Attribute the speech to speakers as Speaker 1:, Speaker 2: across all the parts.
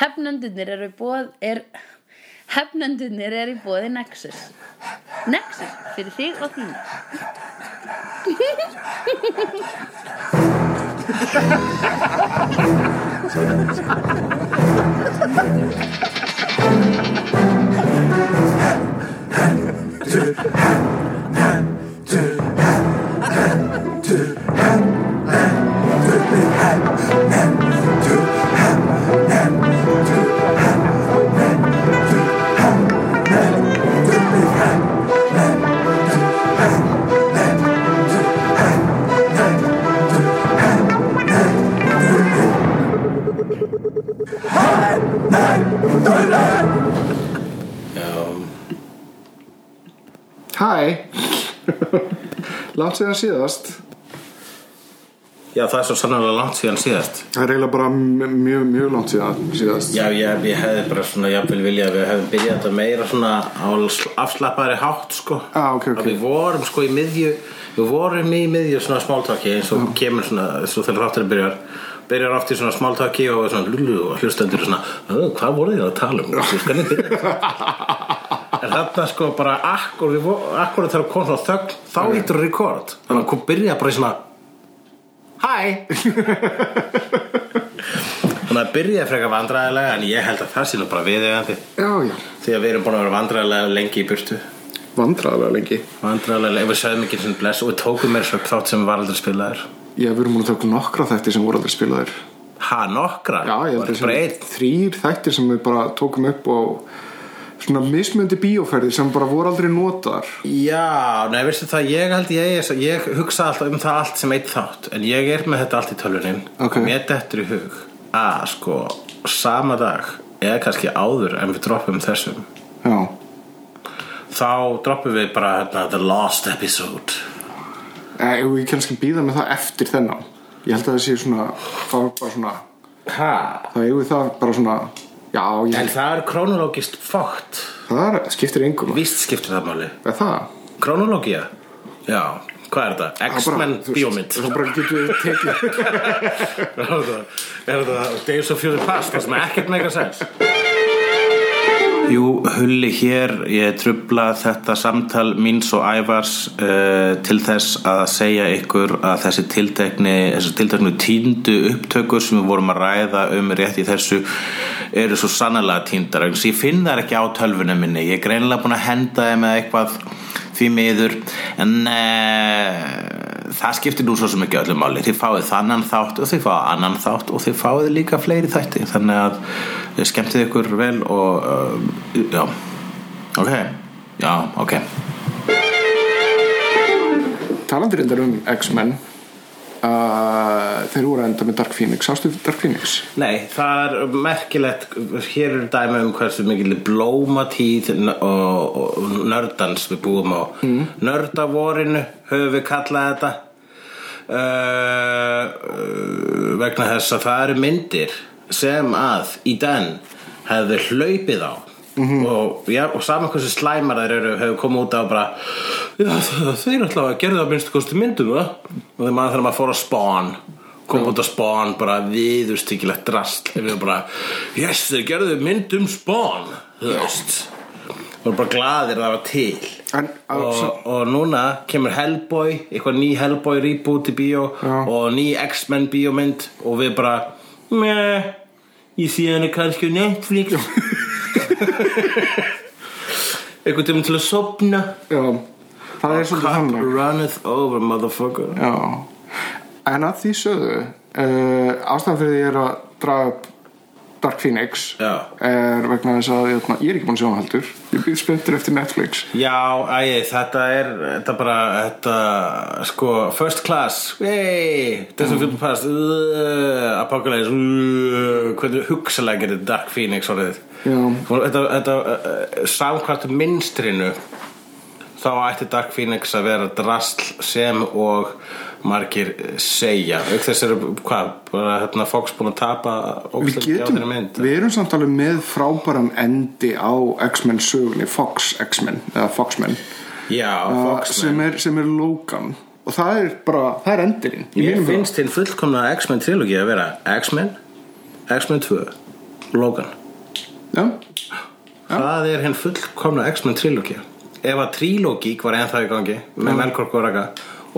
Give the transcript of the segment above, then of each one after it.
Speaker 1: Hefnendurnir eru í bóð er, Hefnendurnir eru í bóði Nexus Nexus fyrir þig og þína
Speaker 2: Hæ Látt séðan síðast
Speaker 3: Já, það er svo sannlega langt síðan síðast
Speaker 2: Það er eiginlega bara m- mjög, mjög langt síðan síðast
Speaker 3: Já, ég, ég hefði bara svona, ég vil vilja að við hefðum byrjað þetta meira svona á sl- afslappaðri hátt, sko
Speaker 2: Ah, ok, ok.
Speaker 3: Að Við vorum sko í miðju, við vorum í miðju svona smáltaki eins
Speaker 2: Mm.
Speaker 3: og kemur svona, svo þegar ráttur byrjar byrjar oft í svona smáltaki og svona lulu og hlustendur og svona, "Ö, hvað voru þið að tala um? Þú skanir byrja En þarna sko bara akkur, við, vo- akkur þegar kom svona þögn, þá
Speaker 2: Mm.
Speaker 3: ítur rekord Þannig að kom byrja bara í svona Hæ Þannig að byrja frekar vandræðilega En ég held að það sé nú bara viðegandi
Speaker 2: Já, já,
Speaker 3: Því að við erum búin að vera vandræðilega lengi í burtu
Speaker 2: vandræðilega lengi
Speaker 3: Vandræðilega, ef við sögum ekki sem bless Og við tókum mér svo þátt sem var aldrei spilaður
Speaker 2: Já, við erum múin að taka nokkra þættir sem voru aldrei spilaðir
Speaker 3: Ha, nokkra?
Speaker 2: Já, ég held að
Speaker 3: Var þetta bara
Speaker 2: sem
Speaker 3: einn
Speaker 2: þrýr þættir sem við bara tókum upp á svona mismöndi bíóferðir sem bara voru aldrei notaðar
Speaker 3: Já, nei, veistu það, ég held ég, ég hugsa alltaf um það allt sem eitt þátt en ég er með þetta allt í tölvunin
Speaker 2: Ok.
Speaker 3: mér dettur í hug að sko, sama dag eða kannski áður en við droppum þessum
Speaker 2: Já,
Speaker 3: þá droppum við bara hérna, the last episode
Speaker 2: Eh, ef við kannski býða með það eftir þennan Ég held að það sé svona, það var bara svona
Speaker 3: ha.
Speaker 2: Það eigum við það bara svona Já,
Speaker 3: en
Speaker 2: ég,
Speaker 3: það er kronologist fótt
Speaker 2: það er, skiptir engum
Speaker 3: víst skiptir það máli
Speaker 2: Er það?
Speaker 3: kronología, já, hvað er þetta?
Speaker 2: Það bara-
Speaker 3: X-Men
Speaker 2: þú veist,
Speaker 3: bíómynd
Speaker 2: Það bara getur við tekið
Speaker 3: er þetta, er þetta Days of Future Past það sem er ekkert mega sens Jú, hulli hér ég trubla þetta samtal míns og ævars uh, til þess að segja ykkur að þessi tiltekni, þessi tiltekni týndu upptökur sem við vorum að ræða um rétt í þessu eru svo sannlega týndar eins ég finn þær ekki á tölvunum minni ég er greinilega búin að henda þeim eða eitthvað því miður en uh, það skiptir nú svo sem ekki öllu máli þið fáið þannan þátt og þið fáið annan þátt og þið fáið líka fleiri þætti þannig að eh, skemmtið ykkur vel og uh, já ok, já, ok
Speaker 2: Talandi reyndar um X-Men uh, Þeir voru enda með Dark Phoenix Sástu Dark Phoenix?
Speaker 3: Nei, það er merkilegt hér eru dæmi um hversu mikil blómatíð n- og, og nördans við búum á mm. nördavorinu höfum við kallað þetta uh, vegna þess að það eru myndir sem að í den hefðu hlaupið á og, ja, og saman hversu slæmar þær eru hefur komið út á bara já, það- þeir ætla að gera það að minnstu kosti myndum það? og þegar maður þarf maður að fóra spawn kom út á spawn bara viðustíkilegt drast þeir eru bara, yes, þeir gerðu mynd um spawn þú veist voru bara gladir að það var til
Speaker 2: En, að-
Speaker 3: og, og núna kemur Hellboy eitthvað ný Hellboy reboot í bíó
Speaker 2: Já.
Speaker 3: og ný X-Men bíómynd og við bara meh, ég sé hann kannski á Netflix eitthvað tíma til að sopna
Speaker 2: Já, það er svolítið
Speaker 3: Cup
Speaker 2: þannig
Speaker 3: runneth over motherfucker
Speaker 2: Já En að því sögðu uh, Ástæðan fyrir því ég er að draga upp Dark Phoenix
Speaker 3: Já.
Speaker 2: er vegna þess að hérna, ég, ég er ekki búin að sjá hann heldur Ég býð spenntur eftir Netflix
Speaker 3: Já, æ, þetta er þetta bara, þetta, sko first class, yey þessum
Speaker 2: Mm.
Speaker 3: fyrir past, uh, apocalypse uh, hvernig hugsalega gerir Dark Phoenix orðið
Speaker 2: Já.
Speaker 3: Og þetta, þetta uh, samkvæmt minnstrinu þá ætti Dark Phoenix að vera drasl sem og margir segja auk þess eru, hvað, bara hérna Fox búin að tapa
Speaker 2: Við
Speaker 3: ógeðslega mikið á
Speaker 2: getum,
Speaker 3: þeirri mynd
Speaker 2: við erum samt alveg með frábæram endi á X-Men sögunni, Fox X-Men eða Foxmen
Speaker 3: Já,
Speaker 2: uh,
Speaker 3: Fox
Speaker 2: sem, er, sem er Logan og það er bara, það er endurinn
Speaker 3: Ég finnst hinn fullkomna X-Men trilogi að vera X-Men, X-Men 2 Logan
Speaker 2: já,
Speaker 3: Það er henn fullkomna X-Men trilógi Ef að trilógík var ennþá í gangi með Melkorku og Raka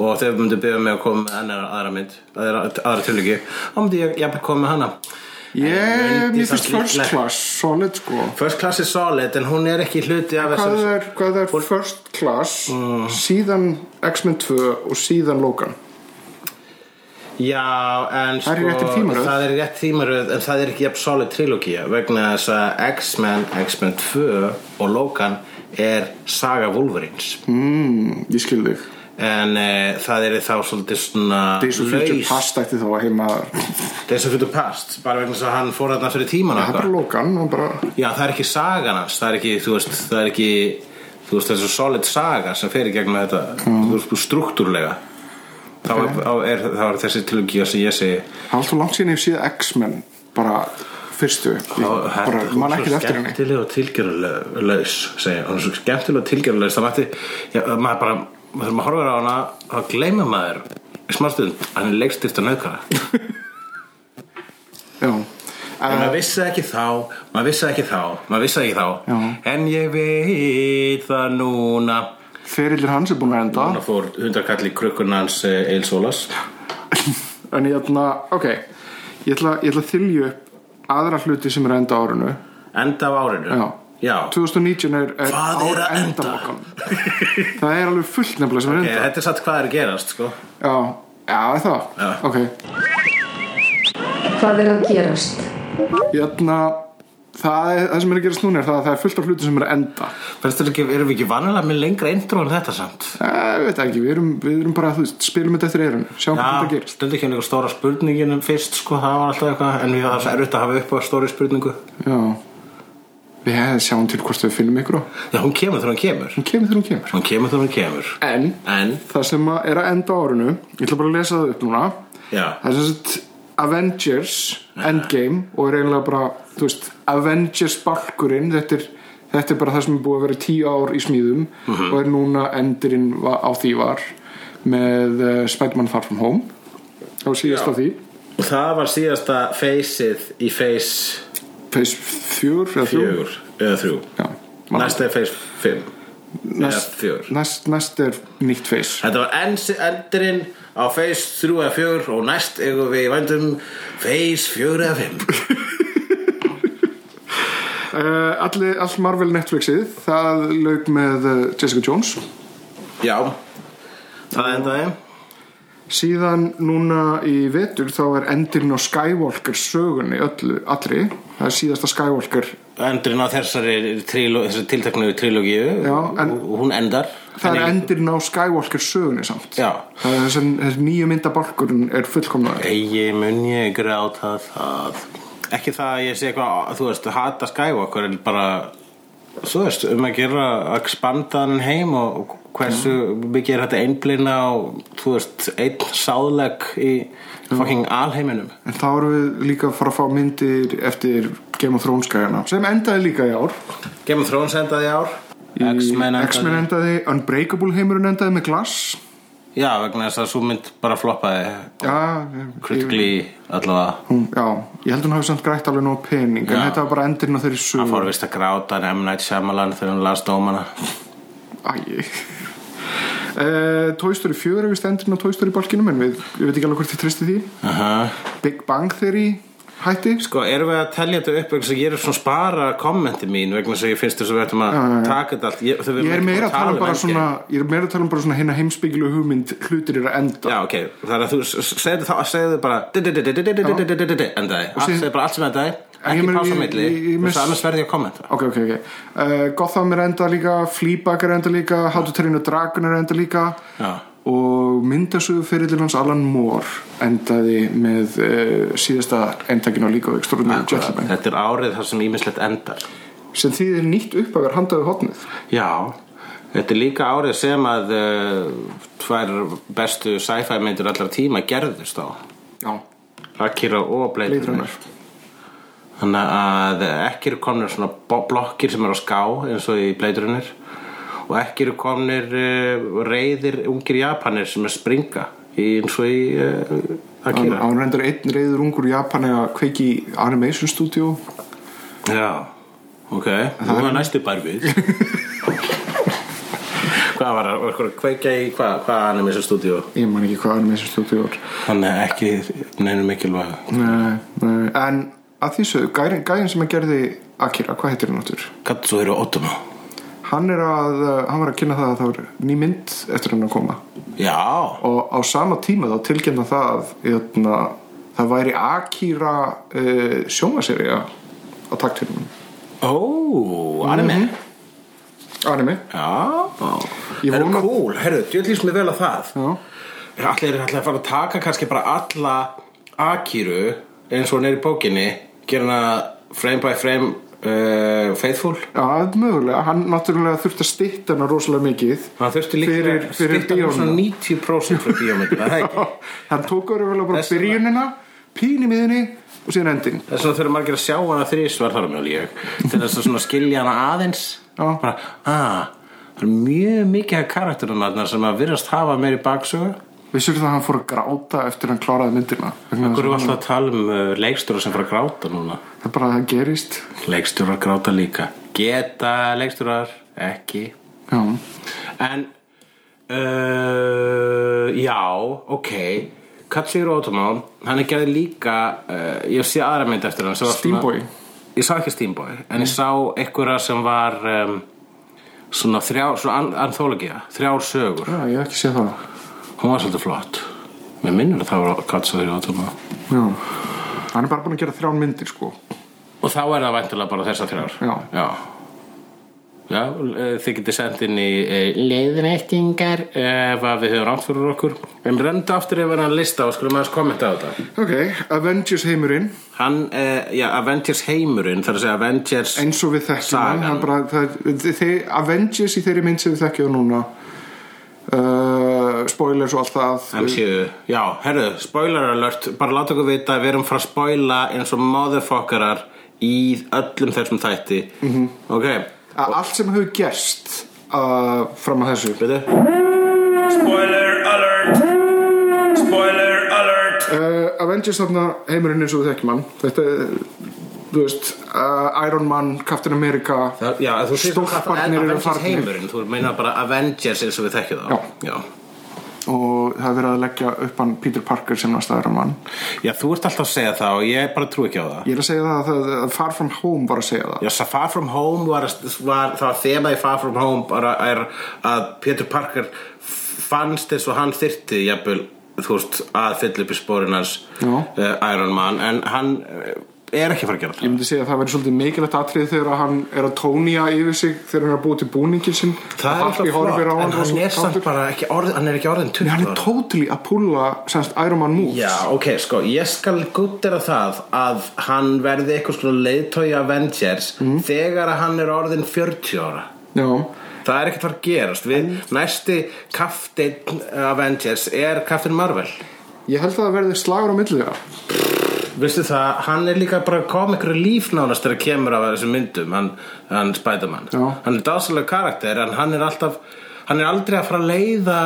Speaker 3: og þau myndu byggja um mig að koma með enn aðra mynd aðra, aðra trilógi þá myndi ég jafnvel koma með hana
Speaker 2: ég,
Speaker 3: myndi
Speaker 2: mér
Speaker 3: samt
Speaker 2: finnst first
Speaker 3: líklega-
Speaker 2: class solid sko
Speaker 3: First Class er solid en hún er ekki hluti af
Speaker 2: hvað
Speaker 3: þessum
Speaker 2: er, hvað er first class
Speaker 3: Uh.
Speaker 2: síðan X-Men 2 og síðan Logan
Speaker 3: Já, en sko,
Speaker 2: Það er í réttri tímaröð.
Speaker 3: það er í rétt tímaröð en það er ekki jafn solid trilógía vegna þess að X-Men, X-Men 2 og Logan er saga Wolverines
Speaker 2: mm, ég skil þig
Speaker 3: en e, það er þá svolítið svona
Speaker 2: Days of Future
Speaker 3: laus-
Speaker 2: Past ætti þá að heima
Speaker 3: Days of Future Past bara vegna þess að hann fór þarna fyrir tíman
Speaker 2: það er bara Logan hann bara,
Speaker 3: Já, það er ekki sagan hans það er ekki, þú veist, það er ekki þú veist, þessu solid saga sem fer í gegnum þetta þú veist, struktúrlega þá er, þá er, þá er þessi trilógía sem ég segi
Speaker 2: það er alltaf langt síðan ég hef síðan X-Men bara fyrstu ég, bara, mann ekki eftir henni
Speaker 3: skemmtileg og tilgjörlaus segja, hún er svo skemmtileg og tilgjörlaus það mætti, já, maður bara þegar maður horfir á hana, þá gleymir maður í smástund, hann er leikstift og nöðkara
Speaker 2: já
Speaker 3: en
Speaker 2: Eh,
Speaker 3: maður vissi það ekki þá maður vissi það ekki þá, maður vissi það ekki þá
Speaker 2: Já.
Speaker 3: en ég veit það núna
Speaker 2: ferillir hans er búin að enda
Speaker 3: hann fór hundarkall í krukkun hans eh, Eil Sólas
Speaker 2: en ég ætla, ok ég ætla, ég ætla að þylju upp aðra hluti sem er að enda á árinu
Speaker 3: enda á árinu
Speaker 2: já, 2019 er, er
Speaker 3: Hvað er að enda?
Speaker 2: endalokan. það er alveg fullt nefnilega sem er
Speaker 3: Ok,
Speaker 2: enda
Speaker 3: Eh, þetta er satt hvað er að gerast sko.
Speaker 2: já, já er það
Speaker 3: Já.
Speaker 2: ok,
Speaker 4: Hvað er að gerast?
Speaker 2: ég ætla það, er, það sem er að gerast núna er það að það er fullt af hluti sem er að enda
Speaker 3: Fannstu ekki, erum við ekki vanalega með lengra intro en þetta samt?
Speaker 2: Eh, ég veit það ekki, við erum, við erum bara þú veist, spilum þetta eftir eirinu, sjáum hvað þetta
Speaker 3: Já,
Speaker 2: gerist
Speaker 3: stundi ekki einhver stóra spurninginum fyrst sko, það var alltaf eitthvað en við það er svo erfitt að hafa upp á stóri spurningu
Speaker 2: já við hefðum sjáum til hvort við finnum ykkur á
Speaker 3: Já, hún kemur þegar hún kemur
Speaker 2: hún kemur þegar hún kemur
Speaker 3: Hún kemur þegar hún kemur
Speaker 2: en
Speaker 3: En,
Speaker 2: það sem að er að enda á árinu ég ætla bara að lesa það upp núna
Speaker 3: Já.
Speaker 2: það er sem sagt Avengers Endgame og er eiginlega bara þú veist, Avengers balkurinn þetta er, þetta er bara það sem er búið að vera í tíu ár í smíðum
Speaker 3: Mhm.
Speaker 2: og er núna endurinn va- á því var með uh, Spiderman Far From Home þá síðast á því
Speaker 3: og það var síðasta feysið í face
Speaker 2: Phase 4 eða 3
Speaker 3: fjögur eða þrjú
Speaker 2: Já.
Speaker 3: Næsta er face fimm eða
Speaker 2: næst,
Speaker 3: fjögur
Speaker 2: næst, næst er nýtt Phase
Speaker 3: Þetta var ens, endurinn á face þrjú eða fjögur og næst eigum við í vandum face fjögur eða fimm
Speaker 2: uh, allir, all Marvel Netflixið það lauk með uh, Jessica Jones
Speaker 3: Já, það endaði
Speaker 2: Síðan núna í vetur þá er endurinn á Skywalker sögunni öllu, allri. Það er síðasta Skywalker.
Speaker 3: endurinn á þessari, tríló, þessari tiltaknu trilógíu
Speaker 2: Já, en-
Speaker 3: og hún endar
Speaker 2: Það er
Speaker 3: Þannig-
Speaker 2: endurinn á Skywalker sögunni samt.
Speaker 3: Já.
Speaker 2: Það er þessi, þessi nýju myndabalkurinn er fullkomnaður.
Speaker 3: Eigi mun ég gráta það Ekki það að ég sé eitthvað þú veist, hata Skywalker en bara þú veist, um að gera að expanda hann heim og hversu mikið er þetta einblina á þú veist, einn sáðleg í fucking alheiminum
Speaker 2: En þá erum við líka að fara að fá myndir eftir Game of Thrones gæjana. Sem endaði líka í ár.
Speaker 3: Game of Thrones endaði í ár
Speaker 2: Í
Speaker 3: X-Men
Speaker 2: X-Men
Speaker 3: endaði
Speaker 2: endaði, Unbreakable heimurinn endaði með glass.
Speaker 3: Já, vegna þess að svo mynd bara floppaði
Speaker 2: Já, ég-
Speaker 3: kritikli allavega
Speaker 2: hún, já, ég held hún hafi samt grætt alveg nóg pening. En
Speaker 3: Já.
Speaker 2: þetta var bara endurinn á þeirri
Speaker 3: Hann fór
Speaker 2: sögunni.
Speaker 3: vist að gráta en M. Night Shyamalan þegar hann las dómana
Speaker 2: Æi Uh, Toy Story 4 er vist endurinn á Toy Story balkinum en við, við veit ekki alveg hvort þið tristi því
Speaker 3: Aha.
Speaker 2: Big Bang Theory hætti
Speaker 3: Sko, erum við að telja þetta upp vegna sem ég er svona að spara kommenti mín vegna sem ég finnst þess að við ættum að taka þetta allt ég, þau- við
Speaker 2: ég er
Speaker 3: erum ekki
Speaker 2: meira að tala um bara
Speaker 3: Endgame.
Speaker 2: svona ég er meira að tala um bara svona hérna heimsbyggilu hugmynd hlutir eru að enda
Speaker 3: Já, ok, það er að þú s- s- segðu þá segðu bara di- di- di- di- di- di- di- di- di- di- di- di- endaði, allt
Speaker 2: síðan-
Speaker 3: segðu bara allt sem endaði
Speaker 2: En ég
Speaker 3: ekki
Speaker 2: meina,
Speaker 3: pása á
Speaker 2: ég-
Speaker 3: milli,
Speaker 2: ég- ég
Speaker 3: þú
Speaker 2: miss-
Speaker 3: veist annars verði ég að kommenta
Speaker 2: ok, ok, ok uh, Gotham er enda líka, Fleabag er enda líka How to Train a Dragon er enda líka
Speaker 3: Já.
Speaker 2: og myndasögu fyrirlin hans Alan Moore endaði með uh, síðasta endakinu líka Extraordinary Gentleman
Speaker 3: Þetta er árið þar sem ímislegt endar
Speaker 2: sem þýðir nýtt uppafjör handaðu hotnið
Speaker 3: Já, þetta er líka árið sem að uh, tvær bestu sci-fi myndir allra tíma gerðust á
Speaker 2: já,
Speaker 3: Akira og Blade
Speaker 2: Blade
Speaker 3: Runner
Speaker 2: Runner
Speaker 3: Þannig að ekki eru komnir svona bo- blokkir sem eru á ská eins og í Blade Runner og ekki eru komnir uh, reyðir ungir japanir sem er springa í, eins og í uh,
Speaker 2: Hann
Speaker 3: Akira
Speaker 2: hann reyndar einn reyður ungur Japani að kveiki í animation studio
Speaker 3: Já, ok, nú er næstu bær við Hvað var það, var að kveikja í, hvað, hvað anime sem stúdíu?
Speaker 2: ég man ekki hvað anime stúdíu var
Speaker 3: Hann er ekki neinu mikilvæg
Speaker 2: Nei, nei, en að því sögðu, gærin, gærin sem að gerði Akira, hvað heitir hann áttur?
Speaker 3: Katsuhiro Otomo
Speaker 2: Hann er að, uh, hann var að kynna það að það var ný mynd eftir hann að koma
Speaker 3: Já,
Speaker 2: og á sama tíma þá tilkynna það að jötna, það væri Akira uh, sjómaserja á taktfilmum
Speaker 3: ó, anime
Speaker 2: anime,
Speaker 3: Já,
Speaker 2: Ég
Speaker 3: það er
Speaker 2: vona-
Speaker 3: cool, herru, djöldlýst mér vel að það
Speaker 2: já
Speaker 3: Allir er allir að fara að taka kannski bara alla Akiru eins og hann er í bókinni gera hana frame by frame uh, faithful
Speaker 2: Já, mögulega, hann náttúrulega þurfti að stitta hana rosalega mikið
Speaker 3: Hann þurfti líka
Speaker 2: fyrir, fyrir
Speaker 3: styrta hún svona
Speaker 2: bíómynd
Speaker 3: 90% frá bíómynd Það er ekki
Speaker 2: hann tók öruvel bara
Speaker 3: Þess vegna-
Speaker 2: byrjunina pínimiðinni og síðan endin
Speaker 3: Þess vegna þurfa margir að sjá hana þrísvar þar mjög ég til þess að svona skilja hana aðeins
Speaker 2: Já.
Speaker 3: bara, að, það er mjög mikið af karakterina þarna sem að virðast hafa meiri baksögu
Speaker 2: Vissur það að hann fór að gráta eftir að hann kláraði myndina? Vegna
Speaker 3: Hvað
Speaker 2: þess
Speaker 3: erum
Speaker 2: að
Speaker 3: við
Speaker 2: hann-
Speaker 3: alltaf að tala um uh, leikstjóra sem fara að gráta núna?
Speaker 2: Það er bara að það gerist.
Speaker 3: Leikstjórar gráta líka Geta leikstjórar ekki
Speaker 2: Já.
Speaker 3: En uh, Já, ok Katsíru Ótomán, hann er gerði líka uh, Ég sé aðra mynd eftir hann sem var svona-
Speaker 2: Steamboy.
Speaker 3: Ég sá ekki Steamboy En ég sá einhverja sem var um, Svona þrjár, svona an anthologia Þrjár sögur
Speaker 2: Já, ég hef ekki séð það.
Speaker 3: Hún var svolítið flott Mér minnur að það var Katsíru Ótomán
Speaker 2: Já. Hann er bara búin að gera þrján myndir, sko.
Speaker 3: Og þá er það væntulega bara þessar þrjár
Speaker 2: Já.
Speaker 3: Já, Já eh, þið getið sendt inn í eh, leiðrættingar ef að við höfum rátt fyrir okkur En rendu aftur yfir hann lista og skulum aðeins kommenta á þetta
Speaker 2: Ok, Avengers heimurinn,
Speaker 3: Hann, eh, já, Avengers heimurinn þar að segja Avengers
Speaker 2: eins og við þekkjum
Speaker 3: Sagan.
Speaker 2: hann, hann bara, það, þið, Avengers í þeirri mynd sem við þekkjum núna, uh, spoilers og allt það.
Speaker 3: MCU Já, herru, spoiler alert Bara láta okkur vita að við erum frá að spoila eins og motherfuckerar í öllum þessum þætti
Speaker 2: Mhm.
Speaker 3: -hmm. Ok,
Speaker 2: Að Allt sem hefur gerst uh, fram að þessu.
Speaker 3: veitu?
Speaker 4: Spoiler alert! Spoiler alert!
Speaker 2: uh, Avengers þarna heimurinn eins og við þekkjum hann þetta er, þú veist uh, Iron Man, Captain America
Speaker 3: Það, já, þú segir
Speaker 2: Stólparnir eru
Speaker 3: Avengers
Speaker 2: farnir.
Speaker 3: heimurinn, þú meinar bara Avengers eins og við þekkjum þá. Já. Já.
Speaker 2: og það er verið að leggja upp hann Peter Parker sem næsta Iron Man
Speaker 3: þú ert alltaf að segja það og ég bara trú ekki á það.
Speaker 2: ég er að segja það að, það, að Far From Home var að segja það
Speaker 3: Já, svo Far From Home var, var það var þema í Far From Home bara er að Peter Parker fannst eins og hann þyrti jafnvel, þú veist, að fylla upp í spórin hans
Speaker 2: Já.
Speaker 3: eh, Iron Man en hann eh, er ekki að fara að gera
Speaker 2: ég
Speaker 3: það.
Speaker 2: myndi segja að það verið svolítið mikilvægt atrið þegar að hann er að tónja yfir sig þegar hann er að búið til búningin sinn
Speaker 3: Það er
Speaker 2: Happy
Speaker 3: alltaf
Speaker 2: horfir
Speaker 3: flott,
Speaker 2: á
Speaker 3: en
Speaker 2: hann
Speaker 3: hann
Speaker 2: rosa
Speaker 3: er samt
Speaker 2: kátur.
Speaker 3: bara ekki orðin, hann er ekki orðin 20
Speaker 2: Nei, hann
Speaker 3: ára.
Speaker 2: er totally að púla semst Iron Man moves
Speaker 3: Já, ok, sko, ég skal guttera það að hann verði eitthvað svona leiðtói Avengers
Speaker 2: Mhm.
Speaker 3: þegar að hann er orðin 40 ára
Speaker 2: Já.
Speaker 3: Það er ekkert að fara að gerast Við næsti kaftin Avengers er kaftin Marvel
Speaker 2: ég held að það verði slagur á milliða
Speaker 3: Vistu það, hann er líka bara kom ykkur líf nánast þegar kemur af þessum myndum hann, hann Spiderman
Speaker 2: Já.
Speaker 3: Hann er dásalega karakter en hann er alltaf hann er aldrei að fara að leiða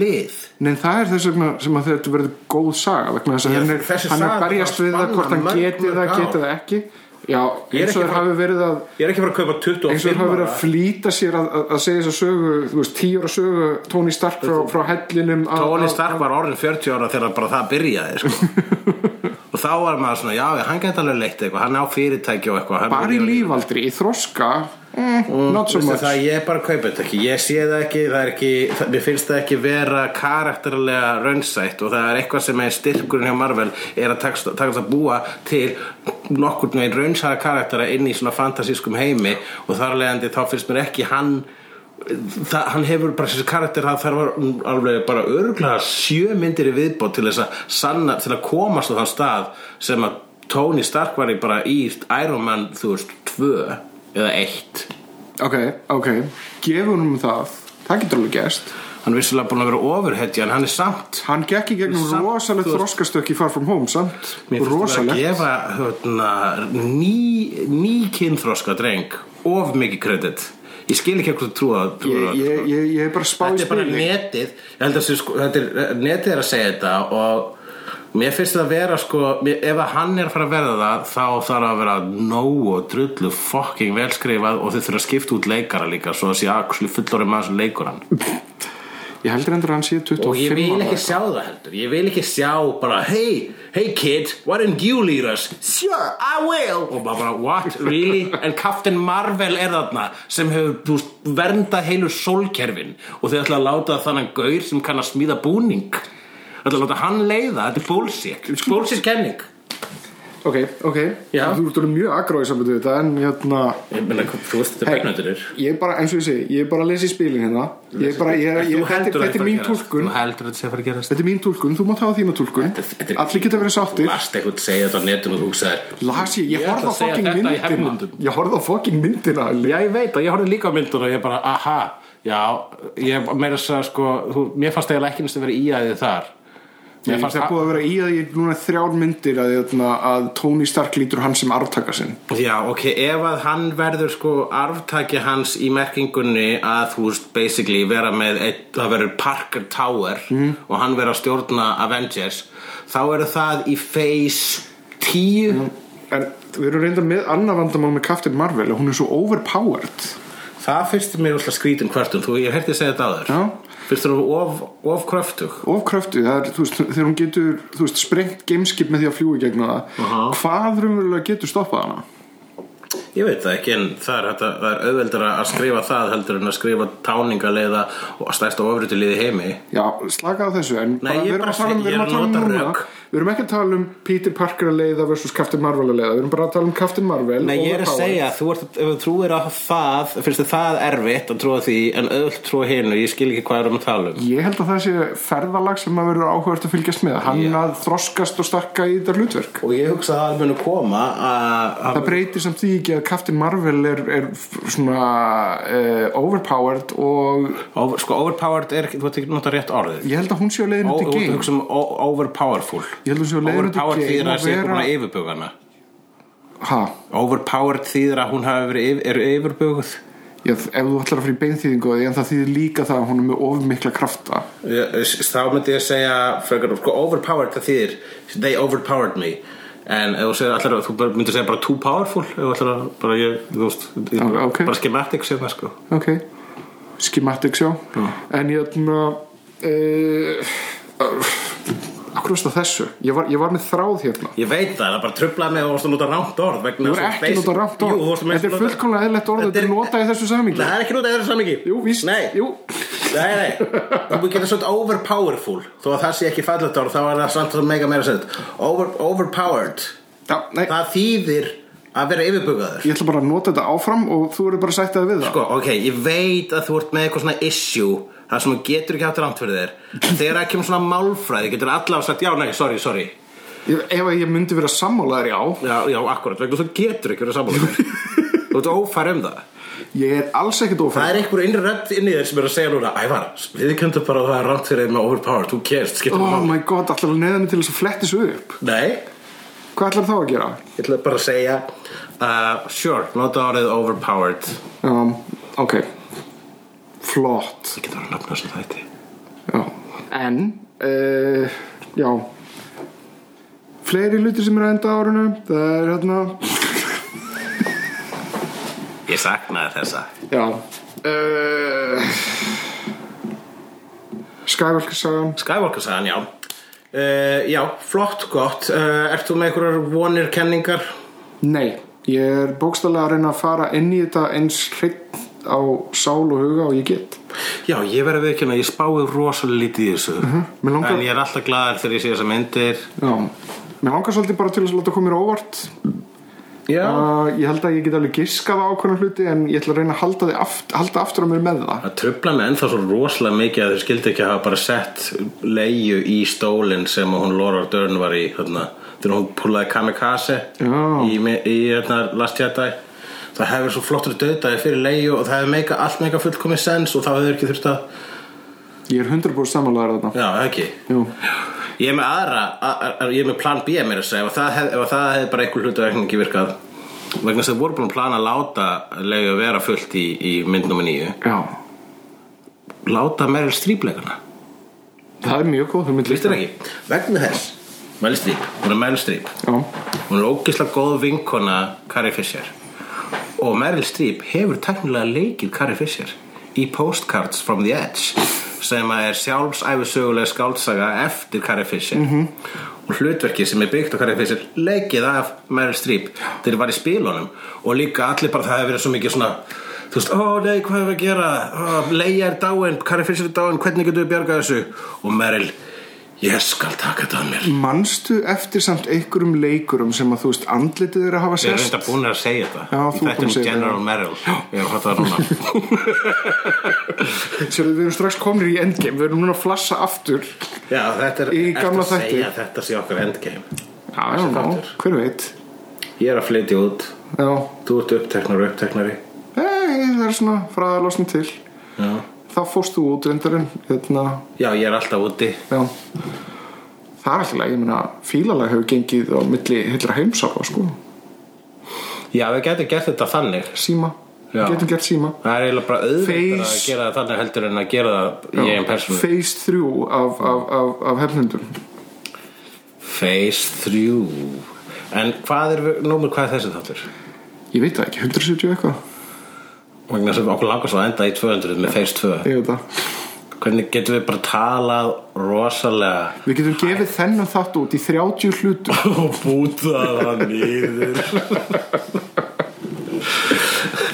Speaker 3: lið
Speaker 2: Nei, það er þess vegna sem að þetta verður góð saga vegna þess að
Speaker 3: Já,
Speaker 2: hann er,
Speaker 3: þessi
Speaker 2: hann er
Speaker 3: saga
Speaker 2: berjast
Speaker 3: bara
Speaker 2: við það hvort hann
Speaker 3: spannar mörg,
Speaker 2: geti
Speaker 3: mörg
Speaker 2: það,
Speaker 3: ár.
Speaker 2: geti það ekki Já,
Speaker 3: Ég er
Speaker 2: eins og
Speaker 3: ekki
Speaker 2: þeir
Speaker 3: bara-
Speaker 2: hafi verið að
Speaker 3: Ég er ekki að fara að kaupa 25
Speaker 2: eins og þeir hafi verið að flýta sér að, að, að segja þess að sögu, þú veist, tíóra sögu Tony Stark frá, frá hellinum að,
Speaker 3: Tony
Speaker 2: að-
Speaker 3: Stark var orðin 40 ára þegar bara það byrjaði sko. og þá var maður svona já, hann gæti alveg leitt eitthvað, hann á fyrirtæki og eitthvað hann
Speaker 2: bara í lífaldri, í þroska eh, not so
Speaker 3: Veistu
Speaker 2: much
Speaker 3: það, ég bara kaupa þetta ekki, ég sé það ekki, það er ekki það, mér finnst það ekki vera karakterlega raunsætt og það er eitthvað sem er styrkurinn hjá Marvel er að takast, takast að búa til nokkurn veginn raunsæra karaktera inn í svona fantasískum heimi og þar leðandi þá finnst mér ekki hann það, hann hefur bara þessi karakter það þarf alveg bara örgulega sjö myndir í viðbót til þess að sanna, til að komast á þann stað sem að Tony Stark var í bara í Iron Man, þú veist, tvö eða eitt
Speaker 2: ok, ok, gefum um það það getur alveg gæst
Speaker 3: hann er vissulega búin að vera ofurhetja en hann er samt
Speaker 2: hann gekk í gegnum
Speaker 3: Samt,
Speaker 2: rosalegt
Speaker 3: þú veist-
Speaker 2: þroskastökk í Far From Home, samt
Speaker 3: mér finnst það að
Speaker 2: rosalegt
Speaker 3: gefa hérna, ný, ný kynþroska dreng of mikið kredit ég skil ekki hvernig trú að trú
Speaker 2: ég, ég, ég, ég er bara spáð
Speaker 3: þetta er bara netið ég held að sé, sko, þetta er, netið er að segja þetta og Mér finnst það að vera sko mér, Ef að hann er að fara að verða það Þá þarf að vera nógu og drullu Fucking velskrifað og þau þurfa að skipta út leikara líka Svo það sé axlu fullori maður sem leikur hann
Speaker 2: Ég heldur endur að hann sé 25
Speaker 3: Og ég vil
Speaker 2: ára.
Speaker 3: ekki sjá það heldur Ég vil ekki sjá bara Hey, hey kid, why don't you lead us? Sure, I will Og bara, bara what, really? En Captain Marvel er þarna sem hefur þú veist, verndað heilu sólkerfin og þau ætla að láta þannan gaur sem kann að smíða búning Það ætla að láta hann leiða, þetta er bullshit Bullshit kenning
Speaker 2: Ok, ok,
Speaker 3: Já.
Speaker 2: þú ert orðinn mjög agró í sambandi við þetta en hérna
Speaker 3: Ég meina, þú veist þetta
Speaker 2: Hey,
Speaker 3: begnöndurir
Speaker 2: ég er bara, eins og ég segi, ég er bara að lesa í spilin hérna ég er bara, ég, ég, þetta, er- þetta er mín
Speaker 3: Þú
Speaker 2: tólkun
Speaker 3: heldur að þetta sé að fara að gerast
Speaker 2: þetta er mín tólkun, þú mátt hafa þína tólkun
Speaker 3: Þetta er-
Speaker 2: allir geta verið
Speaker 3: Þú
Speaker 2: sáttir
Speaker 3: last eitthvað segja þetta á netinu og þú hugsaðir
Speaker 2: las ég, ég
Speaker 3: Ég
Speaker 2: horfði á
Speaker 3: ætla að segja
Speaker 2: fokkin
Speaker 3: þetta í
Speaker 2: myndina
Speaker 3: hefnundum.
Speaker 2: ég horfði á fokkin myndina Elli.
Speaker 3: Já, ég veit að ég horfði líka á myndun og ég bara, aha, já, ég meira að segja, sko, þú, mér fannst eiginlega ekki næst að vera í að þið þar. Mér
Speaker 2: Ég
Speaker 3: fannst
Speaker 2: það er búið að vera í að ég núna þrjár myndir að, að, að Tony Stark lítur hann sem arftaka sinn
Speaker 3: Já, ok, ef að hann verður, sko, arftaki hans í merkingunni að, þú veist, basically vera með, eitt, það verður Parker Tower og hann verður að stjórna Avengers, þá eru það í phase 10
Speaker 2: Mm. en við erum reynda með annað vandamál með Captain Marvel og hún er svo overpowered
Speaker 3: Það finnst mér alltaf skrítin hvertum, þú, ég heyrti að segja þetta aður.
Speaker 2: Já.
Speaker 3: Finnst þú of, of kröftug?
Speaker 2: ofkröftu, það er, þú veist, þegar hún getur þú veist, sprengt gameskip með því að fljúi gegn það
Speaker 3: Aha.
Speaker 2: hvað raunverulega getur stoppað hana
Speaker 3: Ég veit það ekki en það er, hægt að- það er auðveldara að skrifa það heldur en að skrifa táningaleiða og stærsta ofrutileiði heimi
Speaker 2: já, slaka á þessu en
Speaker 3: Nei, ég
Speaker 2: við erum
Speaker 3: bara
Speaker 2: að tala um,
Speaker 3: segi-
Speaker 2: við erum
Speaker 3: ég
Speaker 2: að tala um
Speaker 3: nota
Speaker 2: núna
Speaker 3: rök.
Speaker 2: við erum ekki að tala um Peter Parker að leiða versus Captain Marvel að leiða, við erum bara að tala um Captain Marvel
Speaker 3: Nei, ég er að
Speaker 2: overpowered.
Speaker 3: segja að þú ert, ef þú trúir á það finnst þið það erfitt að trúa því en auðvelt trúa hinu, ég skil ekki hvað er um að tala um
Speaker 2: Ég held að það sé ferðalag sem að verður áhugast að fylgjast með hann að þroskast og stakka í þetta hlutverk
Speaker 3: Og ég hugsa að það muni koma að
Speaker 2: Það breytir samt því ekki að Captain Marvel er, er f- svona uh, overpowered og
Speaker 3: over, sko, overpowered er, ekki- þú veit ekki nota rétt orðið
Speaker 2: ég held að hún sé á leiðinu
Speaker 3: Ó,
Speaker 2: út
Speaker 3: Þú
Speaker 2: í
Speaker 3: ert að
Speaker 2: game
Speaker 3: hugsa um o- overpowerful
Speaker 2: Ég held að þú séu leiðin út í
Speaker 3: Overpowered
Speaker 2: game og
Speaker 3: þýðir að sé
Speaker 2: vera-
Speaker 3: búin að yfirbugana
Speaker 2: ha,
Speaker 3: Overpowered þýðir að hún hafi verið yfir, er yfirbuguð
Speaker 2: ég, ef þú ætlar að fara í beinþýðingu á því, en það þýðir líka það að hún er með of mikla krafta
Speaker 3: Já, s- þá myndi ég að segja frekar, sko, overpowered það þýðir they overpowered me en ef þú segir allar þú bara- myndir segja bara too powerful ef þú allar bara ég, þú veist ég,
Speaker 2: Já, ok.
Speaker 3: bara schematics hérna sko
Speaker 2: ok, schematics já en ég ætla uh, akkur veist það þessu ég var, ég var með þráð hérna
Speaker 3: ég veit það, það bara trublaði mig að þú varst að nota rámt orð
Speaker 2: Þú
Speaker 3: þú
Speaker 2: voru ekki nota rámt orð Þetta er fullkomlega eðlilegt orð Þetta
Speaker 3: Þetta
Speaker 2: er
Speaker 3: er-
Speaker 2: notað í þessu
Speaker 3: Nei,
Speaker 2: samhengi
Speaker 3: það er ekki notað í þessu samingi
Speaker 2: Jú, víst
Speaker 3: Nei,
Speaker 2: Jú.
Speaker 3: nei, nei. Þú getur svona overpowerful Þó að það sé ekki fallet orð Þá er það samt að mega meira sett Over, Overpowered
Speaker 2: Já, nei,
Speaker 3: Það þýðir að vera yfirbugaður
Speaker 2: Ég ætla bara að nota þetta áfram og þú eru bara að sætta það við það
Speaker 3: Sko, ok, ég veit að þú ert með eitthvað svona issue Það sem þú getur ekki haft rámt fyrir þér Þegar það kemur svona málfræði Getur allavega sagt, já, nei, sorry, sorry
Speaker 2: ég, Ef að ég myndi vera sammálaður já
Speaker 3: Já, já, akkurat, vegna þú getur ekki verið samanlega Þú ert ófær um það
Speaker 2: Ég er alls ekkert
Speaker 3: Það
Speaker 2: ófæð
Speaker 3: er einhver innri rödd inn í þér sem er að segja núna Ævar, við kemdum bara að það er rámt fyrir þér með overpowered Þú gerst, skiptum
Speaker 2: Oh
Speaker 3: oh.
Speaker 2: my god, ætlar að neðan til þess að fletti þessu upp
Speaker 3: Nei,
Speaker 2: Hvað ætlar þá að gera?
Speaker 3: ég ætla bara að segja uh, Sure, nota orðið overpowered
Speaker 2: Um, ok Flott
Speaker 3: Ég getur að nafna þessum þætti
Speaker 2: já. En uh, Já Fleiri hlutir sem eru að enda á árinu Það er hérna
Speaker 3: Ég saknaði þessa
Speaker 2: Já uh, Skævalkarsagan
Speaker 3: Skywalker sagan, já uh, Já, flott, gott uh, Ert þú með einhverjar vonir kenningar?
Speaker 2: Nei, ég er bókstallega að reyna að fara inn í þetta eins hreitt á sál og huga og ég get
Speaker 3: Já, ég verði við ekki hérna, ég spáði rosalega lítið í þessu
Speaker 2: Mhm, Mig langar-
Speaker 3: En ég er alltaf glaðar þegar ég sé þessa myndir
Speaker 2: Já, mér langar svolítið bara til þess að láta koma mér á óvart
Speaker 3: Já
Speaker 2: uh, Ég held að ég get alveg giskað á ákveðna hluti en ég ætla að reyna að halda, þig aft, halda aftur á mér með það
Speaker 3: Það trubla mig ennþá svo rosalega mikið að þau skildi ekki að hafa bara sett leiðu í stólinn sem að hún Laura Dörn var í þarna, þegar hún púlaði kamikaze
Speaker 2: Já.
Speaker 3: í, me- í hérna, Last Jedi Það hefur svo flottur döðdæði fyrir leiðu og það hefur meika, allt meika fullkomið sens og það hefur ekki þurft að
Speaker 2: Ég er 100% samanlegaður þarna
Speaker 3: Já, ekki
Speaker 2: Jú,
Speaker 3: Ég er með aðra, að, að, ég er með plan B mér að segja, ef það hef- ef það hefði bara einhver hlutu ekki virkað vegna þess að þau voru búin að plana að láta leiðu að vera fullt í, í mynd nr. 9
Speaker 2: já
Speaker 3: láta Meryl Streep leikana
Speaker 2: Það er mjög góð, þú myndir
Speaker 3: Lýstir ekki? Vegna þess Meryl Streep, hún er Meryl Streep
Speaker 2: já,
Speaker 3: hún er ógislega góð vinkona Carrie Fisher og Meryl Streep hefur teknilega leikið Carrie Fisher í Postcards from the Edge sem að er sjálfsæfisögulega skáldsaga eftir Carrie Fisher og hlutverki sem er byggt á Carrie Fisher leikið af Meryl Streep þegar var í spilunum og líka allir bara það hefur verið svo mikið svona þú veist, ó nei, hvað hefur að gera oh, Leia er dáin, Carrie Fisher er dáin hvernig getum við bjargað þessu og Meryl, ég skal taka þetta að mér
Speaker 2: manstu eftir samt einhverjum leikurum sem að þú veist andlitið þeirra hafa
Speaker 3: Við erum
Speaker 2: sérst
Speaker 3: reynda búin að segja þetta
Speaker 2: Já,
Speaker 3: Í
Speaker 2: þú búin að
Speaker 3: þættinum
Speaker 2: segja þetta,
Speaker 3: General
Speaker 2: já.
Speaker 3: Merrill Ég er að fatta það núna
Speaker 2: Sérðu, við erum strax komnir í endgame við erum núna að flassa aftur já,
Speaker 3: Já, þetta er
Speaker 2: Í gamla
Speaker 3: ertu að
Speaker 2: þætti.
Speaker 3: segja að Þetta sé okkar endgame
Speaker 2: já, já,
Speaker 3: þáttur.
Speaker 2: hver veit
Speaker 3: Ég er að flytja út
Speaker 2: já,
Speaker 3: Þú ert uppteknar og uppteknari
Speaker 2: Hey, það er svona fræðalosn til
Speaker 3: Já
Speaker 2: þá fórst þú út reyndarinn hérna,
Speaker 3: Já, ég er alltaf úti
Speaker 2: já það er alltaf, ég meina fílalega hefur gengið á milli heilra heimsáfa sko,
Speaker 3: Já, við getum gert þetta þannig
Speaker 2: síma
Speaker 3: Já.
Speaker 2: við getum gert síma
Speaker 3: Það er eiginlega bara auðvitað að
Speaker 2: Face-
Speaker 3: gera það þannig heldur en að gera það í einn persónu
Speaker 2: Phase 3 af, af, af, af hefnundum
Speaker 3: Face 3 En hvað er, númer hvað er þessi þáttur?
Speaker 2: Ég veit það ekki, 170 eitthvað
Speaker 3: Vegna sem okkur langar svo að enda í 200 með Face 2
Speaker 2: Ég veit það
Speaker 3: Hvernig getum við bara talað rosalega
Speaker 2: Við getum gefið þennan þátt út í 30 hlutum
Speaker 3: og búta það nýður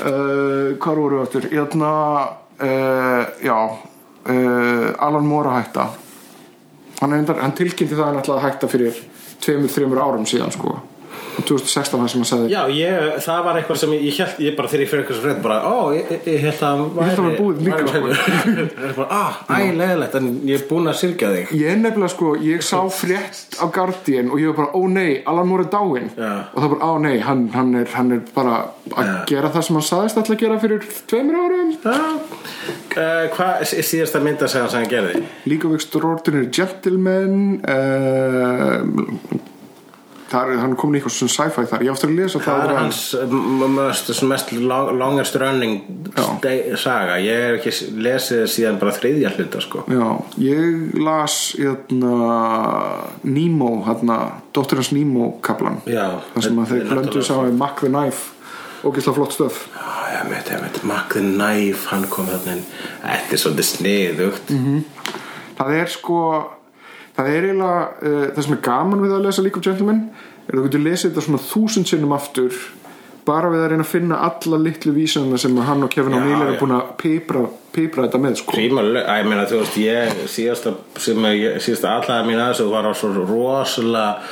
Speaker 2: uh, Hvar voru við áttur? Jörna, uh, já uh, Alan Moore að hætta Hann, endar, hann tilkynnti það hann ætlaði að hætta fyrir 2-3 árum síðan sko 2016 það sem hann sagði
Speaker 3: Já, ég, það var eitthvað sem ég, ég held ég bara þegar ég fyrir eitthvað sem frétt bara, ó, ég, ég- ég held að
Speaker 2: Ég held að hann búið líka, sko.
Speaker 3: Það er bara, á, æ, leðilegt en ég er búin að syrgja þig
Speaker 2: Ég er nefnilega sko, ég sá frétt á Guardian og ég var bara, ó nei, Alan Moore er dáinn
Speaker 3: Já.
Speaker 2: og það bara, á nei, hann, hann, er, hann er bara að
Speaker 3: Já.
Speaker 2: gera það sem hann saðist alltaf að gera fyrir tveimur árum
Speaker 3: Já, uh, hvað er síðasta mynda sem hann gerði?
Speaker 2: Líka við Extraordinary Gentleman uh, þar, er- hann kom í eitthvað svona sci-fi þar, ég áftur að lesa
Speaker 3: Það
Speaker 2: það
Speaker 3: er
Speaker 2: var
Speaker 3: hans m- m- mest, mest long, longest running
Speaker 2: Já.
Speaker 3: stay, saga Ég hef ekki s- lesið síðan bara þriðja hluta, sko
Speaker 2: Já, ég las hérna, Nemo, hérna, dóttir hans Nemo kaplan,
Speaker 3: Já.
Speaker 2: þar sem að
Speaker 3: Þetta
Speaker 2: þeir
Speaker 3: er
Speaker 2: blöndu
Speaker 3: náttúrulega-
Speaker 2: saman við Mac the Knife, ógislega flott stöf
Speaker 3: Já, ég veit, ég veit, Magði Næf, hann kom þarna inn Þetta er svolítið sniðugt
Speaker 2: það er sko það er eiginlega uh, það sem er gaman við að lesa League of Gentlemen er þú getur lesið þetta svona þúsund sinnum aftur bara við að reyna að finna alla litlu vísana sem hann og Kevin
Speaker 3: Já,
Speaker 2: O'Neill eru
Speaker 3: já.
Speaker 2: búin að pipra, pipra þetta með sko
Speaker 3: Tvímalau, að ég meina þú veist ég síðasta, sem ég, síðasta allega mín aðeins og var á svo rosalega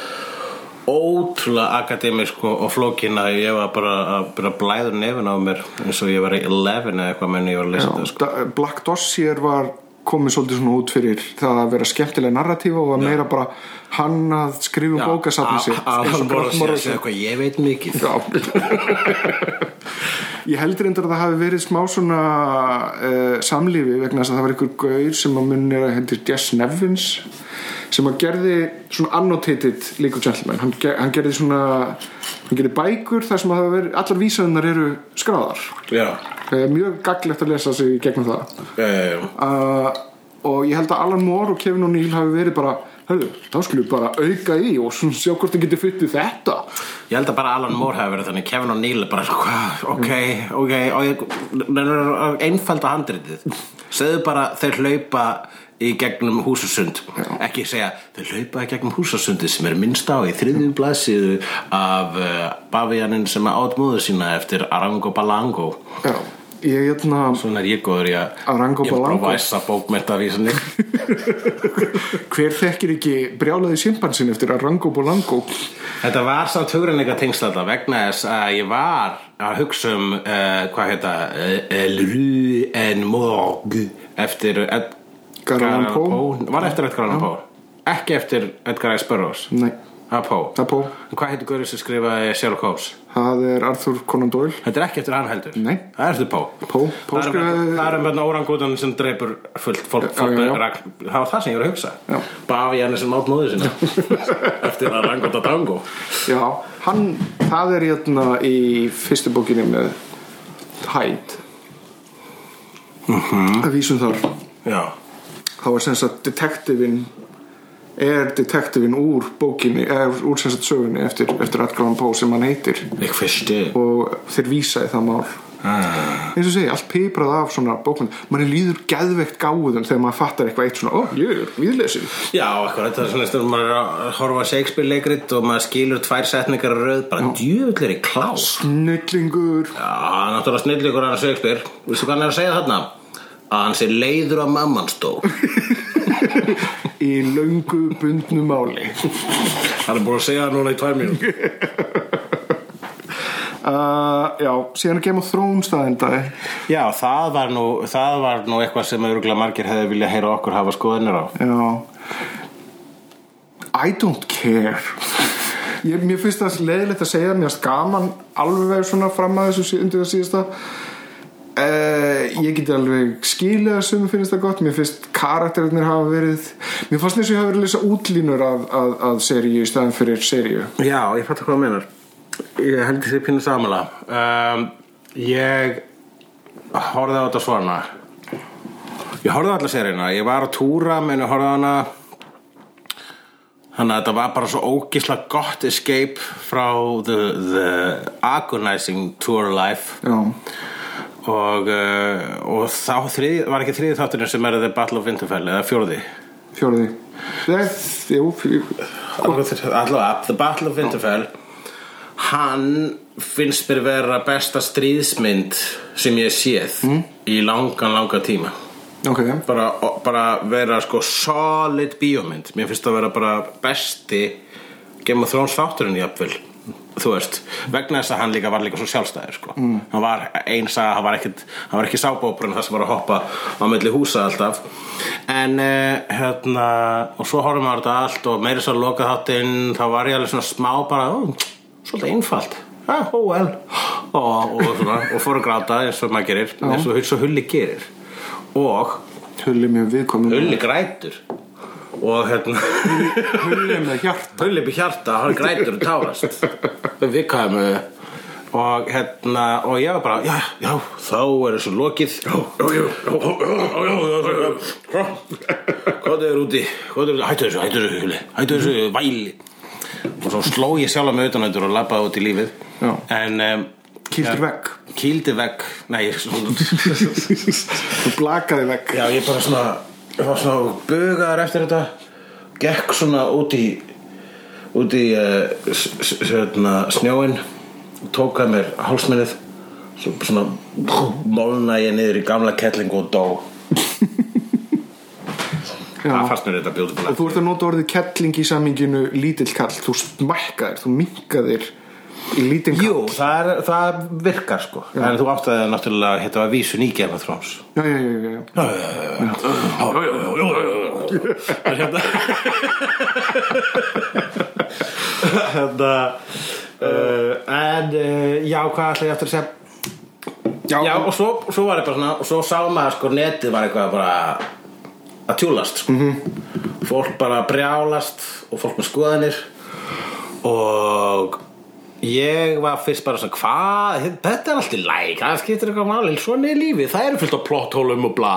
Speaker 3: ótrúlega akademisk og, og flókin að ég var bara að byrja blæður nefn á mér eins og ég var í 11 eða eitthvað menn ég var að lesa þetta
Speaker 2: Já,
Speaker 3: sko.
Speaker 2: da- Black Dossier var komið svolítið svona út fyrir það að vera skemmtilega narratífa og var meira bara hann að skrifa um bókasafni
Speaker 3: Að-
Speaker 2: sitt
Speaker 3: að
Speaker 2: eins og
Speaker 3: hann bara
Speaker 2: Grant
Speaker 3: sé að
Speaker 2: Morrison.
Speaker 3: segja eitthvað ég veit mikið
Speaker 2: Já Ég heldur endur að það hafi verið smá svona uh, samlífi vegna þess að það var einhver gaur sem að munir að hendur Jess Nevins sem að gerði svona annotated League of Gentlemen hann, ger, hann gerði svona hann gerði bækur þar sem að það verið allar vísaðunar eru skráðar
Speaker 3: Já,
Speaker 2: uh, mjög gaglegt að lesa sig í gegnum það
Speaker 3: já, já, já
Speaker 2: uh, og ég held að Alan Moore og Kevin O'Neill hafi verið bara Hörðu, þá skulum við bara auka í og svona sjá hvort þið getur fyttið þetta
Speaker 3: Ég held að bara Alan Moore hefði verið þannig Kevin O'Neill er bara, hvað, ok, ok og ég, einfalda handritið segðu bara, þeir hlaupa í gegnum húsasund ekki segja, þeir hlaupa í gegnum húsasundi sem er minnst á í þriðjum blaðsíðu af uh, bavíjaninn sem átt móður sína eftir Arango Balango
Speaker 2: Já, ég hérna
Speaker 3: svona er ég góður í að
Speaker 2: Arango
Speaker 3: ég er bara að
Speaker 2: Balango.
Speaker 3: væsa bókmentavísinni
Speaker 2: Hver þekkir ekki brjálaði simpansin eftir að Rango Bolango
Speaker 3: Þetta var samt hugurinn eitthvað tengsla þetta vegna þess að ég var að hugsa um uh, hvað heita uh, Lru en Morg eftir Ed-
Speaker 2: Edgar Allan Poe.
Speaker 3: Var eftir Edgar Allan Poe Ekki eftir Edgar S. Burroughs
Speaker 2: Nei,
Speaker 3: Það er Poe
Speaker 2: það er Pó
Speaker 3: En Hvað heitir Guður sem skrifaði Sherlock Holmes?
Speaker 2: Það er Arthur Conan Doyle
Speaker 3: Þetta er ekki eftir hann heldur
Speaker 2: Nei.
Speaker 3: Það er eftir Poe
Speaker 2: Poe, Poe
Speaker 3: Það er um-
Speaker 2: skrifaði-
Speaker 3: það er um hvernig órangútan sem dreipur fullt fólk,
Speaker 2: já,
Speaker 3: fólk
Speaker 2: já.
Speaker 3: með rak- Það var það sem ég var að
Speaker 2: Já.
Speaker 3: hugsa Bafi hann sem átt móður sinna Eftir að rangúta dango
Speaker 2: Já, hann, það er hérna í fyrstu bókinni með Hyde Það vísum þar
Speaker 3: Já
Speaker 2: þá er sem sagt detektivinn er detektivin úr bókinni eða úr sem sagt sögunni eftir, eftir Edgar Allan Poe sem hann heitir
Speaker 3: Ég fyrsti
Speaker 2: og þeir vísa í það mál eins og segja, allt piprað af svona bókmynd mann líður geðveikt gáðum þegar maður fattar eitthvað eitt svona, ó, ég er viðlesin
Speaker 3: Já, akkurat, það er svona stundum maður er að horfa á Shakespeare leikrit og maður skilur tvær setningar að röð bara djöfull er í klás
Speaker 2: snillingur
Speaker 3: Já, hann er náttúrulega snill ykkur hann Shakespeare Vistu hvað hann er að segja þarna? Að hann sé leiður að mamman stó
Speaker 2: í löngu bundnu máli
Speaker 3: Hann er búin að segja það núna í tvær mínútur
Speaker 2: uh, já, síðan að gema þrónstæðinda
Speaker 3: Já, það var nú, það var nú eitthvað sem örgulega margir hefði viljað heyra okkur hafa skoðanir á
Speaker 2: já I don't care ég, mér finnst það leðilegt að segja mér finnst gaman alveg svona fram að þessu sí- undir það síðasta Uh, ég geti alveg skilið að sumum finnst það gott, mér finnst karakterinir hafa verið, mér fannst þess að ég hafa verið að lesa útlínur af, af, af seríu í staðan fyrir seríu
Speaker 3: Já, ég fattu hvað það menar Ég held þessi pínu samanlega um, Ég horfði á þetta svona Ég horfði á alla serina Ég var að túra, menn ég horfði á hana Þannig að þetta var bara svo ógisla gott escape frá the, the agonizing tour life
Speaker 2: Já,
Speaker 3: og, uh, og þá þrið, var ekki þriði þátturinn sem er The Battle of Winterfell eða fjórði
Speaker 2: fjóruði Þegar, jú, fjóruði
Speaker 3: allavega, The Battle of Winterfell hann finnst mér vera besta stríðsmynd sem ég hef séð í langan, langan tíma
Speaker 2: Ok,
Speaker 3: bara, og- bara vera sko solid bíómynd mér finnst það vera bara besti Game of Thrones þátturinn jafnvel þú veist, vegna þess að hann líka var líka svo sjálfstæður sko. mm. hann var einsa, hann var ekkit hann var ekki sábóprun þar sem var að hoppa á milli húsa alltaf en eh, hérna, og svo horfum við á þetta allt og meiri svo að loka þáttinn þá var ég alveg svona smá bara ó, svolítið einfalt, ah, oh well og, og, svona, og fór að gráta eins og maður gerir, eins og, eins og hulli gerir og
Speaker 2: hulli mjög viðkomum
Speaker 3: Hulli grætur og hérna
Speaker 2: Hulli með hjart
Speaker 3: Hulli upp í hjarta, hann grætur og tárast við kæmum og hérna, og ég var bara já, já, þá er þessu lokið já, já, já, já, já, já, já, já, já. hvað er úti hvað er úti, hættu þessu, hættu þessu Hulli hættu þessu væli og svo sló ég sjálf með utanöndur og labbaði út í lífið
Speaker 2: Já.
Speaker 3: en um,
Speaker 2: Kýldir vegg.
Speaker 3: kýldi vegg, nei svona,
Speaker 2: Þú blakaði vegg
Speaker 3: Já, ég bara svona ég var svona bugaðar eftir þetta gekk svona út í út í uh, sjötna, snjóin hérna, tók að mér hálsmennið svo svona mólna ég niður í gamla kettlingu og dó það
Speaker 2: Já
Speaker 3: fannst mér
Speaker 2: Og
Speaker 3: þetta
Speaker 2: þú
Speaker 3: bjóðulega
Speaker 2: ert að nota orðið kettling í saminginu lítill kall, þú smækkaðir, þú minkaðir í lítinn kall.
Speaker 3: Jú, það, er, það virkar sko en þú áttaði það náttúrulega að þetta var vísun í Game of Thrones
Speaker 2: Já, já, já, já, já.
Speaker 3: En hérna Hérna uh, En uh, já, hvað ætla ég aftur að segja
Speaker 2: Já,
Speaker 3: Já, og svo, svo var ég bara svona Og svo sá maður sko netið var eitthvað bara Að tjúlast sko. Fólk bara brjálast Og fólk með skoðanir Og Ég var fyrst bara svona Hvað, þetta er allt í læk Það skiptir eitthvað máli, svona er lífið Það eru fullt á plotthólum og bla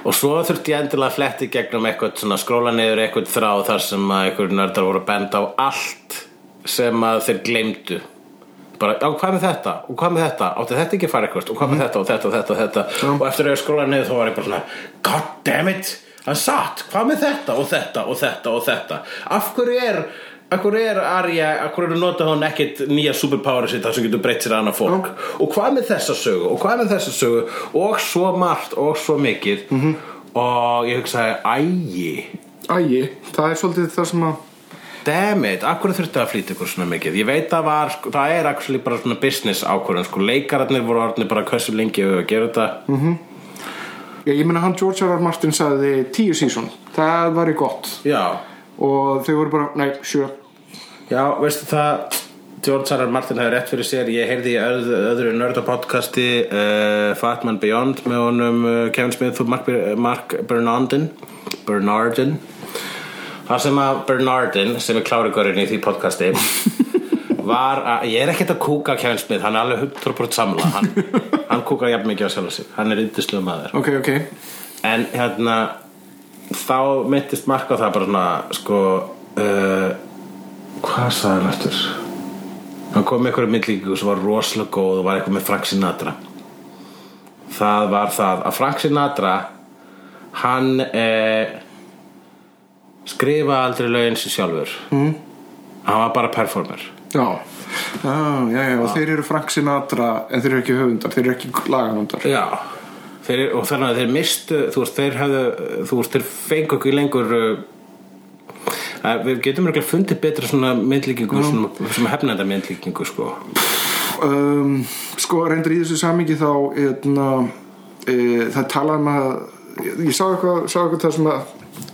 Speaker 3: Og svo þurfti ég endilega að fletti gegnum eitthvað svona skróla niður eitthvað þráð þar sem að eitthvað nördar voru að benda á allt sem að þeir gleymdu bara, já, hvað með þetta og hvað með þetta, átti þetta ekki að fara eitthvað og hvað með þetta og þetta og þetta og þetta og eftir að ég skróla niður þá var ég bara svona god damn it, hann satt, hvað með þetta og þetta og þetta og þetta af hverju er, af hverju er Arja, af hverju nota hún ekkit nýja superpower sitt þar sem getur breytt sér annað fólk og hvað með þessa sögu og hvað með þessa sögu og svo margt og svo mikið -hmm. og ég hugsaði, ægi
Speaker 2: Æi, það er svolítið það sem að
Speaker 3: Damn it, akkur þurfti að flýta ykkur svona mikið Ég veit að var, sko, það er akkur bara svona business ákvörðun sko. Leikararnir voru orðnir bara hversu lengi við að gera þetta
Speaker 2: Já, ég meina hann George R. R. Martin sagði tíu sísón, það var í gott
Speaker 3: Já,
Speaker 2: og þau voru bara, nei, sjö
Speaker 3: já, veistu það George R. R. Martin hefur rétt fyrir sér Ég heyrði í öð, öðru nördapodcasti uh, Fatman Beyond með honum uh, Kevin Smith og Mark, Bir- Mark Bernardin Bernardin Það sem að Bernardin, sem er klárigörinn í því podcasti var að, ég er ekkert að kúka á Kevin Smith, hann er alveg 100% samla hann, hann kúkar jafn mikið á sjálf sig, hann er yndislega maður
Speaker 2: Ok, ok,
Speaker 3: en hérna þá mittist mark á það bara svona sko uh, hvað sagði hann eftir hann kom með einhverju myndlíku sem var rosalega góð og var eitthvað með Frank Sinatra það var það að Frank Sinatra hann eh, skrifa aldrei lögin sér sjálfur mm. hann var bara performer
Speaker 2: Já, ah, já, já, og þeir eru Frank Sinatra en þeir eru ekki höfundar, þeir eru ekki lagahöfundar
Speaker 3: Já þeir, og þannig að þeir mistu þú veist, þeir hefðu þú veist, þeir fengu ekki lengur uh, að við getum röglega fundið betra svona myndlíkingu sem, sem hefnenda myndlíkingu sko
Speaker 2: um, Sko, reyndur í þessu samingi þá eitna, e, það talað um að ég, ég sá eitthvað, sá eitthvað það sem að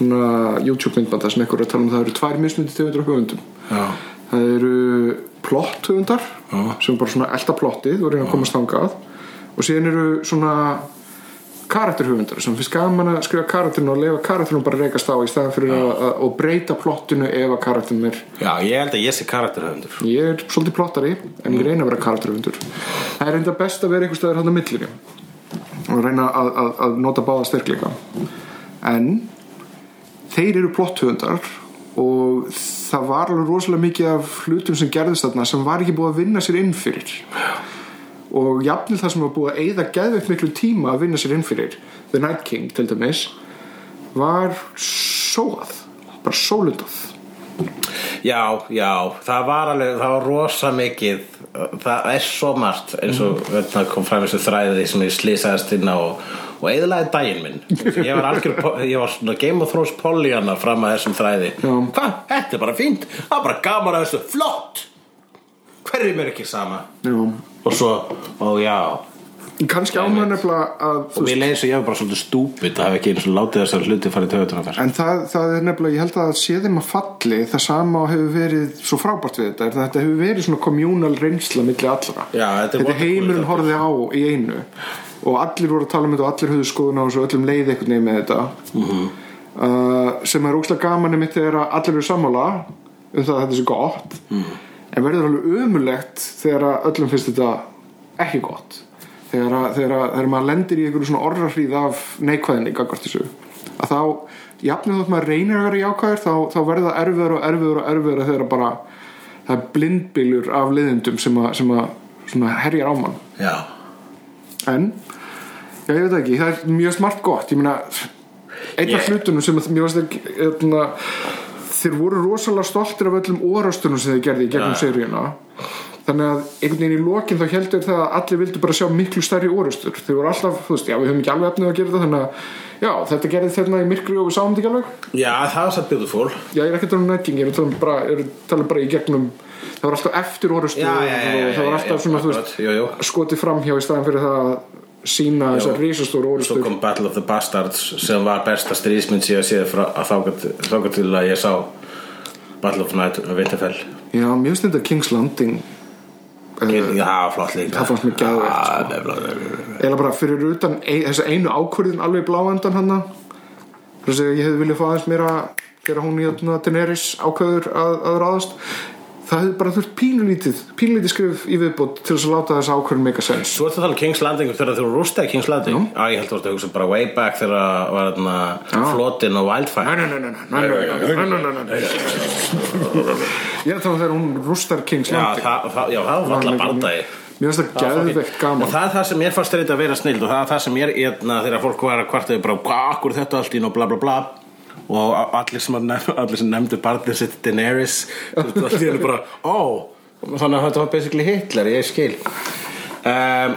Speaker 2: svona YouTube myndbanda sem eitthvað er að tala um að það eru tvær mismunandi tegundur af höfundum
Speaker 3: Já.
Speaker 2: það eru plott höfundar
Speaker 3: Já.
Speaker 2: sem bara svona elda plottið og reyna að komast þangað og síðan eru svona karakterhöfundar sem finnst gaman að skrifa karakterinu og leifa karakterinu bara reykast á í staðan fyrir að, að, að breyta plottinu ef að karakterinu er
Speaker 3: Já, ég held að ég sé karakterhöfundur
Speaker 2: ég er svolítið plottari en ég reyna að vera karakterhundur það er reynda best að vera einhver staðar hann á millinu og reyna að, að, að nota báða styrkleika en þeir eru plotthöfundar og það var alveg rosalega mikið af hlutum sem gerðist þarna sem var ekki búið að vinna sér inn fyrir og jafnir það sem var búið að eyða geðveikt miklu tíma að vinna sér inn fyrir The Night King til dæmis var sóað bara sólundað
Speaker 3: Já, já, það var alveg, það var rosa mikið það er svo margt eins og
Speaker 2: Mhm.
Speaker 3: mm. það kom fram þessu þræði sem ég slýsaðist inn á og, og eðlaði daginn minn ég var algjör, po- ég var svona Game of Thrones pollyanna fram að þessum þræði
Speaker 2: Já.
Speaker 3: hvað, þetta er bara fínt, það er bara gaman að þessu flott, hverjum er ekki sama
Speaker 2: já
Speaker 3: og svo, ó já
Speaker 2: kannski á maður nefnilega að þú
Speaker 3: og
Speaker 2: veist,
Speaker 3: mér leiði svo ég var bara svolítið stúpid að hafa ekki eins og látið þessar hluti farið töðutunum þar
Speaker 2: en það, það er nefnilega, ég held að sé þeim að falli það sama og hefur verið svo frábært við þetta er að þetta hefur verið svona kommunal reynsla milli allra,
Speaker 3: Já, þetta er
Speaker 2: þetta
Speaker 3: wonderful
Speaker 2: heimurinn
Speaker 3: þetta.
Speaker 2: horfið á í einu og allir voru að tala um þetta og allir höfðu skoðun á þessu og öllum leið einhvern veginn með þetta
Speaker 3: Mhm.
Speaker 2: uh, sem er ókslega gaman einmitt þegar að allir eru sammála um það að þetta sé gott
Speaker 3: Mhm.
Speaker 2: en verður alveg ömulegt þegar að öllum finnst þetta ekki gott þegar, að, þegar, að, þegar maður lendir í einhverju svona orrarhríð af neikvæðinni gagvart þessu að þá jafnir þótt maður reynir að vera jákvæður þá, þá verður það erfiður og erfiður og erfiður þegar bara það er blindbylur af liðindum sem að, sem að svona herjar á mann
Speaker 3: já,
Speaker 2: en já, ég veit ekki, það er mjög smart gott ég meina, einn af
Speaker 3: Ég-
Speaker 2: hlutunum sem að- mér varst ekki eitna, þeir voru rosalega stoltir af öllum orastunum sem þeir gerði í gegnum
Speaker 3: Já.
Speaker 2: seríuna þannig að einhvern veginn í lokin þá heldur það að allir vildu bara sjá miklu stærri orustur þeir voru alltaf, þú veist, já við höfum ekki alveg efnið að gera það þannig að, já, þetta gerði þérna í myrkri og við sáum þetta ekki alveg
Speaker 3: já, það var satt beautiful
Speaker 2: já, ég er ekki að tala um nætting, ég er að tala um bara, ég er að tala bara í gegnum það var alltaf eftir orustur
Speaker 3: Já, já, já, já,
Speaker 2: og það
Speaker 3: já,
Speaker 2: var alltaf
Speaker 3: já,
Speaker 2: svona, þú
Speaker 3: akkurat,
Speaker 2: veist,
Speaker 3: jú, jú.
Speaker 2: skotið framhjá í staðan fyrir það að sína þessar risastóru
Speaker 3: Svo
Speaker 2: orustur
Speaker 3: kom Battle of the Bastards sem var besta stríðsmynd sem ég séð frá að þáka til að ég sá Battle of Night Winterfell
Speaker 2: já, mér finnst þetta King's Landing
Speaker 3: Kynning, það var flott líka
Speaker 2: Það fannst mér geðveikt, sko.
Speaker 3: Ah, það er flott.
Speaker 2: eða bara fyrir utan ein, þessa einu ákvörðin alveg í bláendan hana þess að ég hefði viljað fá aðeins mér að gera hún í öllna Daenerys ákvörður að, að ráðast það hefði bara þurft pínlítið pínlítið skrif í viðbót til þess að láta þessa ákvörðin make a sense
Speaker 3: Svo ertu að tala um King's Landing þegar þú rústaði King's Landing Já, ég held að þú ertu að hugsa bara way back þegar var þarna flotin og
Speaker 2: Nei,
Speaker 3: wildfire
Speaker 2: nei, nei, nei, nei, nei, nei, nei, nei, nei, nei, nei. Ég er að tala um þegar hún rústar Kings
Speaker 3: Já,
Speaker 2: Landing
Speaker 3: það, það, já, það var alltaf bardagi
Speaker 2: Mér finnst það geðveikt
Speaker 3: Og
Speaker 2: gaman
Speaker 3: það er það sem ég fannst reynd að vera snild og það er það sem ég er hérna þegar fólk var að kvartaði bara hvað akkur þetta allt ín og bla bla bla og a- allir sem, að nef, allir sem nefndu barnið sitt Daenerys þú allir eru bara, ó þannig að þetta var basically Hitler, ég skil um,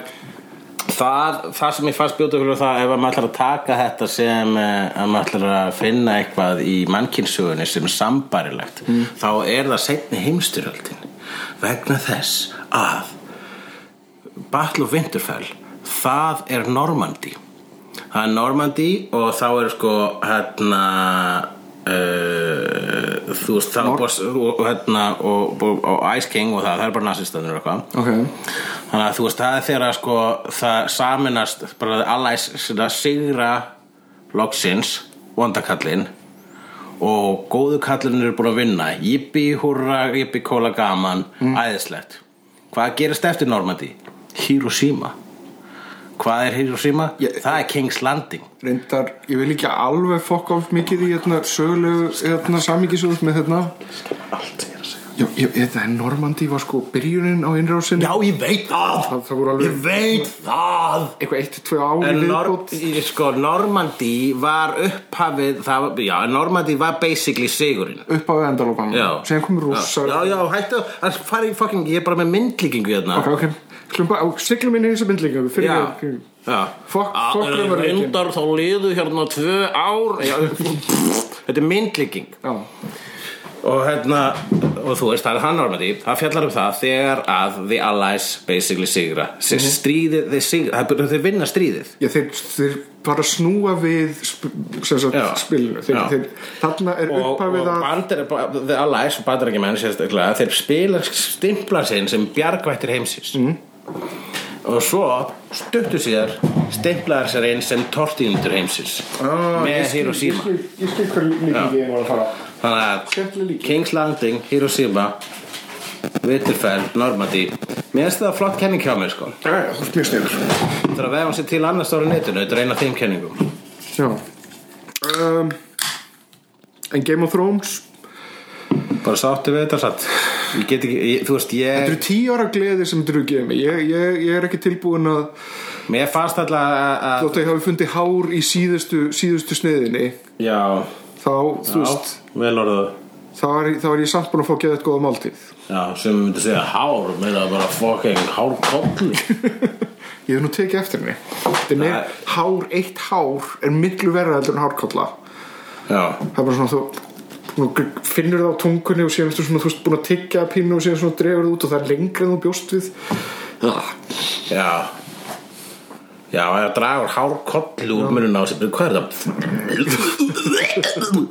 Speaker 3: það, það sem ég fannst bjóta fyrir það ef að maður ætlar að taka þetta sem eh, að maður ætlar að finna eitthvað í mannkynnsugunni sem er sambarilegt þá er það seinni heimstyrjöldin vegna þess að Battle of Winterfell það er Normandi það er Normandi og þá er sko hérna uh, þú veist þá er boss- og, hérna, og, og, og Ice King og það, það er bara nazistanur og eitthvað
Speaker 2: Ok,
Speaker 3: þannig að þú veist það er þegar að sko það saminast bara allæs sinna sigra loksins vondakallin og góðu kallin eru búin að vinna jippi hurra, jippi kóla Mm. gaman æðislegt hvað gerist eftir Normandi? Hiroshima Hvað er Hiroshima?
Speaker 2: Ég-
Speaker 3: það er King's Landing
Speaker 2: reyndar, ég vil ekki alveg fokk of mikið í hérna, sögulegu hérna, samíkisöðus með hérna
Speaker 3: Allt ég er að segja
Speaker 2: já, ég, þetta er Normandi var sko byrjunin á innrásinni
Speaker 3: Já, ég veit það,
Speaker 2: Það- það voru alveg-
Speaker 3: Ég veit það
Speaker 2: eitthvað eitt, tvö ári
Speaker 3: En Nor
Speaker 2: viðbót
Speaker 3: í- sko, Normandi var upphafið það, var- Já, Normandi var basically sigurinn
Speaker 2: upp á endalopan
Speaker 3: Já
Speaker 2: sem kom rússar
Speaker 3: Já, já, já, hættu að fara í fucking Ég er bara með myndlíkingu hérna
Speaker 2: ok, ok, klumpa, siglum inn í þessu myndlingu fyrir
Speaker 3: Já,
Speaker 2: ég,
Speaker 3: já.
Speaker 2: Fuck-
Speaker 3: Að-
Speaker 2: fuck raunveruleikinn.
Speaker 3: Reyndar þá liðu hérna tvö ár já, Þetta er myndlíking
Speaker 2: já,
Speaker 3: og hérna og þú veist það er hann ormandi það fjallar um það þegar að the allies basically sigra mm
Speaker 2: Mhm.
Speaker 3: -hmm. stríðið þeir, sigra, það er- þeir vinna stríðið
Speaker 2: já þeir, þeir bara snúa við sp sem sagt
Speaker 3: Já.
Speaker 2: spilinu þeir,
Speaker 3: Já.
Speaker 2: þeir, þarna er
Speaker 3: og,
Speaker 2: upphafið
Speaker 3: og
Speaker 2: að
Speaker 3: bandir, the allies og bandarækjumenn sérstaklega þeir spila stimpla sinn sem bjargvættir heimsins
Speaker 2: Mm.
Speaker 3: og svo stuttu síðar stimplaðar sér inn sem tortíundur heimsins
Speaker 2: Ah, ég
Speaker 3: með
Speaker 2: skil-
Speaker 3: Hiroshima
Speaker 2: ég skil- ég skil hvernig líkingi ég var að fara
Speaker 3: þannig
Speaker 2: Skemmtileg
Speaker 3: að
Speaker 2: líking.
Speaker 3: King's Landing, Hiroshima Vitterfell, Normandy mér finnst það flott kenning hjá mér sko
Speaker 2: já, já, þú ert mjög sniður
Speaker 3: Það er að vefa hann sér til annars ára netinu Þetta er eina af þeim kenningum
Speaker 2: Já um, En Game of Thrones
Speaker 3: Bara sáttu við þetta satt Ég get ekki, ég, þú veist,
Speaker 2: Þetta
Speaker 3: ég
Speaker 2: eru tíu ára gleði sem þetta eru að gefa mig ég, ég, ég er ekki tilbúin að
Speaker 3: Mér fannst alltaf að- að
Speaker 2: Þótt að ég hafi fundið hár í síðustu, síðustu sniðinni
Speaker 3: Já,
Speaker 2: Þá, þú veist
Speaker 3: já, vel orðað
Speaker 2: þá er, þá er ég samt búin að fá geðið góða máltíð
Speaker 3: Já, sem við myndum segja hár Mér það bara fucking hárkolli
Speaker 2: Ég hef nú tekið eftir henni Þetta er meir,
Speaker 3: Nei.
Speaker 2: hár, eitt hár er miklu verra heldur en hárkolla
Speaker 3: Já,
Speaker 2: Það er bara svona þú nú g- finnur það á tungunni og síðan ertu svona, þú veist, búin að tyggja að pínu og síðan svona drefur það út og það er lengra en þú bjóst við ah,
Speaker 3: já Já, að dragur hárkolli úr mörun á sér Bíddu, Hvað er það?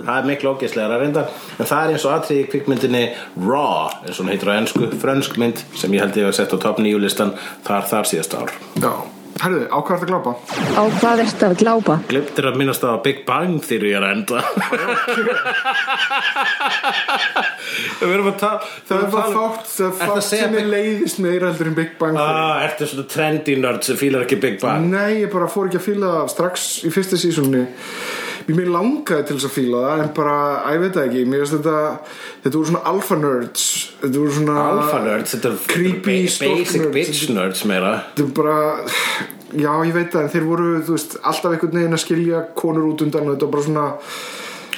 Speaker 3: það er miklu ógeðslega að reynda En það er eins og atrið í kvikmyndinni Raw, eins og hún heitir á ensku Frönsk mynd sem ég held ég að setja á top nýjulistan Þar þar síðast ár
Speaker 2: Já, herðu, á hvað er þetta glápa?
Speaker 5: Á hvað ert að glápa?
Speaker 3: Glimtir að minnast það á Big Bang þegar ég er að enda Við erum að tala um-
Speaker 2: Það er bara þátt, það
Speaker 3: Ertu
Speaker 2: er
Speaker 3: að
Speaker 2: þátt
Speaker 3: segja
Speaker 2: sem er
Speaker 3: Big-
Speaker 2: leiðist meira heldur en Big Bang Theory.
Speaker 3: Ah, Ertu svona trendy nerd sem fílar ekki Big Bang
Speaker 2: Nei, ég bara fór ekki að fíla það strax í fyrsta sísunni Mér mér langaði til þess að fíla það en bara, æ, ég veit það ekki Mér finnst þetta, þetta voru svona alpha nerds Þetta voru svona
Speaker 3: Alpha nerds, þetta er
Speaker 2: Creepy
Speaker 3: ba-
Speaker 2: stalk
Speaker 3: basic
Speaker 2: nerds.
Speaker 3: bitch nerds meira
Speaker 2: Þetta er bara, já, ég veit það en þeir voru, þú veist, alltaf einhvern veginn að skilja konur út undan og þetta var bara svona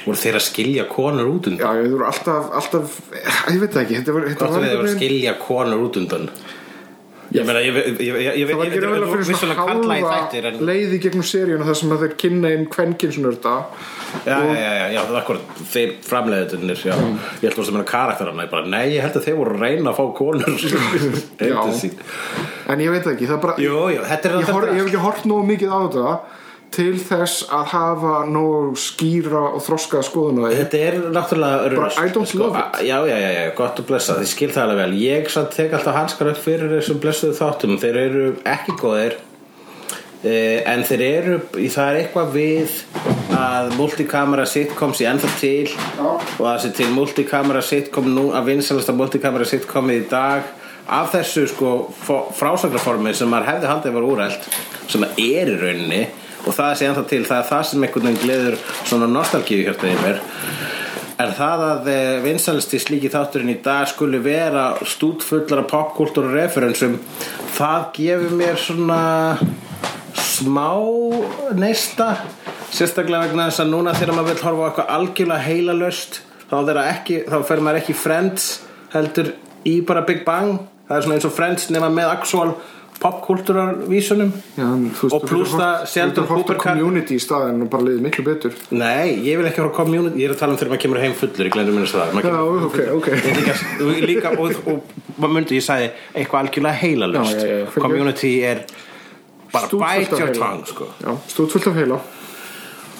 Speaker 3: Voru þeir að skilja konur út undan
Speaker 2: Já, þeir voru alltaf, alltaf, æ, ég veit það ekki Þetta var, þetta
Speaker 3: Hvað
Speaker 2: var
Speaker 3: er þeir að
Speaker 2: einhvern veginn
Speaker 3: skilja konur út undan Ég meina, ég veit ég, ég, ég,
Speaker 2: Það var
Speaker 3: ég, ég,
Speaker 2: gerðið vel að
Speaker 3: ég,
Speaker 2: fyrir
Speaker 3: vissulega kalla
Speaker 2: svona
Speaker 3: í þættir
Speaker 2: hálfa
Speaker 3: en,
Speaker 2: leið í gegnum seríuna þar sem að þeir kynna inn kvenkinsnörda
Speaker 3: já, já, já, já, já, það er akkur þeir framleiðuturnir, já,
Speaker 2: Mm.
Speaker 3: ég held þú sem er karakterana, ég bara, nei, ég held að þeir voru að reyna að fá konur Heim til sín.
Speaker 2: En ég veit það ekki, það er bara
Speaker 3: Jú, jú, þetta er
Speaker 2: ég, hor, ég hef ekki hort nógu mikið á þetta til þess að hafa nógu skýra og þroskaða skoðun á því
Speaker 3: Þetta er náttúrulega rusl,
Speaker 2: I don't love it.
Speaker 3: a- Já, já, já, já, gott og blessa, þið skil það alveg vel Ég samt tek alltaf hanskar upp fyrir þessum blessuðu þáttum Þeir eru ekki góðir eh, En þeir eru, það er eitthvað við að multikamera sitcom sé ennþá til og að sé til multikamera sitcom nú að vinsalasta multikamera sitcomið í dag af þessu sko fó- frásagnarformi sem maður hefði haldið var úrælt sem það er í rauninni og það sé ennþá til, það er það sem einhvern veginn gleður svona nostalgíu hjarta í mér Er það að vinsalsti slíki þátturinn í dag skuli vera stútfullara popkultúra referensum það gefur mér svona smá neista sérstaklega vegna þess að núna þegar maður vill horfa á eitthvað algjörlega heilalöst þá, er það ekki, þá fer maður ekki í Friends heldur í bara Big Bang það er svona eins og Friends nema með actual popkultúrarvísunum
Speaker 2: Já, en þú veist,
Speaker 3: og
Speaker 2: þú
Speaker 3: pluss
Speaker 2: getur
Speaker 3: það
Speaker 2: horft- þú
Speaker 3: Sheldon
Speaker 2: getur hort á
Speaker 3: Cooper kall-
Speaker 2: community í staðin og bara leiði miklu betur
Speaker 3: Nei, ég vil ekki horfa á community Ég er að tala um þegar maður kemur heim fullur Ég glemur minnast það Maður
Speaker 2: Já,
Speaker 3: kemur-
Speaker 2: ok, ok.
Speaker 3: Ég ætla ekki að- og Líka, og, og maður myndi ég sagði Eitthvað algjörlega heilalust
Speaker 2: Já, já, já, fyrir-
Speaker 3: Community er bara
Speaker 2: Stútfullt af
Speaker 3: bite your
Speaker 2: heila.
Speaker 3: tongue sko.
Speaker 2: Já, stúðfullt af heila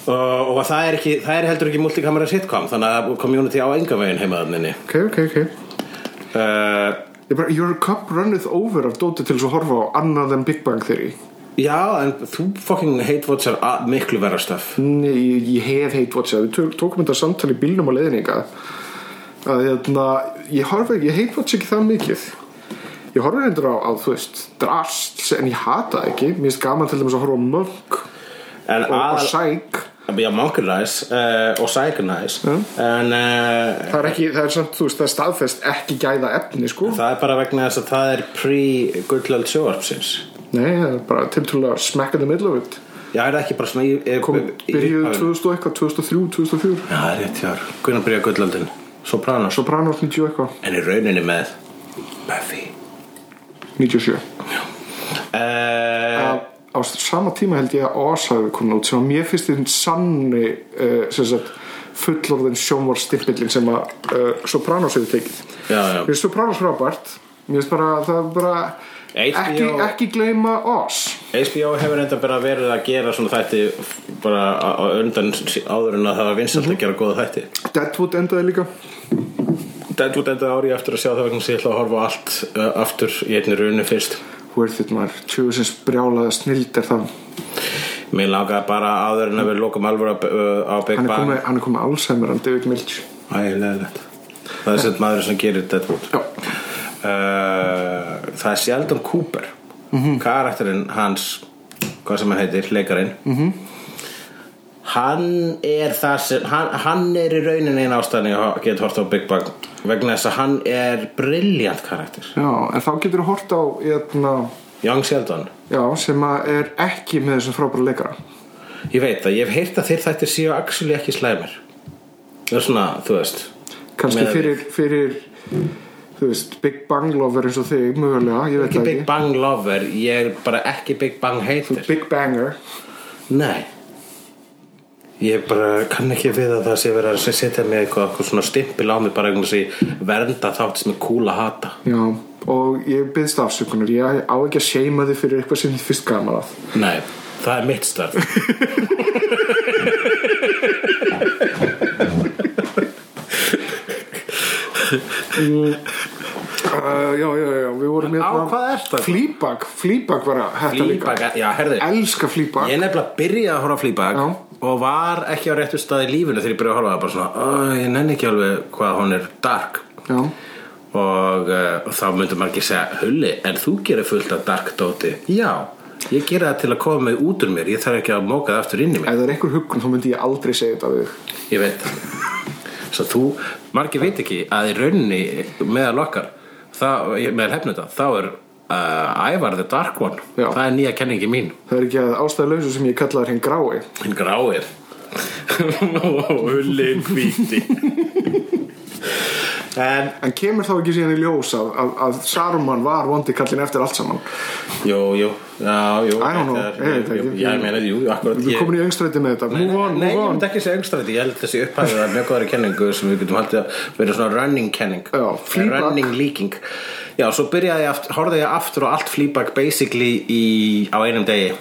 Speaker 3: og, og það, er ekki, það er heldur ekki multikamera sitcom Þannig að community á enga veginn heima þannig
Speaker 2: Ok, ok, ok
Speaker 3: uh,
Speaker 2: Ég bara, Your cup runneth over af dóti til þess að horfa á annað en Big Bang Theory
Speaker 3: Já, en þú fucking hate watchar a- miklu verra stöf
Speaker 2: Nei, ég, ég hef hate watchað Við tök- tókum þetta samtali í bílnum á leiðninga að hérna, ég horfa ekki, ég hate watch ekki það mikið ég horfði hendur á, á, þú veist, drast en ég hata það ekki, mér finnst gaman til dæmis að horfa á mörg
Speaker 3: En
Speaker 2: og, og
Speaker 3: aðal-
Speaker 2: sæk
Speaker 3: Já, Monkey Nice uh, og Psycho Nice en uh,
Speaker 2: það er ekki, það er samt, þú veist, það er staðfest ekki gæða efni, sko
Speaker 3: það er bara vegna þess að það er pre-gullöld sjóarpsins
Speaker 2: nei, það er bara tiltrúlega smack in the middle of it
Speaker 3: Já, er það ekki bara svona í, í,
Speaker 2: kom,
Speaker 3: í-
Speaker 2: byrjuðu
Speaker 3: í-
Speaker 2: 2000 og eitthvað, 2003, 2004
Speaker 3: Já, það er rétt hjár Hvernig byrja gullöldin? Sopranos
Speaker 2: Sopranos 90 og eitthvað,
Speaker 3: En í rauninni með Buffy
Speaker 2: 97
Speaker 3: uh,
Speaker 2: að á sama tíma held ég að Oz hafi komin út sem að mér finnst þinn sanni uh, sem sagt fullorðin sjónvar stimpillin sem að uh, Sopranos hefur tekið
Speaker 3: Já, já.
Speaker 2: mér finnst Sopranos frábært mér finnst bara að það er bara
Speaker 3: HBO.
Speaker 2: ekki, ekki gleyma Oz
Speaker 3: HBO hefur enda bara verið að gera svona þætti bara á- á undan áður en að það var vinsalt að gera góða þætti
Speaker 2: Deadwood endaði líka
Speaker 3: Deadwood enda ári eftir að sjá það vegna sem ég ætla að horfa á allt uh, aftur í einni rauninu fyrst
Speaker 2: worth it maður, tjóðsins brjálaða snild er það,
Speaker 3: Mér langaði bara áður en að við lokum alvöru á, uh, á Big
Speaker 2: hann er
Speaker 3: Bang
Speaker 2: komið, hann er komið Alzheimer, hann David Milch
Speaker 3: Ægilegilegt Það er sem maður sem gerir Deadwood
Speaker 2: Já.
Speaker 3: uh, Það er Sheldon Cooper
Speaker 2: Mhm.
Speaker 3: Karakterinn hans Hvað sem hann heitir, leikarinn
Speaker 2: Mhm.
Speaker 3: -hmm. Hann er það sem Hann, hann er í raunin einn ástæðan Ég get hort á Big Bang Vegna þess að hann er briljant karakter
Speaker 2: já, en þá getur þú hort á eitna,
Speaker 3: Young Sheldon
Speaker 2: já, sem að er ekki með þessum frábæra leikara
Speaker 3: Ég veit það, ég hef heyrt að þeir þættir séu actually ekki slæmir Það er svona, þú veist
Speaker 2: kannski
Speaker 3: Með-
Speaker 2: fyrir, fyrir þú veist, Big Bang lover eins og þig mögulega, ég veit
Speaker 3: Ekki
Speaker 2: það
Speaker 3: Big
Speaker 2: ekki
Speaker 3: Bang lover, ég er bara ekki Big Bang heitir
Speaker 2: Big Banger
Speaker 3: Nei Ég bara kann ekki við að það sé verið að setja mig eitthvað, eitthvað svona stimpil á mig bara einhvern veginn vernda þátt sem er cool að hata
Speaker 2: já, og ég byggðst afsökunar ég á ekki að seima þig fyrir eitthvað sem þið fyrst gaman að
Speaker 3: Nei, það er mitt starf
Speaker 2: uh, já, já, já, við vorum hérna-
Speaker 3: á hvað ertu að-
Speaker 2: Flýbak, Flýbak var að hætta líka
Speaker 3: Flýbak, eh, já, herðu
Speaker 2: elska Flýbak
Speaker 3: Ég nefnilega byrjaði að horfa á flýbak
Speaker 2: Já.
Speaker 3: og var ekki á réttu stað í lífinu þegar ég byrjaði að horfa á það bara svona, "Æ, ég nenni ekki alveg hvað hún er dark
Speaker 2: já,
Speaker 3: og uh, þá myndum maður ekki segja Hulli, en þú gerir fullt af dark dóti Já, ég gerir það til að koma mig út úr mér ég þarf ekki að móka það aftur inn í mig
Speaker 2: ef það er einhver hugun þá myndi ég aldrei segja þetta við þig.
Speaker 3: Ég veit það Svo þú, margir veit ekki að í rauninni meðal okkar það, meðal hefnunda, þá er uh, Ævar the Dark One
Speaker 2: Já.
Speaker 3: það er nýja kenningi mín
Speaker 2: það er ekki að ástæðlausu sem ég kallaði henn grái
Speaker 3: hinn gráir og hullin hvíti en
Speaker 2: en kemur þá ekki síðan í ljós að, að, að Saruman var vondi kallin eftir allt saman
Speaker 3: jú, jú, já, jú
Speaker 2: I don't know,
Speaker 3: þetta er-
Speaker 2: ég veit ekki.
Speaker 3: jú, já, ég meina, jú, akkurat
Speaker 2: við komin í öngstræti með þetta move on,
Speaker 3: Nei, ég
Speaker 2: move on
Speaker 3: myndi ekki segja öngstræti, ég held þessi upphæðið að mjög góðari kenningu sem við getum haldið að vera svona running kenning
Speaker 2: Já, Fleabag.
Speaker 3: running líking Já, svo byrjaði ég aftur, horfði ég aftur og allt flýbak basically í, á einum degi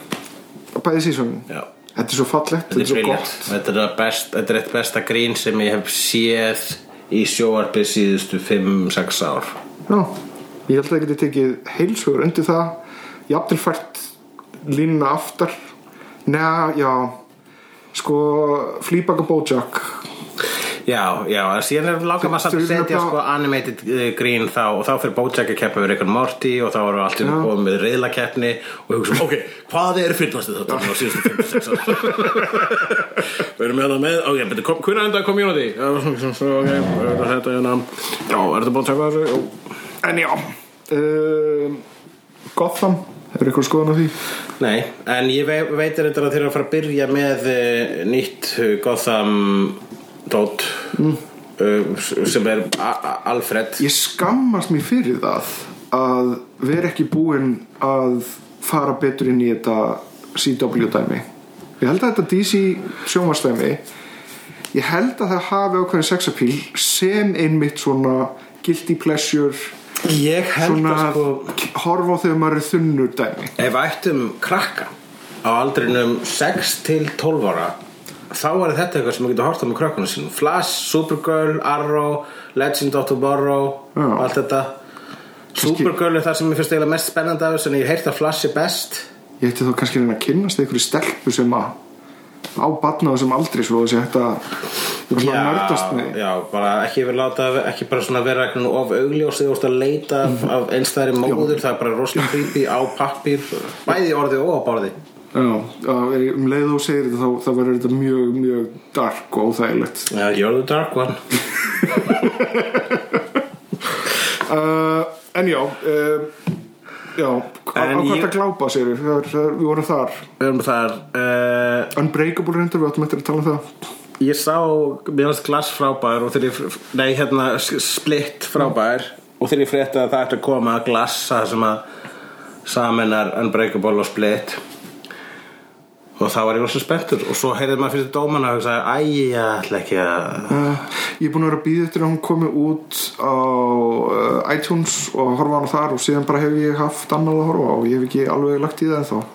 Speaker 2: bæði sísónin
Speaker 3: Já.
Speaker 2: þetta er svo fallegt, þetta er svo
Speaker 3: brilliant.
Speaker 2: gott
Speaker 3: Þetta er, það best, þetta er eitt besta grín sem ég hef séð í sjóarpið síðustu 5-6 ár
Speaker 2: Já, ég held að það geti tekið heilsugur undir það jafnvel fært línuna aftar neða, já sko, flýbaka bójack
Speaker 3: Já, já, en síðan er langar maður samt að
Speaker 2: Þau eru
Speaker 3: setja
Speaker 2: nefnilega-
Speaker 3: sko animated eh, grín þá og þá fyrir Bojack að keppa við Rickon Morty og þá erum við alltaf
Speaker 2: Já.
Speaker 3: komið með reyðlakeppni og hugsa um, ok, hvað er fyrirnastu þetta á síðustu 56 ára Við erum hérna með það með, ok, betur, kom, hvernig endaði community? Já, svo- svo, ok, er þetta hérna Já, er þetta búin að taka þessu? Já.
Speaker 2: en já um, Gotham, er ykkur skoðan á því?
Speaker 3: Nei, en ég vei, veitir þetta að þeir eru að fara að byrja með uh, nýtt eh, Gotham dot mm. sem er A A- Alfred
Speaker 2: Ég skammast mér fyrir það að vera ekki búinn að fara betur inn í þetta CW dæmi Ég held að þetta DC sjónvarsdæmi ég held að það hafi ákveðin sexapíl sem einmitt svona guilty pleasure
Speaker 3: Ég held
Speaker 2: svona
Speaker 3: að sko
Speaker 2: horfa á þegar maður er þunnur dæmi
Speaker 3: Ef ættum krakka á aldrinum 6 til 12 ára þá var þetta eitthvað sem maður getur horft á með krökkunum sínum Flash, Supergirl, Arrow, Legend of Tomorrow
Speaker 2: Já.
Speaker 3: allt þetta Supergirl er það sem mér finnst eiginlega mest spennandi af þessu en ég hef heyrt að Flash er best
Speaker 2: Ég ætti þá kannski að reyna að kynnast einhverju stelpu sem að á batnaðu sem aldrei svo þessi hægt að eitthvað svona nördast með því.
Speaker 3: já, bara ekki verið láta ekki bara svona vera eitthvað nú of augljósið og að leita af,
Speaker 2: Mhm.
Speaker 3: af einstæðri móður það er bara rosalega creepy á pappir bæði í orði og á borði
Speaker 2: Já, að um leið og þú segir þetta þá, þá verður þetta mjög, mjög dark og óþægilegt
Speaker 3: já, you're the dark one
Speaker 2: uh, En já uh, Já,
Speaker 3: En
Speaker 2: hvað
Speaker 3: ég-
Speaker 2: þetta glápa segir við það, er- það, er- Við vorum þar
Speaker 3: um þar uh,
Speaker 2: Unbreakable reyndar, við áttum eftir að tala um það
Speaker 3: Ég sá meðanst glass frábær og þegar ég, nei hérna s- splitt frábær og þegar ég frétta að það ætti að koma að glassa sem að samennar Unbreakable og splitt og þá var ég rosa spenntur og svo heyrði maður fyrir dómana og sagði æ, ég ætla ekki að
Speaker 2: Uh, ég er búin að vera að býða eftir að hún komi út á uh, iTunes og horfa á hana þar og síðan bara hef ég haft annað að horfa á og ég hef ekki alveg lagt í það ennþá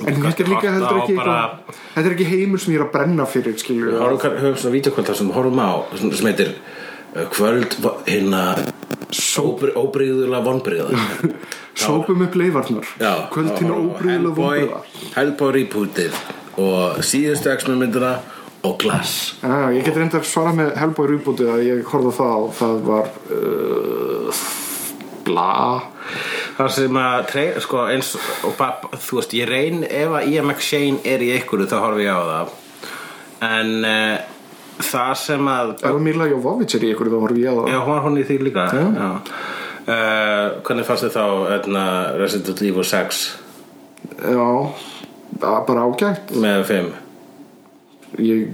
Speaker 2: en þetta er líka
Speaker 3: horft
Speaker 2: heldur
Speaker 3: á
Speaker 2: ekki
Speaker 3: bara-
Speaker 2: eitthvað, þetta er ekki heimur sem ég er að brenna fyrir skilur
Speaker 3: Við
Speaker 2: við
Speaker 3: horfum, höfum svona vídeokvöld þar sem horfum á sem, sem heitir uh, kvöld vo- hérna óbri- óbrigðulega vonbrigða
Speaker 2: sópum upp leifarnar
Speaker 3: Já,
Speaker 2: kvöldinu óbrúðilega vonbrúða
Speaker 3: Hellboy rebootið og síðustu X-Men myndina og Glass
Speaker 2: Já, ég get reynda að svara með Hellboy Rebootið að ég horfði á það og það var uh, bla
Speaker 3: þar sem að trey, sko, eins, og bab, þú veist, ég reyn ef að E Ian McShane er í ykkur þá horfi ég á það en uh, það sem að
Speaker 2: ef Mila Jovovich er í ykkur þá horfði ég á það
Speaker 3: já, hún var hún í því líka
Speaker 2: Já.
Speaker 3: Uh, hvernig fannst þið þá etna, Resident Evil 6
Speaker 2: já að- bara ágætt
Speaker 3: með 5
Speaker 2: ég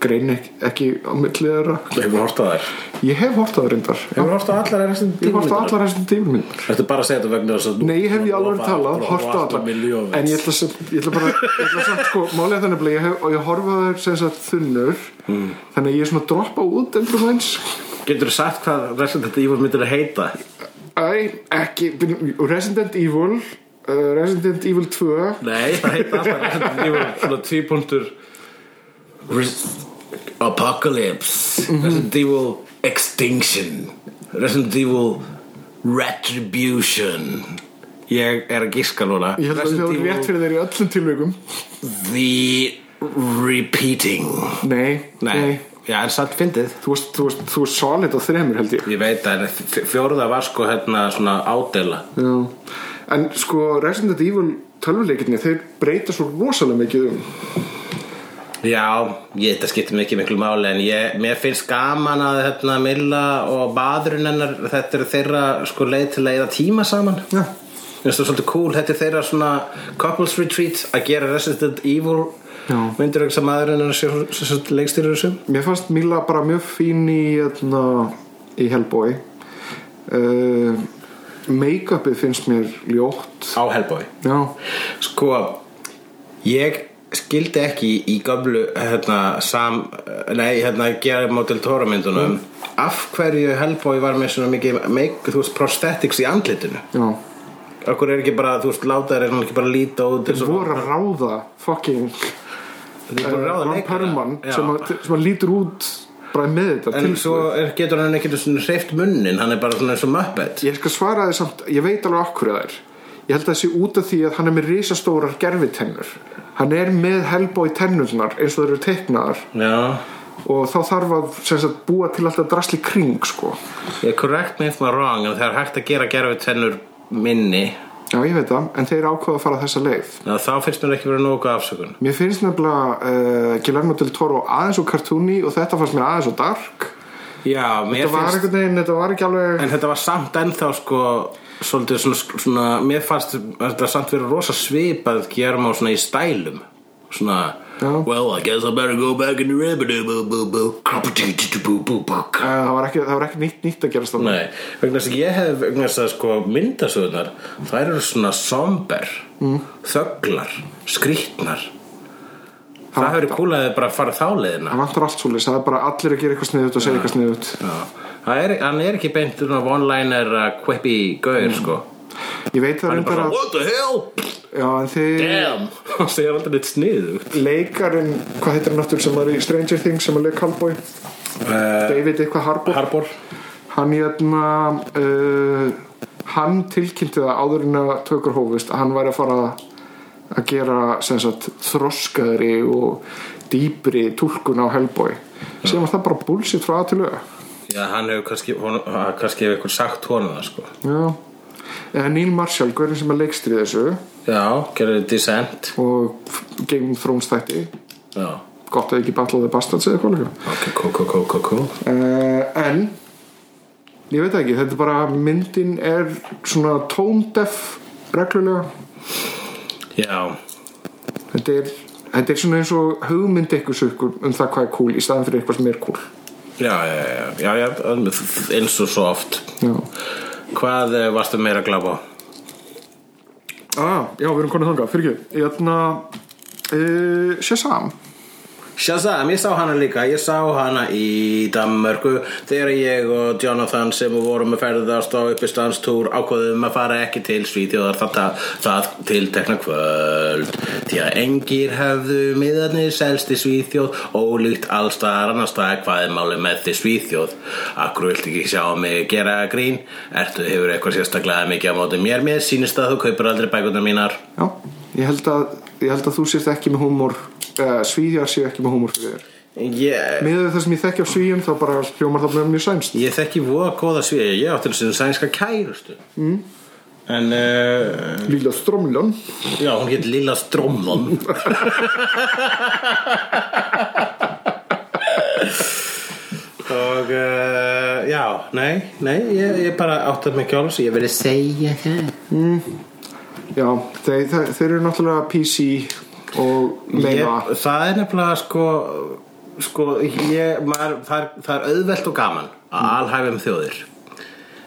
Speaker 2: grein ekki, ekki á milli þeirra
Speaker 3: hefur hort á þær
Speaker 2: ég hef hort á það reyndar
Speaker 3: hefur hort á allar Resident
Speaker 2: ég hef
Speaker 3: Evil
Speaker 2: hort á
Speaker 3: myndirnar?
Speaker 2: allar þessum tímum minn
Speaker 3: Ertu bara að segja þetta vegna þess að
Speaker 2: nei, ég hef ég alveg
Speaker 3: Lofa-
Speaker 2: talað,
Speaker 3: Lofa-
Speaker 2: hort á
Speaker 3: Lofa-
Speaker 2: allar
Speaker 3: Miljóvis.
Speaker 2: en ég ætla, sem, ég ætla bara ég ætla samt sko, málið er þannig að ég hef, og ég horfa þeir sem sagt þunnur þannig að ég er svona að droppa út sko. endur mæns
Speaker 3: Getur þú sagt hvað Resident Evil myndir að heita?
Speaker 2: Æ, ekki Resident Evil uh, Resident Evil 2
Speaker 3: Nei, það heita alltaf Resident Evil svona tvípunktur Res- Apocalypse Resident Evil Extinction Resident Evil Retribution Ég er að gíska núna
Speaker 2: Ég held að það er rétt fyrir þeir í öllum tilvægum
Speaker 3: The Repeating
Speaker 2: Nei, nei,
Speaker 3: Nei, já en satt fyndið
Speaker 2: Þú varst, þú varst, þú varst solid á þremur held ég
Speaker 3: Ég veit að fjóruða var sko hérna svona ádela
Speaker 2: Já En sko Resident Evil tölvuleikinni þeir breyta svo rosalega mikið um
Speaker 3: Já, ég, þetta skiptir mikið miklu máli en ég, mér finnst gaman að hérna, Milla og baðurinn hennar þetta eru þeirra sko leið til að eða tíma saman
Speaker 2: Já.
Speaker 3: Mér finnst það svolítið cool, þetta er þeirra svona couples retreat að gera Resident Evil
Speaker 2: Já.
Speaker 3: myndir ekki sem maðurinn hennar sé sé- sé- leikstýrir þessu
Speaker 2: Mér fannst Mila bara mjög fín í, hérna, í Hellboy uh, Make-upið finnst mér ljótt
Speaker 3: á Hellboy
Speaker 2: Já
Speaker 3: Sko, ég skildi ekki í gömlu hérna, sam, nei, hérna, gera mótil Tóra myndunum
Speaker 2: Mm.
Speaker 3: af hverju Hellboy var með svona mikið make, þú veist, prosthetics í andlitinu
Speaker 2: Já
Speaker 3: Akkur er ekki bara, þú veist, láta þær er ekki bara að líta út eins
Speaker 2: Þeir
Speaker 3: og-
Speaker 2: voru að ráða fucking
Speaker 3: Þeir eru bara að ráða
Speaker 2: Ron
Speaker 3: leikara.
Speaker 2: Perlman
Speaker 3: Já.
Speaker 2: sem, að- sem að lítur út bara með þetta
Speaker 3: En
Speaker 2: til
Speaker 3: svo er, getur hann ekki svona hreift munnin, hann er bara svona eins og möppet
Speaker 2: ég skal svara þér samt, ég veit alveg okkur það er ég held að það sé út af því að hann er með risastórar gerfitennur hann er með helbói tennurnar eins og þeir eru teiknaðar
Speaker 3: Já,
Speaker 2: og þá þarf að sem sagt, búa til alltaf drasli kring sko.
Speaker 3: ég correct me if I'm wrong en það er hægt að gera gerfi tennur minni
Speaker 2: já ég veit það, en þeir ákvaða að fara þessa leið
Speaker 3: Ná, þá finnst mér ekki verið nógu afsökun
Speaker 2: mér finnst nefnilega uh, Guillermo del Toro aðeins og kartúni og þetta fannst mér aðeins og dark
Speaker 3: Já, mér
Speaker 2: þetta var,
Speaker 3: finnst
Speaker 2: einhvern veginn, þetta var ekki alveg
Speaker 3: En þetta var samt ennþá sko svolítið svona, svona mér fannst þetta samt verið rosa svipað gerum á svona í stælum svona
Speaker 2: Já.
Speaker 3: Well, I guess I better go back in the ribbon boo boo boo boo boo boo
Speaker 2: eh, það, var ekki, það var ekki nýtt, nýtt að gerast þarna.
Speaker 3: Nei, vegna þess að ég hef vegna þess að sko myndasöðunar þær eru svona somber mm. þöglar, skrýtnar það hefur kúl að þið bara fara þáliðina
Speaker 2: Það vantar allt svolítið, það er bara allir að gera eitthvað sniðut og segja eitthvað sniðut
Speaker 3: það er, hann er ekki beint svona one-liner að kveppi gaur sko
Speaker 2: Ég veit það
Speaker 3: hann er
Speaker 2: reyndar
Speaker 3: bara svona,
Speaker 2: að
Speaker 3: what the hell,
Speaker 2: Já, en þið
Speaker 3: damn hann segir aldrei neitt sniðu
Speaker 2: leikarinn, hvað heitir hann aftur sem var í Stranger Things sem að leik Hallboy
Speaker 3: Eh.
Speaker 2: David eitthvað Harbour
Speaker 3: Harbor
Speaker 2: Hann hérna uh, Hann tilkynnti það áður en að tökur hófist að hann væri að fara að að gera sem sagt, þroskaðri og dýpri túlkun á Hellboy sem var það bara bullshit frá að til auða
Speaker 3: Já, hann hefur kannski, hon, hann- kannski hefur eitthvað sagt honum það sko
Speaker 2: Já Eh, Neil Marshall, hvernig sem er leikstri þessu
Speaker 3: Já, gerðu Descent
Speaker 2: og Game of Thrones þætti
Speaker 3: Já,
Speaker 2: gott að ekki Battle of the Bastards eða hvað líka
Speaker 3: ok, cool, cool, cool, cool, cool
Speaker 2: uh, en ég veit það ekki, þetta er bara myndin er svona tóndef reglulega
Speaker 3: Já,
Speaker 2: þetta er, þetta er svona eins og hugmynd ykkur sökur um það hvað er cool í staðan fyrir eitthvað sem er cool
Speaker 3: já, já, já, já, já eins og svo oft
Speaker 2: já,
Speaker 3: Hvað eh, varstu meira að glápa á?
Speaker 2: ah, já við erum konið þangað, fyrir ekki hérna, uh, Shazam
Speaker 3: Shazam, ég sá hana líka, ég sá hana í Danmörku þegar ég og Jonathan sem vorum að ferðast á uppistandstúr ákvaðum að fara ekki til Svíþjóðar þetta það til tekna kvöld því að engir hefðu miðarnir selst í Svíþjóð ólíkt allstaðar annars það hvað er málið með því Svíþjóð Akkur vilt ekki sjá mig gera grín Ertu hefur eitthvað sérstaklega mikið á móti mér mér sýnist að þú kaupir aldrei bækurnar mínar
Speaker 2: já, ég held að, ég held að þú sért ekki með húmor uh, svíðjar séu ekki með húmor fyrir þér
Speaker 3: Ég
Speaker 2: miðað við það sem ég þekki af svíum þá bara hljómar það með mjög sæmst
Speaker 3: Ég þekki voða góða svíja, ég átti eins og sænska kærustu mm. En, uh,
Speaker 2: Lilla Stromlun
Speaker 3: já, hún hétt Lilla Stromlon Og, uh, já, nei, nei, ég, ég bara átti mig ekki á þessu Ég verið að segja það
Speaker 2: já, þeir, þeir, þeir eru náttúrulega PC og meina
Speaker 3: ég, Það er nefnilega, sko, sko, ég, maður, það, er, það er auðvelt og gaman að alhæfa um þjóðir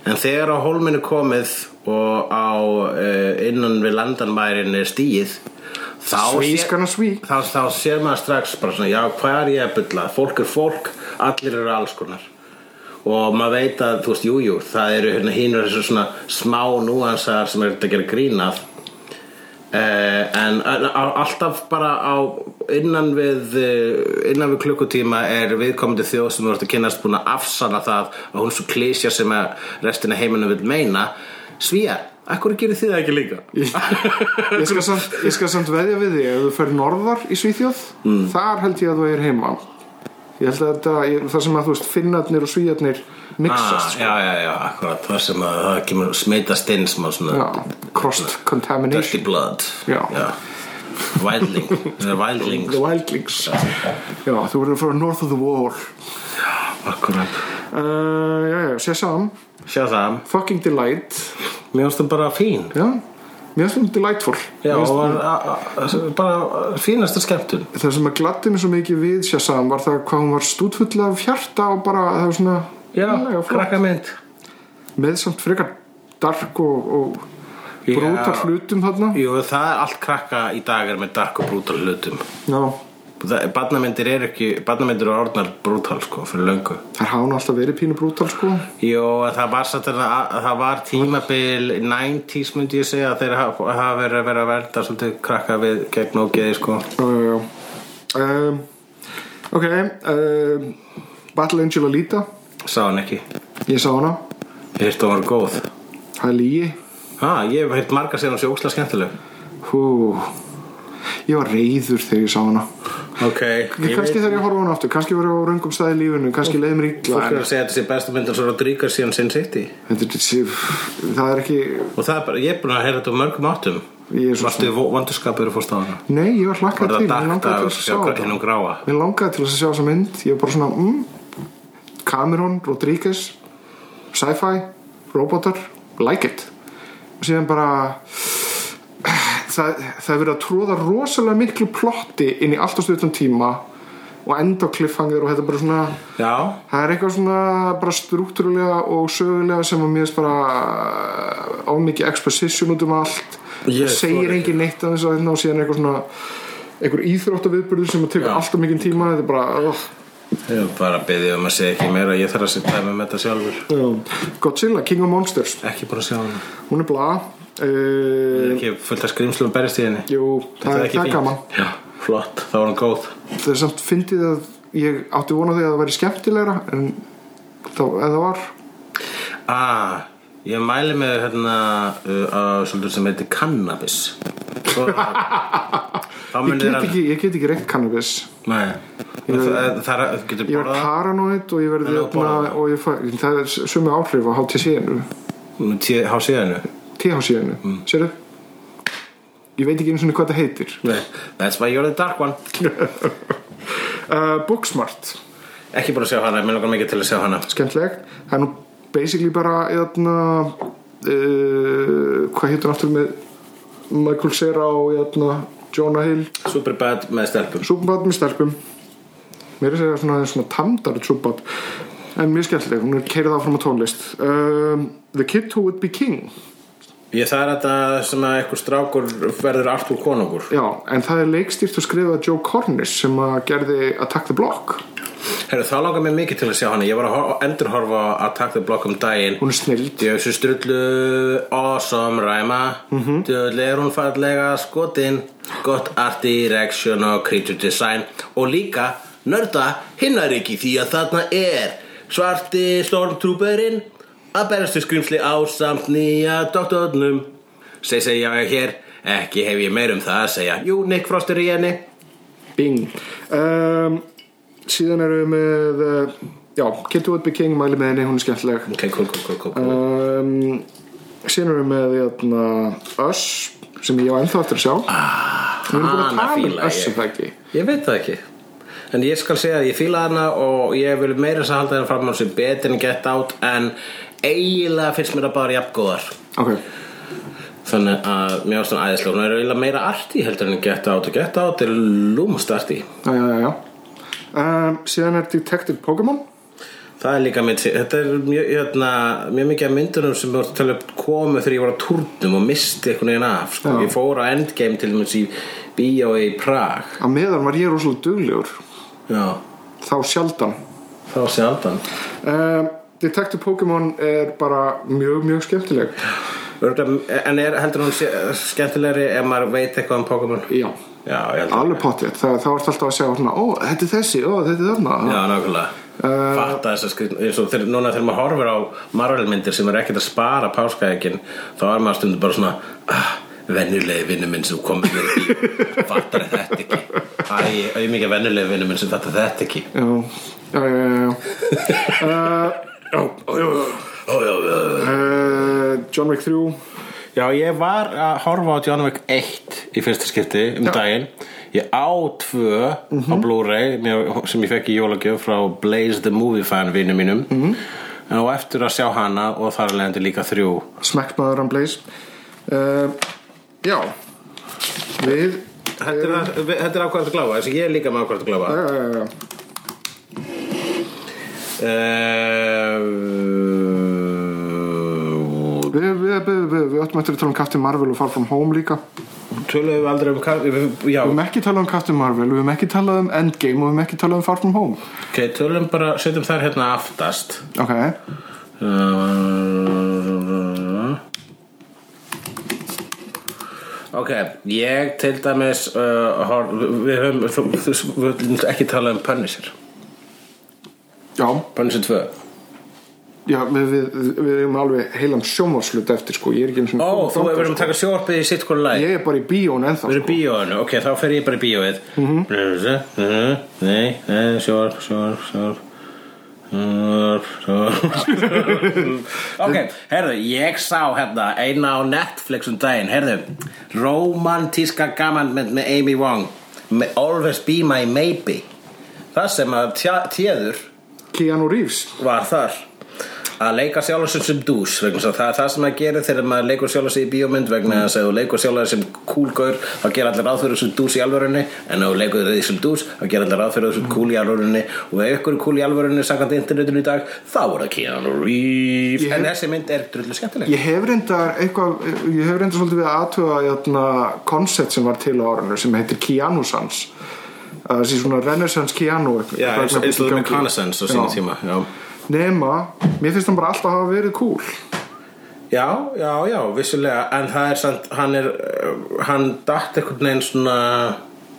Speaker 3: En þegar á hólminu komið og á uh, innan við landanmærin er stíið þá
Speaker 2: Svískana svík.
Speaker 3: þá, þá sér maður strax bara svona, já, hvað er ég að bylla? Fólk er fólk, allir eru alls konar og maður veit að, þú veist, jú, jú, það eru hérna hínur þessu svona smá núansar sem er þetta að gera grínað Uh, en en á, alltaf bara á innan við eh, innan við klukkutíma er viðkomandi þjóð sem þú ert að kynast búin að afsanna það að hún er svo klísja sem að restina heiminum vil meina Svíjar, akkur gerir þið það ekki líka?
Speaker 2: ég skal, samt, ég skal samt veðja við því ef þú fer norðar í Svíþjóð
Speaker 3: Mm.
Speaker 2: þar held ég að þú er heima ég held að þetta, ég, það sem að þú veist finnarnir og svíjarnir
Speaker 3: ah,
Speaker 2: mixast sko.
Speaker 3: já, já, já, akkurat það sem að það kemur smitast inn smá svona
Speaker 2: já, cross
Speaker 3: dirty
Speaker 2: contamination
Speaker 3: blood
Speaker 2: Já.
Speaker 3: Wildling, það er wildling sko.
Speaker 2: the wildlings já, þú verður að fara north of the wall
Speaker 3: akkurat
Speaker 2: uh, já, já, sé saman
Speaker 3: sjá það,
Speaker 2: fucking delight
Speaker 3: mér finnst það bara fín
Speaker 2: já, mér finnst hún delightful
Speaker 3: já,
Speaker 2: Mér
Speaker 3: og
Speaker 2: finnst hún-
Speaker 3: var a- a- bara fínasta skemmtun
Speaker 2: það sem að gladdi mig svo mikið við Shazam var það hvað hún var stútfull af hjarta og bara það var svona
Speaker 3: Já,
Speaker 2: Laglega flott.
Speaker 3: krakkamynd
Speaker 2: með samt frekar dark og, og
Speaker 3: Já.
Speaker 2: brúta hlutum þarna
Speaker 3: Jú, það er allt krakka í dag er með dark og brútal hlutum
Speaker 2: já,
Speaker 3: Það- Barnamyndir er ekki, barnamyndir eru orðnar brútal sko, fyrir löngu
Speaker 2: þær hafa hún alltaf verið pínu brútal sko
Speaker 3: Jú, en það var satt að það var tímabil 90s myndi ég segja að þeir hafa hafa verið að vera að verða svolítið krakka við gegn og geði sko
Speaker 2: já, já, já um, ok um, Battle Angel Alita
Speaker 3: Sá hann ekki,
Speaker 2: ég sá hana,
Speaker 3: ég hýrt að hún var góð
Speaker 2: það er lígi
Speaker 3: Ha, ég hef hýrt marga sér hún sé ókslega skemmtileg
Speaker 2: hú ég var reyður þegar ég sá hana
Speaker 3: Ok, ég
Speaker 2: kannski
Speaker 3: veit
Speaker 2: þegar ég horfa á hana aftur, kannski verið á röngum staði í lífinu kannski leið mér illa
Speaker 3: Fólk er
Speaker 2: en
Speaker 3: að segja að þetta sé bestu myndin svo Rodríguez síðan Sin City
Speaker 2: þetta er- það er ekki
Speaker 3: Og það er bara, ég er búin að heyra þetta á mörgum áttum
Speaker 2: Ég er svo
Speaker 3: Varstu vandurskapur að fórst á hana?
Speaker 2: Nei, ég var
Speaker 3: Var
Speaker 2: hlakkað
Speaker 3: það
Speaker 2: til, ég
Speaker 3: dakt
Speaker 2: langaði
Speaker 3: af
Speaker 2: til að sjá
Speaker 3: sjá
Speaker 2: þetta.
Speaker 3: hinnum gráa?
Speaker 2: Mér langaði til að sjá þessa mynd Ég var bara svona mm, Cameron, Rodríguez Sci-fi, robotar Like it Og síðan bara Það, það er verið að tróða rosalega miklu plotti inn í allt og stuttum tíma og enda á cliffhanger og þetta er bara svona
Speaker 3: Já,
Speaker 2: það er eitthvað svona bara struktúrulega og sögulega sem að mér finnst bara ámikið exposition út um allt
Speaker 3: Ég
Speaker 2: það
Speaker 3: þori
Speaker 2: segir
Speaker 3: ekki.
Speaker 2: engin neitt af þess að hérna og síðan er eitthvað svona einhver íþróttaviðburður sem að tekur
Speaker 3: Já.
Speaker 2: alltaf mikinn tíma þetta er bara oh.
Speaker 3: ég var bara að byggja um að segja ekki meira Ég þarf að setja með þetta sjálfur
Speaker 2: Godzilla, King of Monsters
Speaker 3: Ekki búin að sjá hana
Speaker 2: hún er bla uh,
Speaker 3: Ekki fullt af skrimslum berist í henni
Speaker 2: jú,
Speaker 3: Þetta
Speaker 2: það, er-
Speaker 3: ekki
Speaker 2: það er
Speaker 3: fínt.
Speaker 2: gaman
Speaker 3: Já, flott, þá var hann góð
Speaker 2: það er samt fyndið að ég átti vona því að það væri skemmtilegra en þá, ef það var
Speaker 3: Ah, ég mæli með hérna uh, uh, Svolítið sem heitir Cannabis svo þá
Speaker 2: Ég
Speaker 3: munið
Speaker 2: get
Speaker 3: þér að
Speaker 2: ekki, ég get ekki reykt cannabis
Speaker 3: Nei. það, það, það getur
Speaker 2: Ég verð
Speaker 3: borðað
Speaker 2: paranoid og ég verð
Speaker 3: En þú borðar
Speaker 2: hérna og ég fæ, það er sömu áhrif á HTC-inu
Speaker 3: há síðanu
Speaker 2: THC-inu, mm. sérðu? Ég veit ekki einu svona hvað það heitir
Speaker 3: that's why you're the dark one
Speaker 2: uh, Booksmart,
Speaker 3: ekki búin að sjá hana, mér langar mikið til að sjá hana
Speaker 2: skemmtilegt Það er nú basically bara hérna, uh, hvað heitir náttúrulega með Michael Cera og hérna, Jonah Hill
Speaker 3: Superbad með stelpum
Speaker 2: súpbad með stelpum mér er að segja svona, svona tamdar súpbad en mjög skemmtileg, hún er keirið áfram á tónlist um, The Kid Who Would Be King
Speaker 3: ég það er þetta sem að einhver strákur verður Artur konungur
Speaker 2: já, en það er leikstýrt og skrifað af Joe Cornish sem að gerði Attack the Block
Speaker 3: Heru, þá langar mér mikið til að sjá hana ég var að hor- endurhorfa að takta blokk um daginn
Speaker 2: hún er snild
Speaker 3: Ég hef þessu strullu awesome ræma mm
Speaker 2: Mhm.
Speaker 3: -hmm. er hún fallega skotin gott art direction og creature design og líka nörda hinnaríki því að þarna er svarti stormtrooperinn að berastu skrýmsli á samt nýja doktornum seg segja ég hér ekki hef ég meir um það að segja jú Nick Frost er í henni
Speaker 2: Bing um, síðan erum við með uh, já, Kid Who Would Be King mæli með henni, hún er skemmtileg
Speaker 3: ok, cool, cool, cool, cool. cool.
Speaker 2: um, síðan erum við með hérna, Us sem ég á ennþá eftir að sjá ah, við erum búin að
Speaker 3: hana
Speaker 2: tala um
Speaker 3: fíla
Speaker 2: Us
Speaker 3: ég.
Speaker 2: er það ekki
Speaker 3: Ég veit það ekki En ég skal segja að ég fíla hana og ég vil meira þess að halda hana fram á sem betur en Get Out en eiginlega finnst mér að bara jafngóðar
Speaker 2: ok,
Speaker 3: Þannig að mér ástæðan æðislega Hún er eiginlega meira arti heldur en Get Out og Get Out er lúmast arti
Speaker 2: já, já, já, já. Um, síðan er Detective Pokémon
Speaker 3: Það er líka mitt, þetta er mjög, hérna, mjög mikið af myndunum sem voru tala upp komu þegar ég var á túrnum og misti einhvern veginn af sko.
Speaker 2: Já.
Speaker 3: Ég fór á Endgame til dæmis í bíói í Prag
Speaker 2: að meðan var ég rosalega duglegur
Speaker 3: Já,
Speaker 2: þá sjaldan
Speaker 3: þá sé andan
Speaker 2: um, Detective Pokémon er bara mjög, mjög skemmtileg
Speaker 3: Örgulega, en er, heldur hún sé- skemmtilegri ef maður veit eitthvað um Pokémon?
Speaker 2: já,
Speaker 3: Já, ég heldur
Speaker 2: alveg pottið þá er þetta alltaf að segja svona, ó, þetta er þessi, ó, þetta er þarna
Speaker 3: Já, nákvæmlega
Speaker 2: Eh,
Speaker 3: Fatta þess að skrifna eins og þegar, Núna þegar maður horfir á marvelmyndir sem er ekkert að spara páskaegin þá er maður stundum bara svona ah, venjulegi vinnu minn sem komið mér í fattar þetta ekki Æ, auðvitað mikið venjulegi vinnu minn sem fattar þetta ekki
Speaker 2: já, já, já, já, já.
Speaker 3: Ó, já, já, já.
Speaker 2: Uh, John Wick 3
Speaker 3: Já, ég var að horfa á John Wick 1 í fyrsta skipti um daginn Ég á tvö á Blu-ray mér- sem ég fekk í jólagjöf frá Blaze the Movie fan vinnu mínum en á eftir að sjá hana og þar að leiðandi líka þrjú
Speaker 2: Smekkmaður hann Blaze uh, já við
Speaker 3: Þetta er, við- þetta er ákvæmt að gláfa, þess að ég er líka með ákvæmt að gláfa
Speaker 2: já, já, já, já.
Speaker 3: Eh, uh,
Speaker 2: Við, við, við, við, við öllum eftir að tala um Captain Marvel og Far From Home líka
Speaker 3: Töluðum við aldrei um kar- við- Já,
Speaker 2: Við höfum ekki talað um Captain Marvel, við höfum ekki talað um Endgame og við höfum ekki talað um Far From Home
Speaker 3: ok, töluðum bara setjum þær hérna aftast
Speaker 2: Ok,
Speaker 3: Uh, Ok, ég til dæmis uh, hor, við höfum þú, þú, við höfum ekki talað um Punisher
Speaker 2: já,
Speaker 3: Punisher 2
Speaker 2: já við, við, við erum alveg heilan sjónvarslut eftir sko Ég er ekki eins og
Speaker 3: Ó, þú sko- hefur verið að um taka sjóarpið í sitt hvort lag
Speaker 2: sko. Ég er bara í bíón ennþá
Speaker 3: Við
Speaker 2: sko
Speaker 3: erum Mhm. bíóinu, ok, þá fer ég bara í bíóið Nei, nei, sjóar, sjóar, sjóar Sjóar, sjóar Ok, herðu, ég sá hérna eina á Netflix um daginn Herðu, romantíska gamanmynd með Amy Wong Me- Always Be My Maybe Það sem að tja- téður
Speaker 2: Keanu Reeves
Speaker 3: var þar að leika sjálfsum sem dús vegna þess að það er það sem að gera þegar maður leikur sjálfsum í bíómynd vegna þess að ef þú leikur sjálfsum sem kúlgaur þá gera allir ráðfyrir sem dús í alvörunni en ef þú leikur því sem dús þá gera allir ráðfyrir sem kúl í alvörunni og ef ykkur er kúl í alvörunni samkvæmt internetinu í dag þá er það Keanu Reeves
Speaker 2: Ég hef-
Speaker 3: en þessi mynd er drullu skemmtileg
Speaker 2: Ég hef reyndar eitthvað, ég hef reyndar svolítið við að aðtuga jæna, koncept sem var til á árinu sem heitir Keanu Sans Það sé svona Renaissance Keanu
Speaker 3: Já, eins eins og það með Connaissance á sínu
Speaker 2: Já.
Speaker 3: tíma já.
Speaker 2: Nema, mér finnst hann bara alltaf hafa verið cool
Speaker 3: já, já, já, vissulega en það er samt, hann er uh, hann datt einhvern veginn svona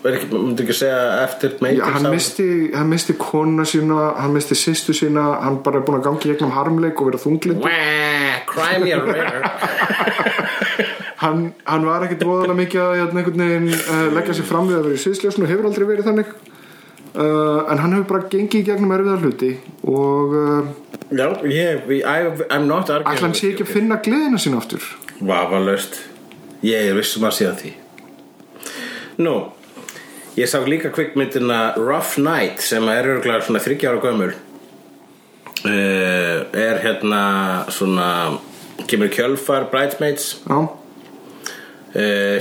Speaker 3: er ekki, myndi ekki segja eftir
Speaker 2: Já,
Speaker 3: Matrix
Speaker 2: hann
Speaker 3: hann-
Speaker 2: misti, hann misti konuna sína, hann misti sýstu sína, hann bara er búin að gangi gegnum harmleik og vera þunglind.
Speaker 3: Wah, cry me a river
Speaker 2: hann, hann var ekkit voðalega mikið að hérna, einhvern veginn uh, leggja sér fram við að vera í sviðsljósun og hefur aldrei verið þannig uh, en hann hefur bara gengið í gegnum erfiðar hluti og uh,
Speaker 3: Já, ég, I, I'm not arguing
Speaker 2: ætla hann sé ekki að finna gleðina sín aftur
Speaker 3: Vafalaust Ég er vissum að sé að því Nú Ég sá líka kvikmyndina Rough Night sem er örgulega svona 30 ára gömul uh, er hérna svona kemur í kjölfar Bridesmaids
Speaker 2: já,
Speaker 3: uh,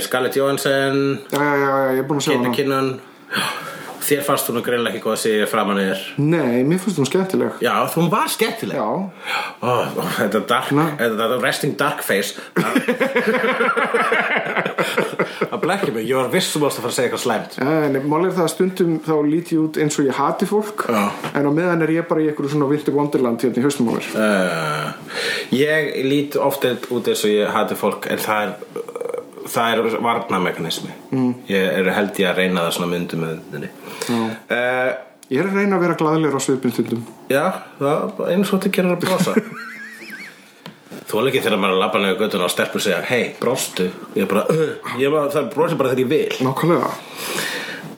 Speaker 3: Scarlett Johansson
Speaker 2: já, já, já, já ég er búin að sjá
Speaker 3: Keita
Speaker 2: hana
Speaker 3: Kinnan Þér fannst hún greinlega ekki hvað sér framan í þér
Speaker 2: nei, mér finnst hún skemmtileg
Speaker 3: Já, þú var skemmtileg
Speaker 2: já,
Speaker 3: Ó, ó, þetta dark,
Speaker 2: Na.
Speaker 3: þetta þetta resting dark face Það blekki mig, ég var vissum ást að fara að segja eitthvað slæmt
Speaker 2: en mál er það að stundum þá lít ég út eins og ég hati fólk
Speaker 3: Já.
Speaker 2: en á meðan er ég bara í einhverju svona vildi vondirland hérna í haustum á mér
Speaker 3: uh, Ég lít ofta út eins og ég hati fólk en það er, það er varnamekanismi mm. Ég er held ég að reyna það svona myndum með þenni uh,
Speaker 2: ég er að reyna að vera glæðilegur á svipin stundum
Speaker 3: Já, það er eins og þetta gerir að brosa Þú er ekki þegar maður er að labba nefnir göttuna og stelpur segja Hei, brostu Ég er bara, uh, ég bara, það brosi bara þegar ég vil
Speaker 2: nákvæmlega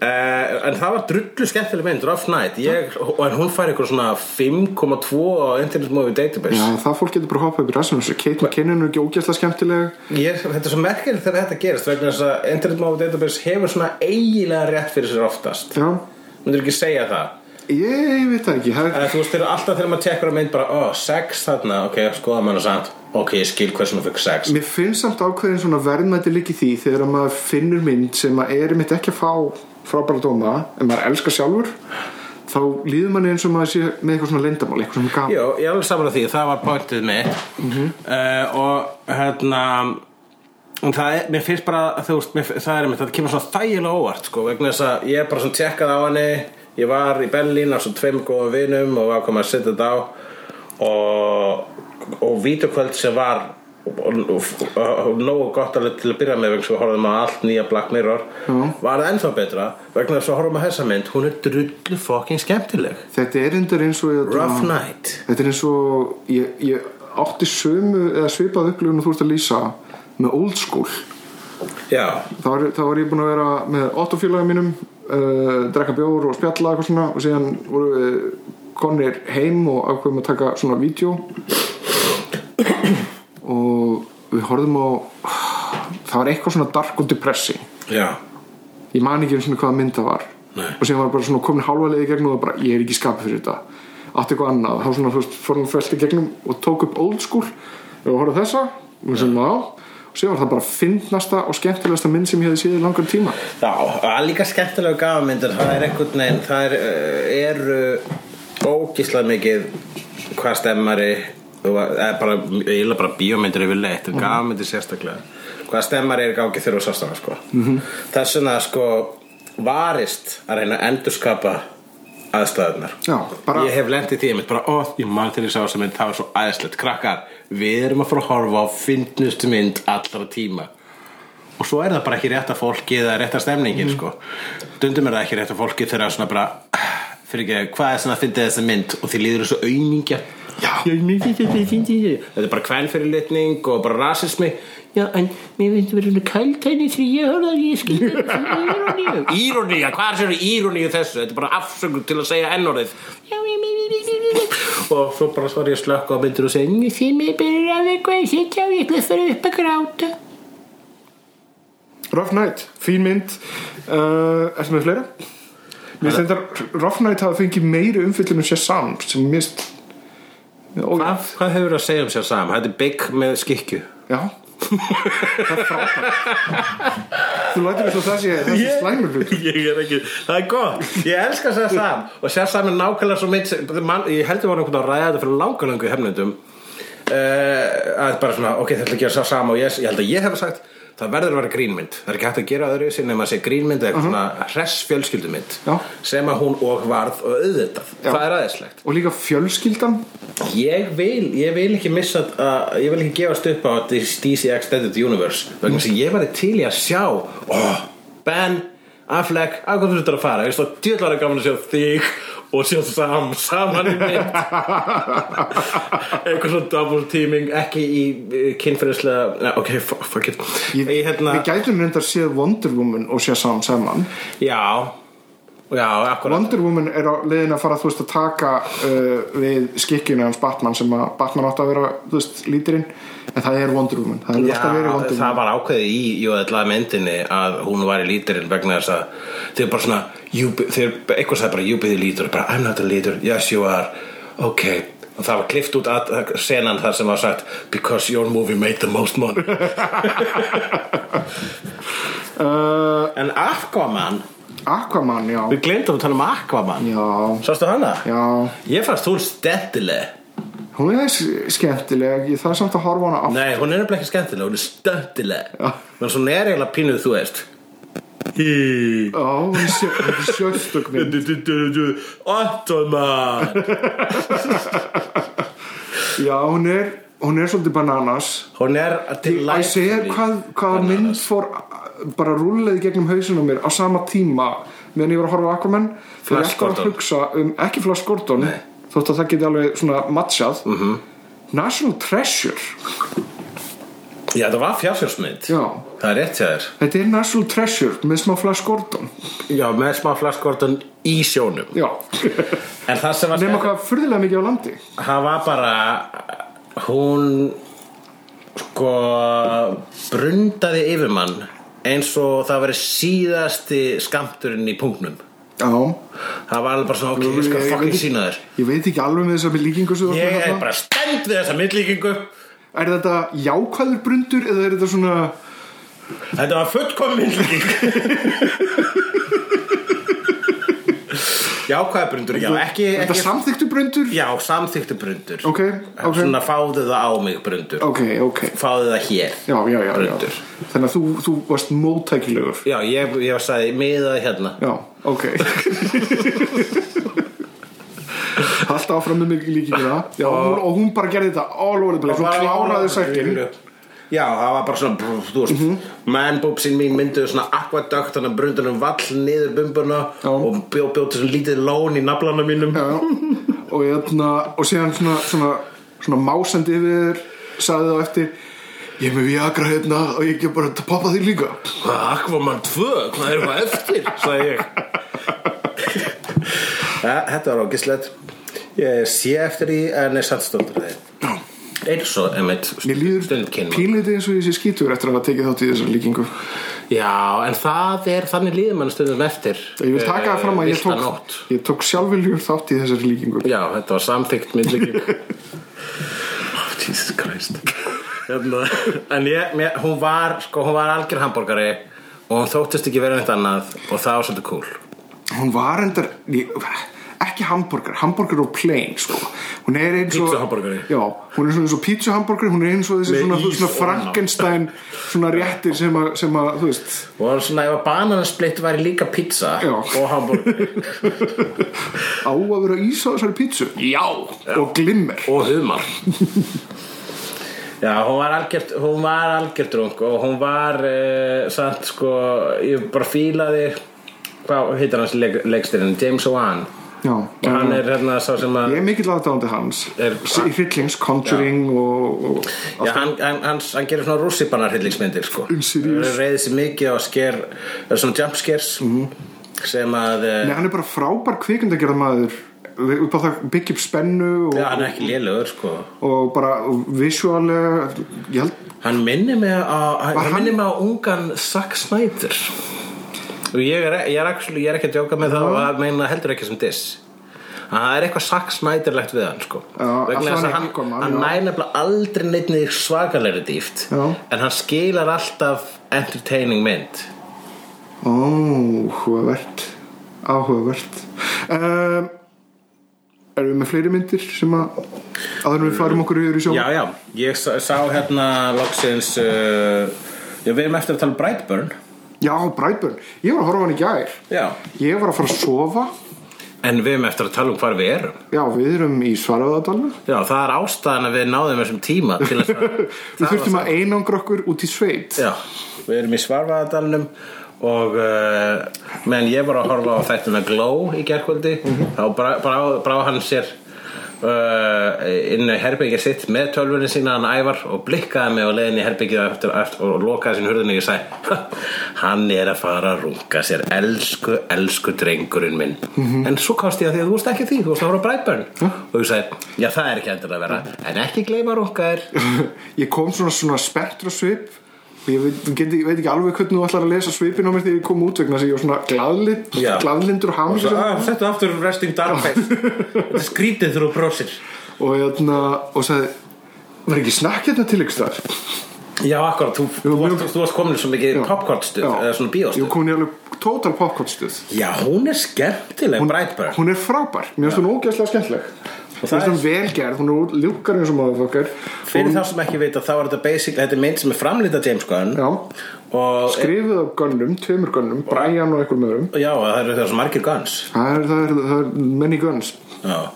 Speaker 3: Uh, en það var drullu skemmtileg mynd Rough Night ég, og en hún fær eitthvað svona 5,2 á Internet Movie Database
Speaker 2: Já, það fólk getur bara hoppað upp í rassunum þessu Kate McKinnon er ekki ógæslega skemmtileg
Speaker 3: ég, þetta er svo merkilegt þegar þetta gerist vegna þess að Internet Movie Database hefur svona eiginlega rétt fyrir sér oftast
Speaker 2: Já,
Speaker 3: myndur ekki segja það
Speaker 2: ég veit það ekki það,
Speaker 3: Eh, þú veist þegar alltaf þegar maður tekur að mynd bara ó, sex þarna, ok, skoða maður samt ok, ég skil hversu maður fikk sex
Speaker 2: Mér finnst samt ákveðin svona verðmætti líki því þegar að maður finnur mynd sem maður er mitt ekki að fá frábæra dóma en maður elskar sjálfur þá líður manni eins og maður sé með eitthvað svona leyndamál eitthvað svona gaman
Speaker 3: Jó, ég er alveg saman að því, það var pointið mitt uh, og hérna og það er, mér finnst bara þú veist, mér, það er mitt, það kemur svona þægilega óvart sko, vegna þess að ég er bara svona tjekkað á henni ég var í Berlín á svona tveim góðum vinum og var komið að setja þetta á og og vítukvöld sem var og, og, og, og nógu gott alveg til að byrja með vegna svo horfðum að allt nýja Black Mirror var það ennþá betra vegna þess að horfðum að þessa mynd hún er drullu fokkin skemmtileg
Speaker 2: Þetta er endur eins og ég-
Speaker 3: Rough Night
Speaker 2: Þetta er eins og ég, ég átti sömu eða svipað upplifun og þú ert að lýsa með old school
Speaker 3: Já,
Speaker 2: þá var, þá var ég búinn að vera með ottofélagum mínum uh, drekka bjór og spjalla eitthvað svona og síðan voru við konir heim og ákveðum að taka svona vídeo og við horfðum á það var eitthvað svona dark og depressi
Speaker 3: já
Speaker 2: ég man ekki eins og hvaða mynd það var
Speaker 3: Nei.
Speaker 2: og síðan var bara svona komin hálfa leiði gegnum og bara ég er ekki skapið fyrir þetta átti eitthvað annað, þá svona þú veist, fór hann fælt í gegnum og tók upp old school og horfði á þessa og sem á og síðan var það bara fyndnasta og skemmtilegasta mynd sem ég hefði séð í langan tíma
Speaker 3: Já, það er líka skemmtilega gafamyndir það er einhvern veginn það er, uh, eru ógíslega mikið hvað stemmari og það er bara, ég er bara bíómyndir yfir leitt, mm gafamyndir sérstaklega hvað stemmari er í gangi þegar þú sást hana sko. mm -hmm. þess vegna sko varist að reyna að endurskapa aðstæðunar
Speaker 2: Já, bara-
Speaker 3: ég hef lent í því einmitt bara, ó, ég man þegar ég sá þess að mynd það var svo aðeinslegt, krakkar við erum að fara að horfa á fyndnustu mynd allra tíma og svo er það bara ekki rétta fólki eða rétta stemningin sko. dundum er það ekki rétta fólki þegar það svona bara fyrir ekki, hvað er svona að fyndi þessa mynd og því líður þessu auðningja þetta er bara kvælfyrirlitning og bara rasismi já, en mér finnst verið svona kæltæni því ég hörði að ég skilja íróníu, hvað er sér íróníu þessu þetta er bara afsökun til að segja ennorðið Já, já, já, já, já, já, já. og svo bara svar ég að slökka á myndir og segja "Nú, því mér byrjar að vera hvað ég sitja og ég ætla að fara upp að gráta
Speaker 2: Rough Night, fín mynd uh, Ertu með fleira? Mér finnst þetta Rough Night hafa fengið meiri umfyllunum sér sam sem mér finnst og,
Speaker 3: Hvað, hvað hefur að segja um sér saman? Þetta er bygg með skikju
Speaker 2: Já Það er frábært Þú lætur þess að það sé, það sé slæmur hlut
Speaker 3: Ég er ekki, það er gott Ég elska sér saman Og sér saman er nákvæmlega svo mitt sem- man, Ég heldur var einhvern veginn að ræða þetta fyrir langalöngu hefnendum uh, Að bara svona, ok, þetta er að gera sér saman Og ég, ég held að ég hef sagt Það verður að vera grínmynd Það er ekki hægt að gera öðru sinni Nefn að segja grínmynd eða eitthvað svona hress fjölskyldumynd
Speaker 2: Mhm. Já.
Speaker 3: Sem að hún og varð og auðvitað
Speaker 2: Já.
Speaker 3: Það er aðeinslegt
Speaker 2: Og líka fjölskyldan
Speaker 3: Ég vil, ég vil ekki missa að, ég vil ekki gefast upp á this DC Extended Universe vegna sem ég var til í að sjá oh, Ben, Affleck, af hvað þú þurftur að fara ég stóð djöðlega gaman að sjá þig og sjá sam, saman í mynd eitthvað svona double teaming ekki í kynferðislega ok, fu- fuck it
Speaker 2: Ég,
Speaker 3: Ég, hérna,
Speaker 2: Við gætum reyndar séð Wonder Woman og séð saman saman
Speaker 3: já já, akkurat
Speaker 2: Wonder Woman er á leiðin að fara þú veist að taka uh, við skikkinu hans Batman sem að Batman átt að vera þú veist lítirinn en það er Wonder Woman það er
Speaker 3: Já,
Speaker 2: alltaf verið Wonder
Speaker 3: það
Speaker 2: Woman
Speaker 3: var ákveðið í jöðlega myndinni að hún var í líturinn vegna þess að þeir bara svona you be- þeir, eitthvað sagði bara júbið í lítur bara I'm not a lítur, yes you are ok, og það var klift út að, senan þar sem var sagt because your movie made the most money
Speaker 2: uh,
Speaker 3: en Aquaman,
Speaker 2: Aquaman, já
Speaker 3: við glemdum að tala um Aquaman
Speaker 2: já,
Speaker 3: sástu hana?
Speaker 2: já
Speaker 3: ég fannst hún stettileg
Speaker 2: hún er skemmtileg ég þarf samt að horfa á hana aftur
Speaker 3: Nei, hún er nefnilega ekki skemmtileg, hún er stöttileg
Speaker 2: Já.
Speaker 3: Menn hún er eiginlega pínuð, þú veist Hí
Speaker 2: Já, hún er sjö- hún er sjöstug mynd
Speaker 3: Ottoman
Speaker 2: Já, hún er, hún er svolítið bananas
Speaker 3: Hún er til
Speaker 2: Ég
Speaker 3: life
Speaker 2: segir hvað, hvað
Speaker 3: Bananas.
Speaker 2: mynd fór bara rúleði gegnum hausinu á mér á sama tíma meðan ég var að horfa á Aquaman þegar
Speaker 3: Flash
Speaker 2: ég var að
Speaker 3: Gordon.
Speaker 2: hugsa um ekki Flash Gordon
Speaker 3: Nei. Mhm.
Speaker 2: þótt að það geti alveg svona matchað -hmm. National Treasure
Speaker 3: Já, það var fjársjórsmynd
Speaker 2: Já.
Speaker 3: Það er rétt hjá þér
Speaker 2: Þetta er National Treasure með smá Flash Gordon
Speaker 3: Já, með smá flaskvortun í sjónum
Speaker 2: Já,
Speaker 3: En það sem var
Speaker 2: nema hvað furðilega mikið á landi
Speaker 3: Það var bara Hún Sko Brundaði yfir mann Eins og það veri síðasti skamturinn í punktnum
Speaker 2: Já,
Speaker 3: Það var alveg bara svona Ok, ég skal
Speaker 2: ég,
Speaker 3: fucking
Speaker 2: veit,
Speaker 3: sína þér
Speaker 2: ég veit ekki alveg með þessa líkingu sem þú ert með
Speaker 3: Ég er
Speaker 2: þarna.
Speaker 3: bara stend við þessa myndlíkingu
Speaker 2: Er þetta jákvæður brundur eða er þetta svona
Speaker 3: Þetta var fullkomin myndlíking Já, hvað er brundur? Já, ekki,
Speaker 2: Þetta
Speaker 3: ekki
Speaker 2: samþyktu brundur?
Speaker 3: Já, samþyktu brundur
Speaker 2: Ok, ok.
Speaker 3: Svona fáðu það á mig brundur
Speaker 2: Ok, ok
Speaker 3: Fáðu það hér
Speaker 2: Já, já, já, já.
Speaker 3: Brundur
Speaker 2: Þannig að þú, þú varst móttækilegur
Speaker 3: Já, ég, ég sagði miðað hérna
Speaker 2: Já, ok Hallt áfram með mig líkingina Já, og hún, og hún bara gerði þetta all over the place Hún kláraði sættin
Speaker 3: Já, það var bara svona brr, Þú veist,
Speaker 2: Mhm.
Speaker 3: mm sín mín mynduðu svona aquaduct Þannig að brundunum vall niður bumbuna
Speaker 2: Já.
Speaker 3: Og bjó, bjóti svona lítið lón í naflana mínum
Speaker 2: Já, og hérna og síðan svona, svona, svona másandi yfir sagði það á eftir ég er með Viagra hérna og ég get bara að poppa því líka
Speaker 3: Hvað, Aquaman 2, hvað er það eftir? sagði ég ja, Eh, Þetta var ágislegt Ég sé eftir því en er satt stundur því Eins og emitt
Speaker 2: Mér líður
Speaker 3: stund kynma
Speaker 2: pínleiti eins og ég sé skítur eftir að hafa tekið þátt í þessar líkingu
Speaker 3: Já, en það er þannig líður mann stundum eftir
Speaker 2: Ég vil taka það fram að ég
Speaker 3: villta
Speaker 2: tók,
Speaker 3: nótt.
Speaker 2: ég tók sjálfurljur þátt í þessari líkingu
Speaker 3: Já, þetta var samþykkt myndlíking oh, Jesus Christ hérna, En ég, mér, hún var sko, hún var algjör hambúrgari og hún þóttist ekki verið neitt annað og það var svolítið cool
Speaker 2: Hún var endar ég- ekki hambúrgar, hambúrgar og plain sko. Hún er eins og
Speaker 3: Pizzahamborgari.
Speaker 2: Já, hún er svona eins og pizza hambúrgar hún er eins og þessi
Speaker 3: Með
Speaker 2: svona,
Speaker 3: ís
Speaker 2: svona
Speaker 3: ofan á.
Speaker 2: Frankenstein svona réttir sem að, sem að þú veist
Speaker 3: og það var svona ef að bananasplitt væri líka pizza
Speaker 2: Já.
Speaker 3: og hambúrgari
Speaker 2: á að vera ís á þessari pizzu Já Og glimmer
Speaker 3: og humar Já, hún var algjört hún var algjört rung og hún var uh, samt sko ég bara fílaði hvað heitir hans leik, leikstirinn, James Wan
Speaker 2: Já,
Speaker 3: og hann er hérna sá sem að
Speaker 2: Ég er mikill aðdáðandi hans
Speaker 3: Er-
Speaker 2: Hrillings, Conjuring og, og
Speaker 3: Já, hann, hann, hann, hann gerir svona rússipannar hillingsmyndir sko.
Speaker 2: Um Sirius. Mhm.
Speaker 3: Hann reyðir sér mikið á sker eða svona jump scares sem að
Speaker 2: Nei,
Speaker 3: eh,
Speaker 2: hann er bara frábær kvikundagerða maður upp á það byggja upp spennu og,
Speaker 3: já, hann er ekki lélugur sko.
Speaker 2: og bara visuálega ég held
Speaker 3: hann minnir mig á hann,
Speaker 2: Var
Speaker 3: hann
Speaker 2: hann-
Speaker 3: minnir mig á ungan Zack Snyder og ég er, e- ég er, actually, ég er ekki að djóka með það og að meina heldur ekki sem diss það er eitthvað Zack Snyderlegt við hann sko.
Speaker 2: Já,
Speaker 3: vegna
Speaker 2: alltaf
Speaker 3: þess að
Speaker 2: hann
Speaker 3: hann,
Speaker 2: er Aquaman,
Speaker 3: hann
Speaker 2: já.
Speaker 3: næri nefnilega aldrei neittni svakalegri dýft
Speaker 2: Já.
Speaker 3: en hann skilar alltaf entertaining mynd
Speaker 2: áhugavert áhugavert um, erum við með fleiri myndir sem að aðurum við flarum okkur yfir í sjón
Speaker 3: Já, já, ég sá, sá hérna loksins uh, Já, við erum eftir að tala um Brightburn
Speaker 2: já Brightburn, ég var að horfa á hann í gær
Speaker 3: Já
Speaker 2: ég var að fara að sofa
Speaker 3: En við erum eftir að tala um hvar við erum
Speaker 2: já, við erum í Svarfaðadalna
Speaker 3: Já, það er ástæðan að við náðum þessum tíma til þess að
Speaker 2: við þurftum að einangra okkur út í sveit
Speaker 3: Já, við erum í Svarfaðadalunum og uh, meðan ég var að horfa á þættina Glow í gerkvöldi þá brá, brá, brá hann sér uh, inn í herbyggið sitt með tölvunni sína hann ævar og blikkaði mig og leiðin í herbyggið eftir, eftir, og lokaði sín hurðinni og ég sagði hann er að fara að runga sér elsku, elsku drengurinn minn en svo kosti ég að því að þú veist ekki því þú veist að voru að bræðbörn og ég sagði já það er ekki endur að vera en ekki gleyma að runga þér
Speaker 2: ég kom svona svona spertur á svip og ég veit, get, ég veit ekki alveg hvernig þú ætlar að lesa svipin á mér þegar ég kom út vegna þess að ég var svona glaðlind,
Speaker 3: Já.
Speaker 2: glaðlindur og
Speaker 3: og svo,
Speaker 2: hamingjusamur.
Speaker 3: "Ah, þetta er aftur resting dark face þetta er skrítið þegar þú brosir
Speaker 2: og hérna og sagði var ekki snakk hérna til ykkur þar
Speaker 3: já, akkurat, þú, þú,
Speaker 2: Jú, mjög-
Speaker 3: varst, þú varst komin í svo mikið popcornstuð, eða svona
Speaker 2: ég
Speaker 3: bíóstuð
Speaker 2: kom í alveg total popcornstuð
Speaker 3: já, hún er skemmtileg, Brightburn
Speaker 2: hún er frábær, mér finnst hún ógeðslega skemmtileg mér
Speaker 3: það
Speaker 2: finnst hún velgerð, hún er ljúkar eins og maður fokkar
Speaker 3: fyrir þá sem ekki veit að þá er þetta basic þetta er mynd sem er framlita James Gunn
Speaker 2: já,
Speaker 3: og
Speaker 2: skrifuð af gönnum, tveimur gönnum Brian og einhverjum öðrum
Speaker 3: já, það eru þessu margir Gunns
Speaker 2: það er, það er, það er many guns
Speaker 3: já.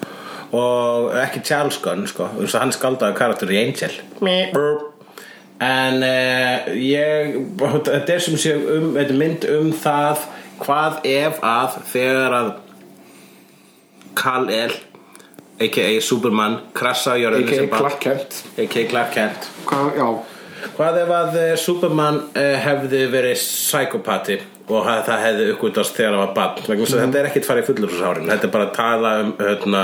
Speaker 3: og ekki Charles Gunn sko, Þú veist að hann skaldaði karakter í Angel en uh, ég þetta er sem sé um, þetta er mynd um það hvað ef að þegar að Kal El a.k.a. Superman krassa á jörðinu
Speaker 2: a.k.a.
Speaker 3: sem barn-
Speaker 2: Clark Kent
Speaker 3: a.k.a. Clark Kent
Speaker 2: Hvað, já,
Speaker 3: Hvað ef að eh, Superman eh, hefði verið psykopati og að það hefði uppgötast þegar það var bann vegna þess að
Speaker 2: Mhm.
Speaker 3: þetta er ekkert farið fullur úr sárin þetta er bara að tala um hérna,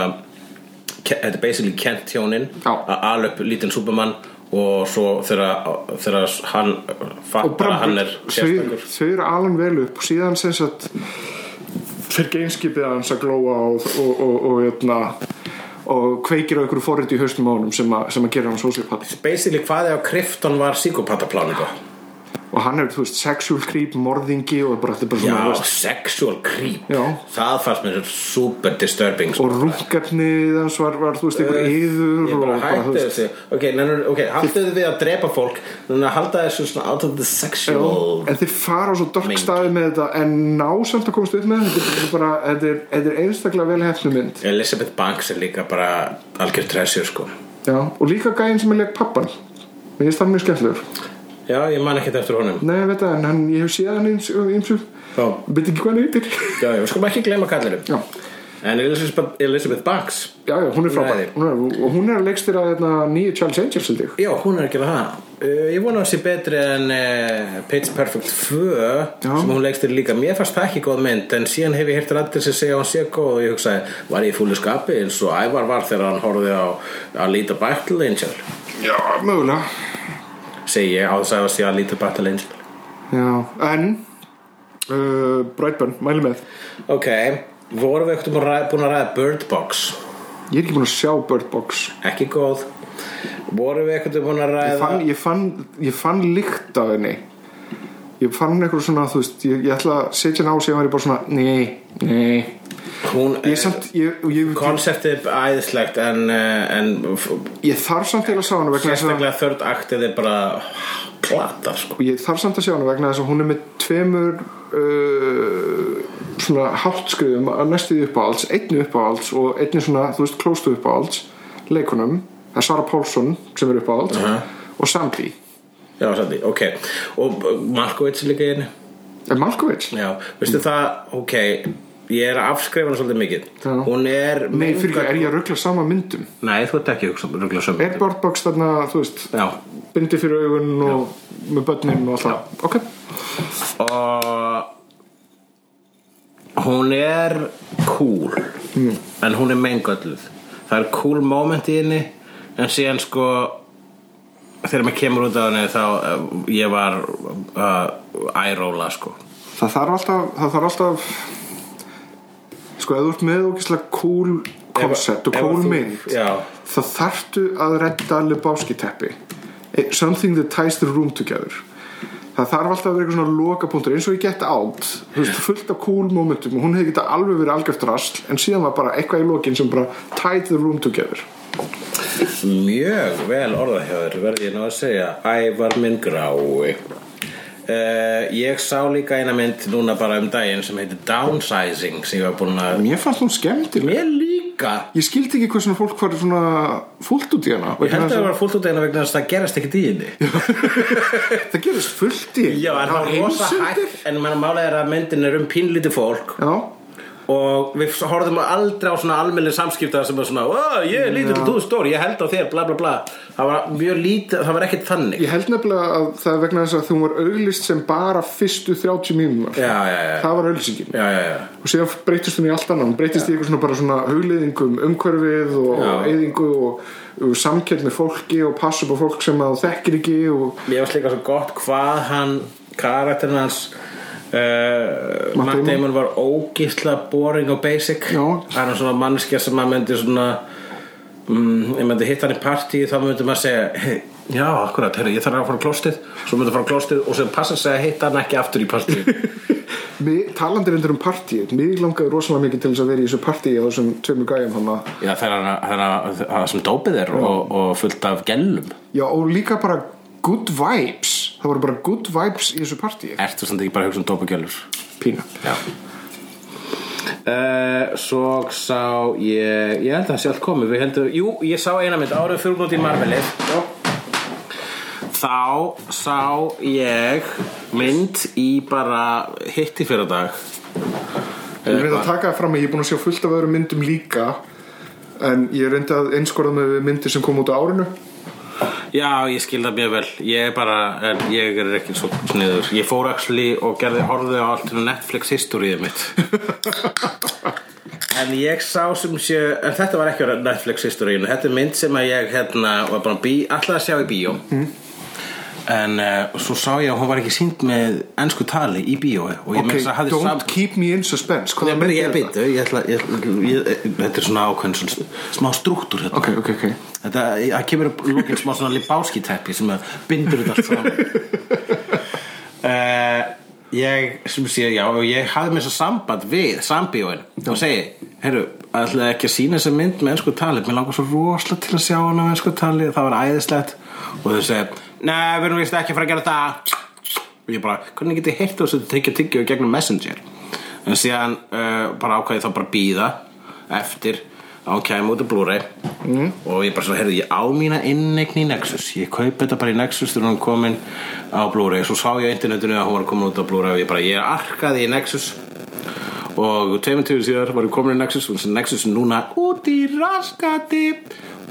Speaker 3: Ke- þetta er basically Kent hjónin
Speaker 2: Já.
Speaker 3: að ala upp lítinn Superman og svo þegar þegar hann
Speaker 2: og
Speaker 3: fattar að hann
Speaker 2: Brambur
Speaker 3: er
Speaker 2: þau,
Speaker 3: sérstakur
Speaker 2: þau eru alveg vel upp og síðan sem sagt fyrir geinskipið hans að glóa og, og, og, og, hérna, og kveikir á einhverju forrið í haustum á honum sem, a, sem að gera hann sociopati
Speaker 3: basically hvað ef Krypton var psykopatapláninga
Speaker 2: og hann er, þú veist, sexual creep, morðingi og bara, þetta er bara
Speaker 3: já,
Speaker 2: svona þú veist,
Speaker 3: sexual creep
Speaker 2: Já.
Speaker 3: það fannst mér super disturbing sko.
Speaker 2: og rungarnið hans var, var, þú veist, einhver yður
Speaker 3: Eh, Ég
Speaker 2: og
Speaker 3: bara
Speaker 2: bara, þú
Speaker 3: hætti
Speaker 2: veist
Speaker 3: þessu Ok, nennur, ok, haldið við að drepa fólk Þannig að halda þessu svona out of the
Speaker 2: Já,
Speaker 3: sexual
Speaker 2: en þeir fara á svo dörk
Speaker 3: Mynd.
Speaker 2: staði með þetta en ná samt að komast upp með þetta þetta er bara, þetta er, þetta er einstaklega vel hefnu mynd
Speaker 3: Elizabeth Banks er líka bara algjör tressjur sko
Speaker 2: já, og líka gæinn sem er leik pappan mér finnst það mjög skemmtilegur
Speaker 3: Já, ég man ekkert eftir honum
Speaker 2: Nei, ég veit það, en hann, ég hef séð hann eins og
Speaker 3: Já,
Speaker 2: veit ekki hvað hann heitir
Speaker 3: já, já, við skulum ekki gleyma kallinum
Speaker 2: Já,
Speaker 3: En Elizabeth, Elizabeth Banks
Speaker 2: já, já hún er frábær
Speaker 3: Nei.
Speaker 2: hún er, Og hún er að leikstýra hérna, nýju Charles Angels held ég
Speaker 3: Já, hún er ekki að það uh, Ég vona hún sé betri en uh, Pitch Perfect 2 sem hún leggst þér líka Mér fannst það ekki góð mynd en síðan hef ég heyrt rættir sem segja að hún sé góð og ég hugsaði, var ég í fúlu skapi eins og ævar var þegar hann horfði á að líta Battle Angel
Speaker 2: Já, mögulega
Speaker 3: segi ég á þess að sé að líta Battle Angel
Speaker 2: Já, en uh, Brightburn, mæli með
Speaker 3: ok, vorum við ekkert búin að ræða Bird Box
Speaker 2: Ég er ekki búin að sjá Bird Box
Speaker 3: ekki góð vorum við ekkert búin
Speaker 2: Ég
Speaker 3: að ræða
Speaker 2: fann, ég fann, ég fann líkt af henni Ég fann eitthvað svona, þú veist Ég, ég ætla að setja hann á sig og væri bara svona Nei, nei
Speaker 3: hún
Speaker 2: Ég, samt, ég, ég, ég,
Speaker 3: konceptið er æðislegt en, eh, en f-
Speaker 2: þarf samt til að sá hann vegna þess að
Speaker 3: sérstaklega þörd aktið er bara klata sko
Speaker 2: og ég þarf samt að sjá hana vegna þess að hún er með tveimur uh, svona háttskriðum að næstuði upp á alls, einni upp á alls og einni svona, þú veist, klóstu upp á alls leikunum, það er Sara Pálsson sem er upp á alls og Sandy
Speaker 3: já, sandi, ok, og eh, Malkovich er líka í henni
Speaker 2: er Malkovich?
Speaker 3: já, veistu
Speaker 2: Mm.
Speaker 3: það, ok ég er að afskrifa hana svolítið mikið
Speaker 2: Já.
Speaker 3: hún er
Speaker 2: Nei, fyrir ekki, er ég að ruggla sama myndum?
Speaker 3: nei, þú ert ekki að hugsa- rugla sömu
Speaker 2: Er Bortbox þarna, þú veist,
Speaker 3: já,
Speaker 2: bindi fyrir augun og með börnin og alltaf? Ok,
Speaker 3: og hún er cool en hún er meingölluð það er cool moment í henni en síðan sko þegar maður kemur út af henni þá uh, ég var uh, æróla sko
Speaker 2: það þarf alltaf, það þarf alltaf sko, ef þú ert með ógislega cool concept og
Speaker 3: Ef- ef
Speaker 2: cool
Speaker 3: þú-
Speaker 2: mynd
Speaker 3: já,
Speaker 2: þá þarftu að redda Lebowski teppi Eh, something that ties the room together það þarf alltaf að vera eitthvað svona lokapunktur eins og ég get out þú veist, fullt af cool momentum og hún hefði getað alveg verið algjört rast en síðan var bara eitthvað í lokin sem bara tied the room together
Speaker 3: mjög vel orðað hjá þér verði ég nú að segja ævar minn grái Uh, ég sá líka eina mynd núna bara um daginn sem heitir Downsizing sem ég var búin að
Speaker 2: mér fannst hún skemmtileg
Speaker 3: Mér líka líka
Speaker 2: Ég skildi ekki hversu fólk var svona fúlt út í hana
Speaker 3: Ég held að það
Speaker 2: það,
Speaker 3: var fúlt út eina vegna þess að það gerast ekkert í henni
Speaker 2: það gerist fullt í henni.
Speaker 3: Já, en það var rosa
Speaker 2: heimsendir.
Speaker 3: hægt En mann málega er að myndin er um pínlítið fólk
Speaker 2: Já,
Speaker 3: Og við horfðum aldrei á svona almenni samskipta sem er svona, ó, ég er lítill, þú er stór, ég held á þér, bla bla bla Það var mjög lítið, það var ekkert þannig
Speaker 2: ég held nefnilega að það er vegna þess að þú var auglist sem bara fyrstu 30 mínúnar
Speaker 3: Já, já, já,
Speaker 2: Það var auglýsingin
Speaker 3: já, já, já.
Speaker 2: og síðan breytist hún í allt annan hún breytist í eitthvað svona bara svona hugliðingum umhverfið og
Speaker 3: Já.
Speaker 2: eyðingu og, og samkjörn með fólki og passa upp á fólk sem að þú þekkir ekki og
Speaker 3: Mér varst líka svo gott hvað hann karakterin hans uh,
Speaker 2: Matt
Speaker 3: Matt
Speaker 2: Damon.
Speaker 3: Damon var ógísla boring og basic
Speaker 2: Já.
Speaker 3: hann er svona mannskja sem maður myndi svona mm, ég myndi hitta hann í partí þá myndi maður segja hey, já, akkurat, herri, ég þarf að fara á klostið svo myndi að fara á klostið og sem passa sig að hitta hann ekki aftur í partí
Speaker 2: Mig- talandi reyndur um partíi mér langaði rosalega mikið til þess að vera í þessu partíi á þessum tveimur gæjum hann að
Speaker 3: já, það er hann- það er hann það sem dópið er og, og fullt af gellum
Speaker 2: já og líka bara good vibes það voru bara good vibes í þessu partíi
Speaker 3: ertu samt ekki bara að hugsa um dópagjölur
Speaker 2: pína
Speaker 3: Já Uh, svo sá ég ég held að það sé allt komið við heldum, jú, ég sá eina mynd árið fyrir út í Marvelið þá sá ég mynd í bara hitti fyrir dag
Speaker 2: Ég reyndi að taka það fram að ég er búin að sjá fullt af öðrum myndum líka en ég reyndi að einskorða með myndir sem kom út á árinu
Speaker 3: já, ég skil það mjög vel ég er bara, en ég er ekki svo sniður ég fór axli og gerði horfði á allt Netflix historíið mitt en ég sá sem sé en þetta var ekki á Netflix historíinu þetta er mynd sem að ég hérna var bara bí, alltaf að sjá í bíó
Speaker 2: Mhm.
Speaker 3: En uh, svo sá ég að hún var ekki sínd með ennsku tali í bíói og ég
Speaker 2: ok,
Speaker 3: meira að segja hafði
Speaker 2: don't
Speaker 3: sam-
Speaker 2: keep me in suspense
Speaker 3: Nei,
Speaker 2: hvaða
Speaker 3: bara
Speaker 2: mynd
Speaker 3: ég
Speaker 2: er þetta?
Speaker 3: beitu, ég ætla, ég, ég, þetta er svona ákveðin svona, smá strúktúr hérna.
Speaker 2: ok, ok, ok
Speaker 3: Þetta, það kemur upp lókin smá svona libáskiteppi sem að bindur þetta allt saman. uh, ég, sem sé, já, og ég hafði mér svo samband við sambíóin og segi, herru, ætlaði ekki að sína þessa mynd með ennsku tali, mér langar svo rosalega til að sjá hana með ennsku tali, það var æðislegt og þau segi, neða, við erum vist ekki að fara að gera það og ég bara, hvernig getið heilt á þessu tryggja tyggju gegnum Messenger en síðan uh, bara ákvæði þá bara býða eftir að hún kæmi út af Blu-ray og ég bara svo, heyrðu, ég á mína innegn í Nexus ég kaupi þetta bara í Nexus þegar hún er komin á Blu-ray svo sá ég á internetinu að hún var komin út á Blu-ray og ég bara, ég arkaði í Nexus og tveimur tíu síðar var ég komin í Nexus og þessi Nexus er núna út í raskati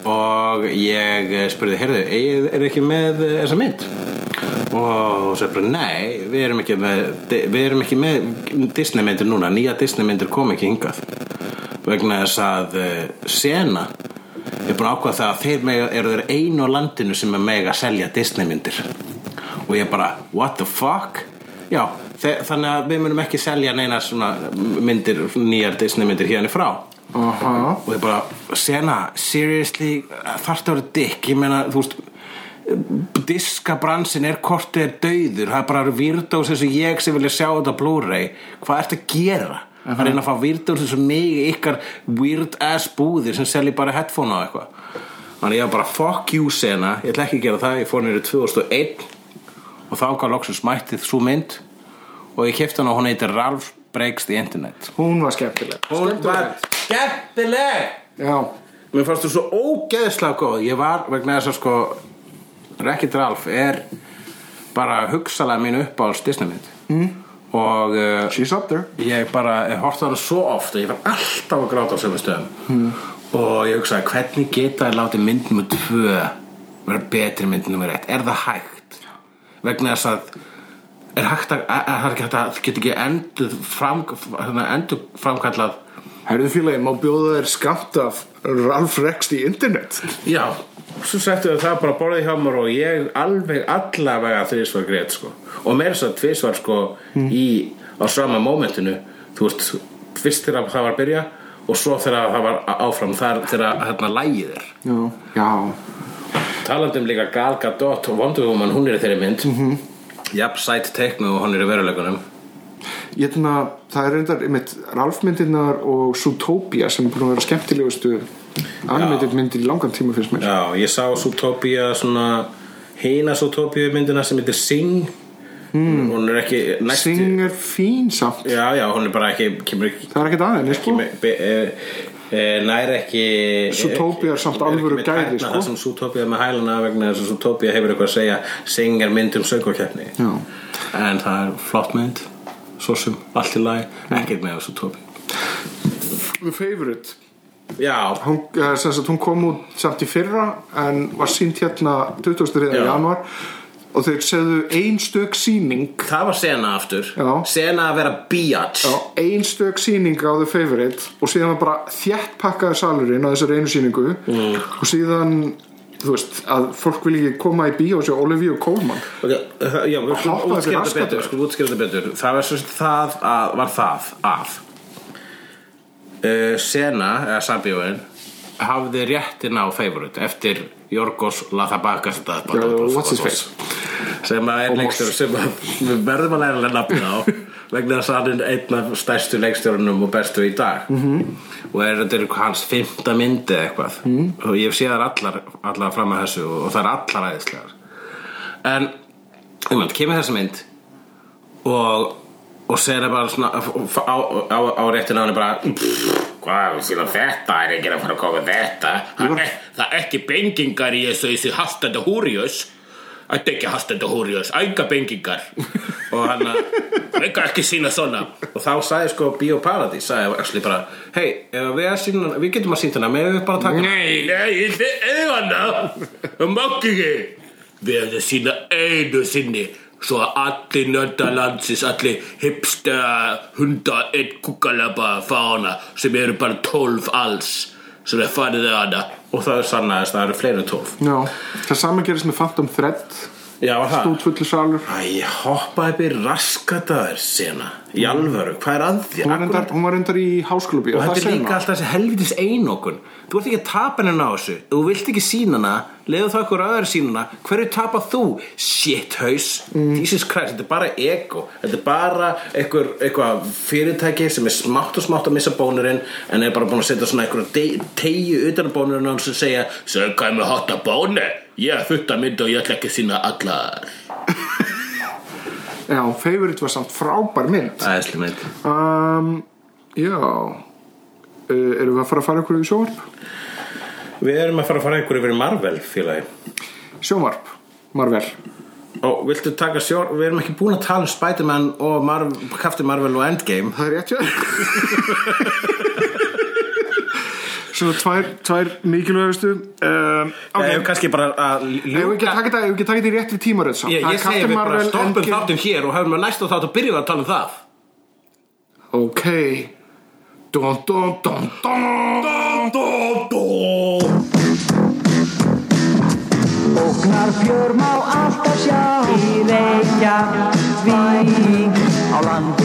Speaker 3: og ég eh, spurði, heyrðu, eigið er ekki með eh, þessa mynd og svo er bara, nei, við erum ekki með við erum ekki með Disney myndir núna, nýja Disney myndir kom ekki hingað vegna þess að eh, Sena er búin að ákvaða það að þeir mega, eru þeir einu á landinu sem er mega að selja Disney myndir og ég bara, what the fuck já, þe- þannig að við munum ekki selja neina svona myndir, nýjar Disney myndir hérna frá
Speaker 2: Aha.
Speaker 3: og ég bara, Sena, seriously þarftu að vera dick, ég meina þú veist, diskabransin er kortið er dauður, það er bara virðdós eins og ég sem vilja sjá þetta á Blu-ray hvað ertu að gera? Það er einn að fá virðdós eins og mig í ykkar weird ass búðir sem selji bara headphone á eitthvað þannig ég var bara, fuck you Sena ég ætla ekki að gera það, ég fór nýri 2001 og þá gaf loksins mættið svo mynd og ég kefti hana og hún heitir Ralph Breaks the Internet
Speaker 2: hún var skemmtileg
Speaker 3: hún var skemmtileg
Speaker 2: já,
Speaker 3: Mér fannst þú svo ógeðslega góð Ég var vegna þess að sko Rekkit Ralf er bara hugsalega mín uppáhalds Disney mynd mm. og uh,
Speaker 2: she's up there
Speaker 3: ég bara ég horfði á hana svo oft og ég var alltaf að gráta á sömu stöðum og ég hugsaði hvernig geta að láti mynd nummer 2 vera betri en mynd nummer 1 er það hægt vegna þess að er hægt að, að, að, að, að geta ekki endur, fram, hérna, endur framkallað
Speaker 2: herðu félagi, má bjóða þér skamt af Ralf Rex í internet
Speaker 3: Já, svo settu þau það bara borðið hjá mér og ég alveg allavega þrísvar greið sko. og meira svo tvísvar sko, í, á sama mómentinu þú veist, fyrst þegar það var að byrja og svo þegar það var áfram þar þegar hérna lægið er
Speaker 2: já, já,
Speaker 3: talandi um líka Gal Gadot og Wonder Woman hún er í þeirri mynd mm -hmm. jafn sætt teiknu og hún er í veruleikunum
Speaker 2: ég tenna það er reyndar, einmitt, Ralf myndirnar og Zootopia sem er búin að vera skemmtilegustu animated myndir í langan tíma fyrst mér
Speaker 3: Já, ég sá Zootopia svona hina Zootopia myndina sem heitir Sing mm. hún er ekki næstu
Speaker 2: Sing er fín samt
Speaker 3: já, já, hún er bara ekki kemur ekki,
Speaker 2: Það er ekkert aðeins sko.
Speaker 3: kemur, be, e, e, nær ekki
Speaker 2: Zootopia er samt
Speaker 3: er ekki
Speaker 2: alvöru
Speaker 3: með
Speaker 2: gæði,
Speaker 3: tærnar,
Speaker 2: sko.
Speaker 3: það sem Zootopia er með hælana vegna þess að Zootopia hefur eitthvað að segja Sing er mynd um sögurkeppni
Speaker 2: Já.
Speaker 3: en það er flott mynd svo sem allt í lagi ekkert með Zootopia
Speaker 2: The Favourite
Speaker 3: já,
Speaker 2: hún, eh, sem sagt, hún kom út samt í fyrra en var sínt hérna 23.
Speaker 3: Já.
Speaker 2: januar og þeir segðu einstök sýning
Speaker 3: það var sena aftur
Speaker 2: Já.
Speaker 3: sena að vera bíats
Speaker 2: já, einstök sýning á The Favourite og síðan var bara þjætt pakkaði salurinn á þessari einu sýningu mm. og síðan þú veist að fólk vil ekki koma í bíó og sjá Olivia Colman
Speaker 3: Ok, uh, Já, við skulum
Speaker 2: hoppaðu fyrir
Speaker 3: útskýra þetta
Speaker 2: raskatum.
Speaker 3: betur, skulum útskýra þetta betur Það var, sem sagt það að, var það að uh, Sena, eða Sabjóin hafði réttin á favorite eftir Jorgos Lathabakas
Speaker 2: Já, what's his face?
Speaker 3: sem að er
Speaker 2: Ómos.
Speaker 3: leikstjóri sem að við verðum að læra að nafni á vegna þess að hann er einn af stærstu leikstjórunum og bestu í dag -hmm. og er þetta er hans fymta myndi eitthvað mm. og ég sé þar allar, allar fram að þessu og, og það er allar aðeinslegar en um, kemur þessi mynd og og segir bara svona á, á, á, á réttinu hann er bara "Pff, hvað, síðan þetta er ekki að fara að koma þetta það er, það er ekki bengingar í þessu, þessu hastandi húrius Þetta er ekki hastandi húrius, ænga bengingar og hann að enga ekki sína svona og þá sagði sko Bíóparadís, sagði Asli bara hei, ef við, að sýna- við getum að sýna hana með við bara taka Nei, nei, þetta er hana það mokk ekki Við erum að sína einu sinni Svo að allir nördar landsins Allir hipstera Hunda einn kúkalabba fá hana Sem eru bara tólf alls Sem er farið að hana Og það er sannaðist, það eru fleiri en tólf
Speaker 2: já, það saman gerist með Phantom Thread
Speaker 3: Já, það
Speaker 2: út fullu salur
Speaker 3: Æ, hoppaði upp í raskataður sena Í alvöru, hvað er að því?
Speaker 2: hún var reyndar,
Speaker 3: Akkurat-
Speaker 2: hún var reyndar í háskólubíó
Speaker 3: Og
Speaker 2: það
Speaker 3: þetta er
Speaker 2: segir
Speaker 3: líka
Speaker 2: maður.
Speaker 3: alltaf þessi helvitis einokun Þú ert ekki að tapa henni á þessu Þú vilt ekki sína hana Leðu þá eitthvað öðru sína hana Hverju tapa þú? Shit haus
Speaker 2: Mm.
Speaker 3: Jesus Christ, þetta er bara ego Þetta er bara einhver, eitthvað fyrirtæki sem er smátt og smátt að missa bónurinn En er bara búin að setja svona einhverja tegju utan á bónurinn og hans og segja Sögum við hotta bónu Ég er fullt að mynda og ég ætla ekki að sína allar
Speaker 2: já, Favourite var samt frábær mynd
Speaker 3: Æsli mynd
Speaker 2: Um, já uh, Erum við að fara að fara ykkur í sjónvarp?
Speaker 3: Við erum að fara að fara einhverju verið Marvel félagi
Speaker 2: Sjónvarp, Marvel
Speaker 3: Og viltu taka sjór, við erum ekki búin að tala um Spider-Man og Marv, Captain Marvel og Endgame
Speaker 2: Það er rétt hjá þér. Svona tvær, tvær mikilvægustu um,
Speaker 3: okay. Ég hef
Speaker 2: Ok,
Speaker 3: kannski bara að
Speaker 2: hefur ekki að taka þetta- eigum við ekki að taka þetta í réttri tímaröð samt
Speaker 3: Ég,
Speaker 2: Það er
Speaker 3: ég segi
Speaker 2: Captain
Speaker 3: við bara
Speaker 2: Marvel,
Speaker 3: stoppum
Speaker 2: Endgame-
Speaker 3: þáttum hér og hefum að næsta þátt að byrja að tala um það
Speaker 2: Ok Dun, dun, dun, dun
Speaker 6: Óknar fjör má alltaf sjá Í reykja, vík Á landi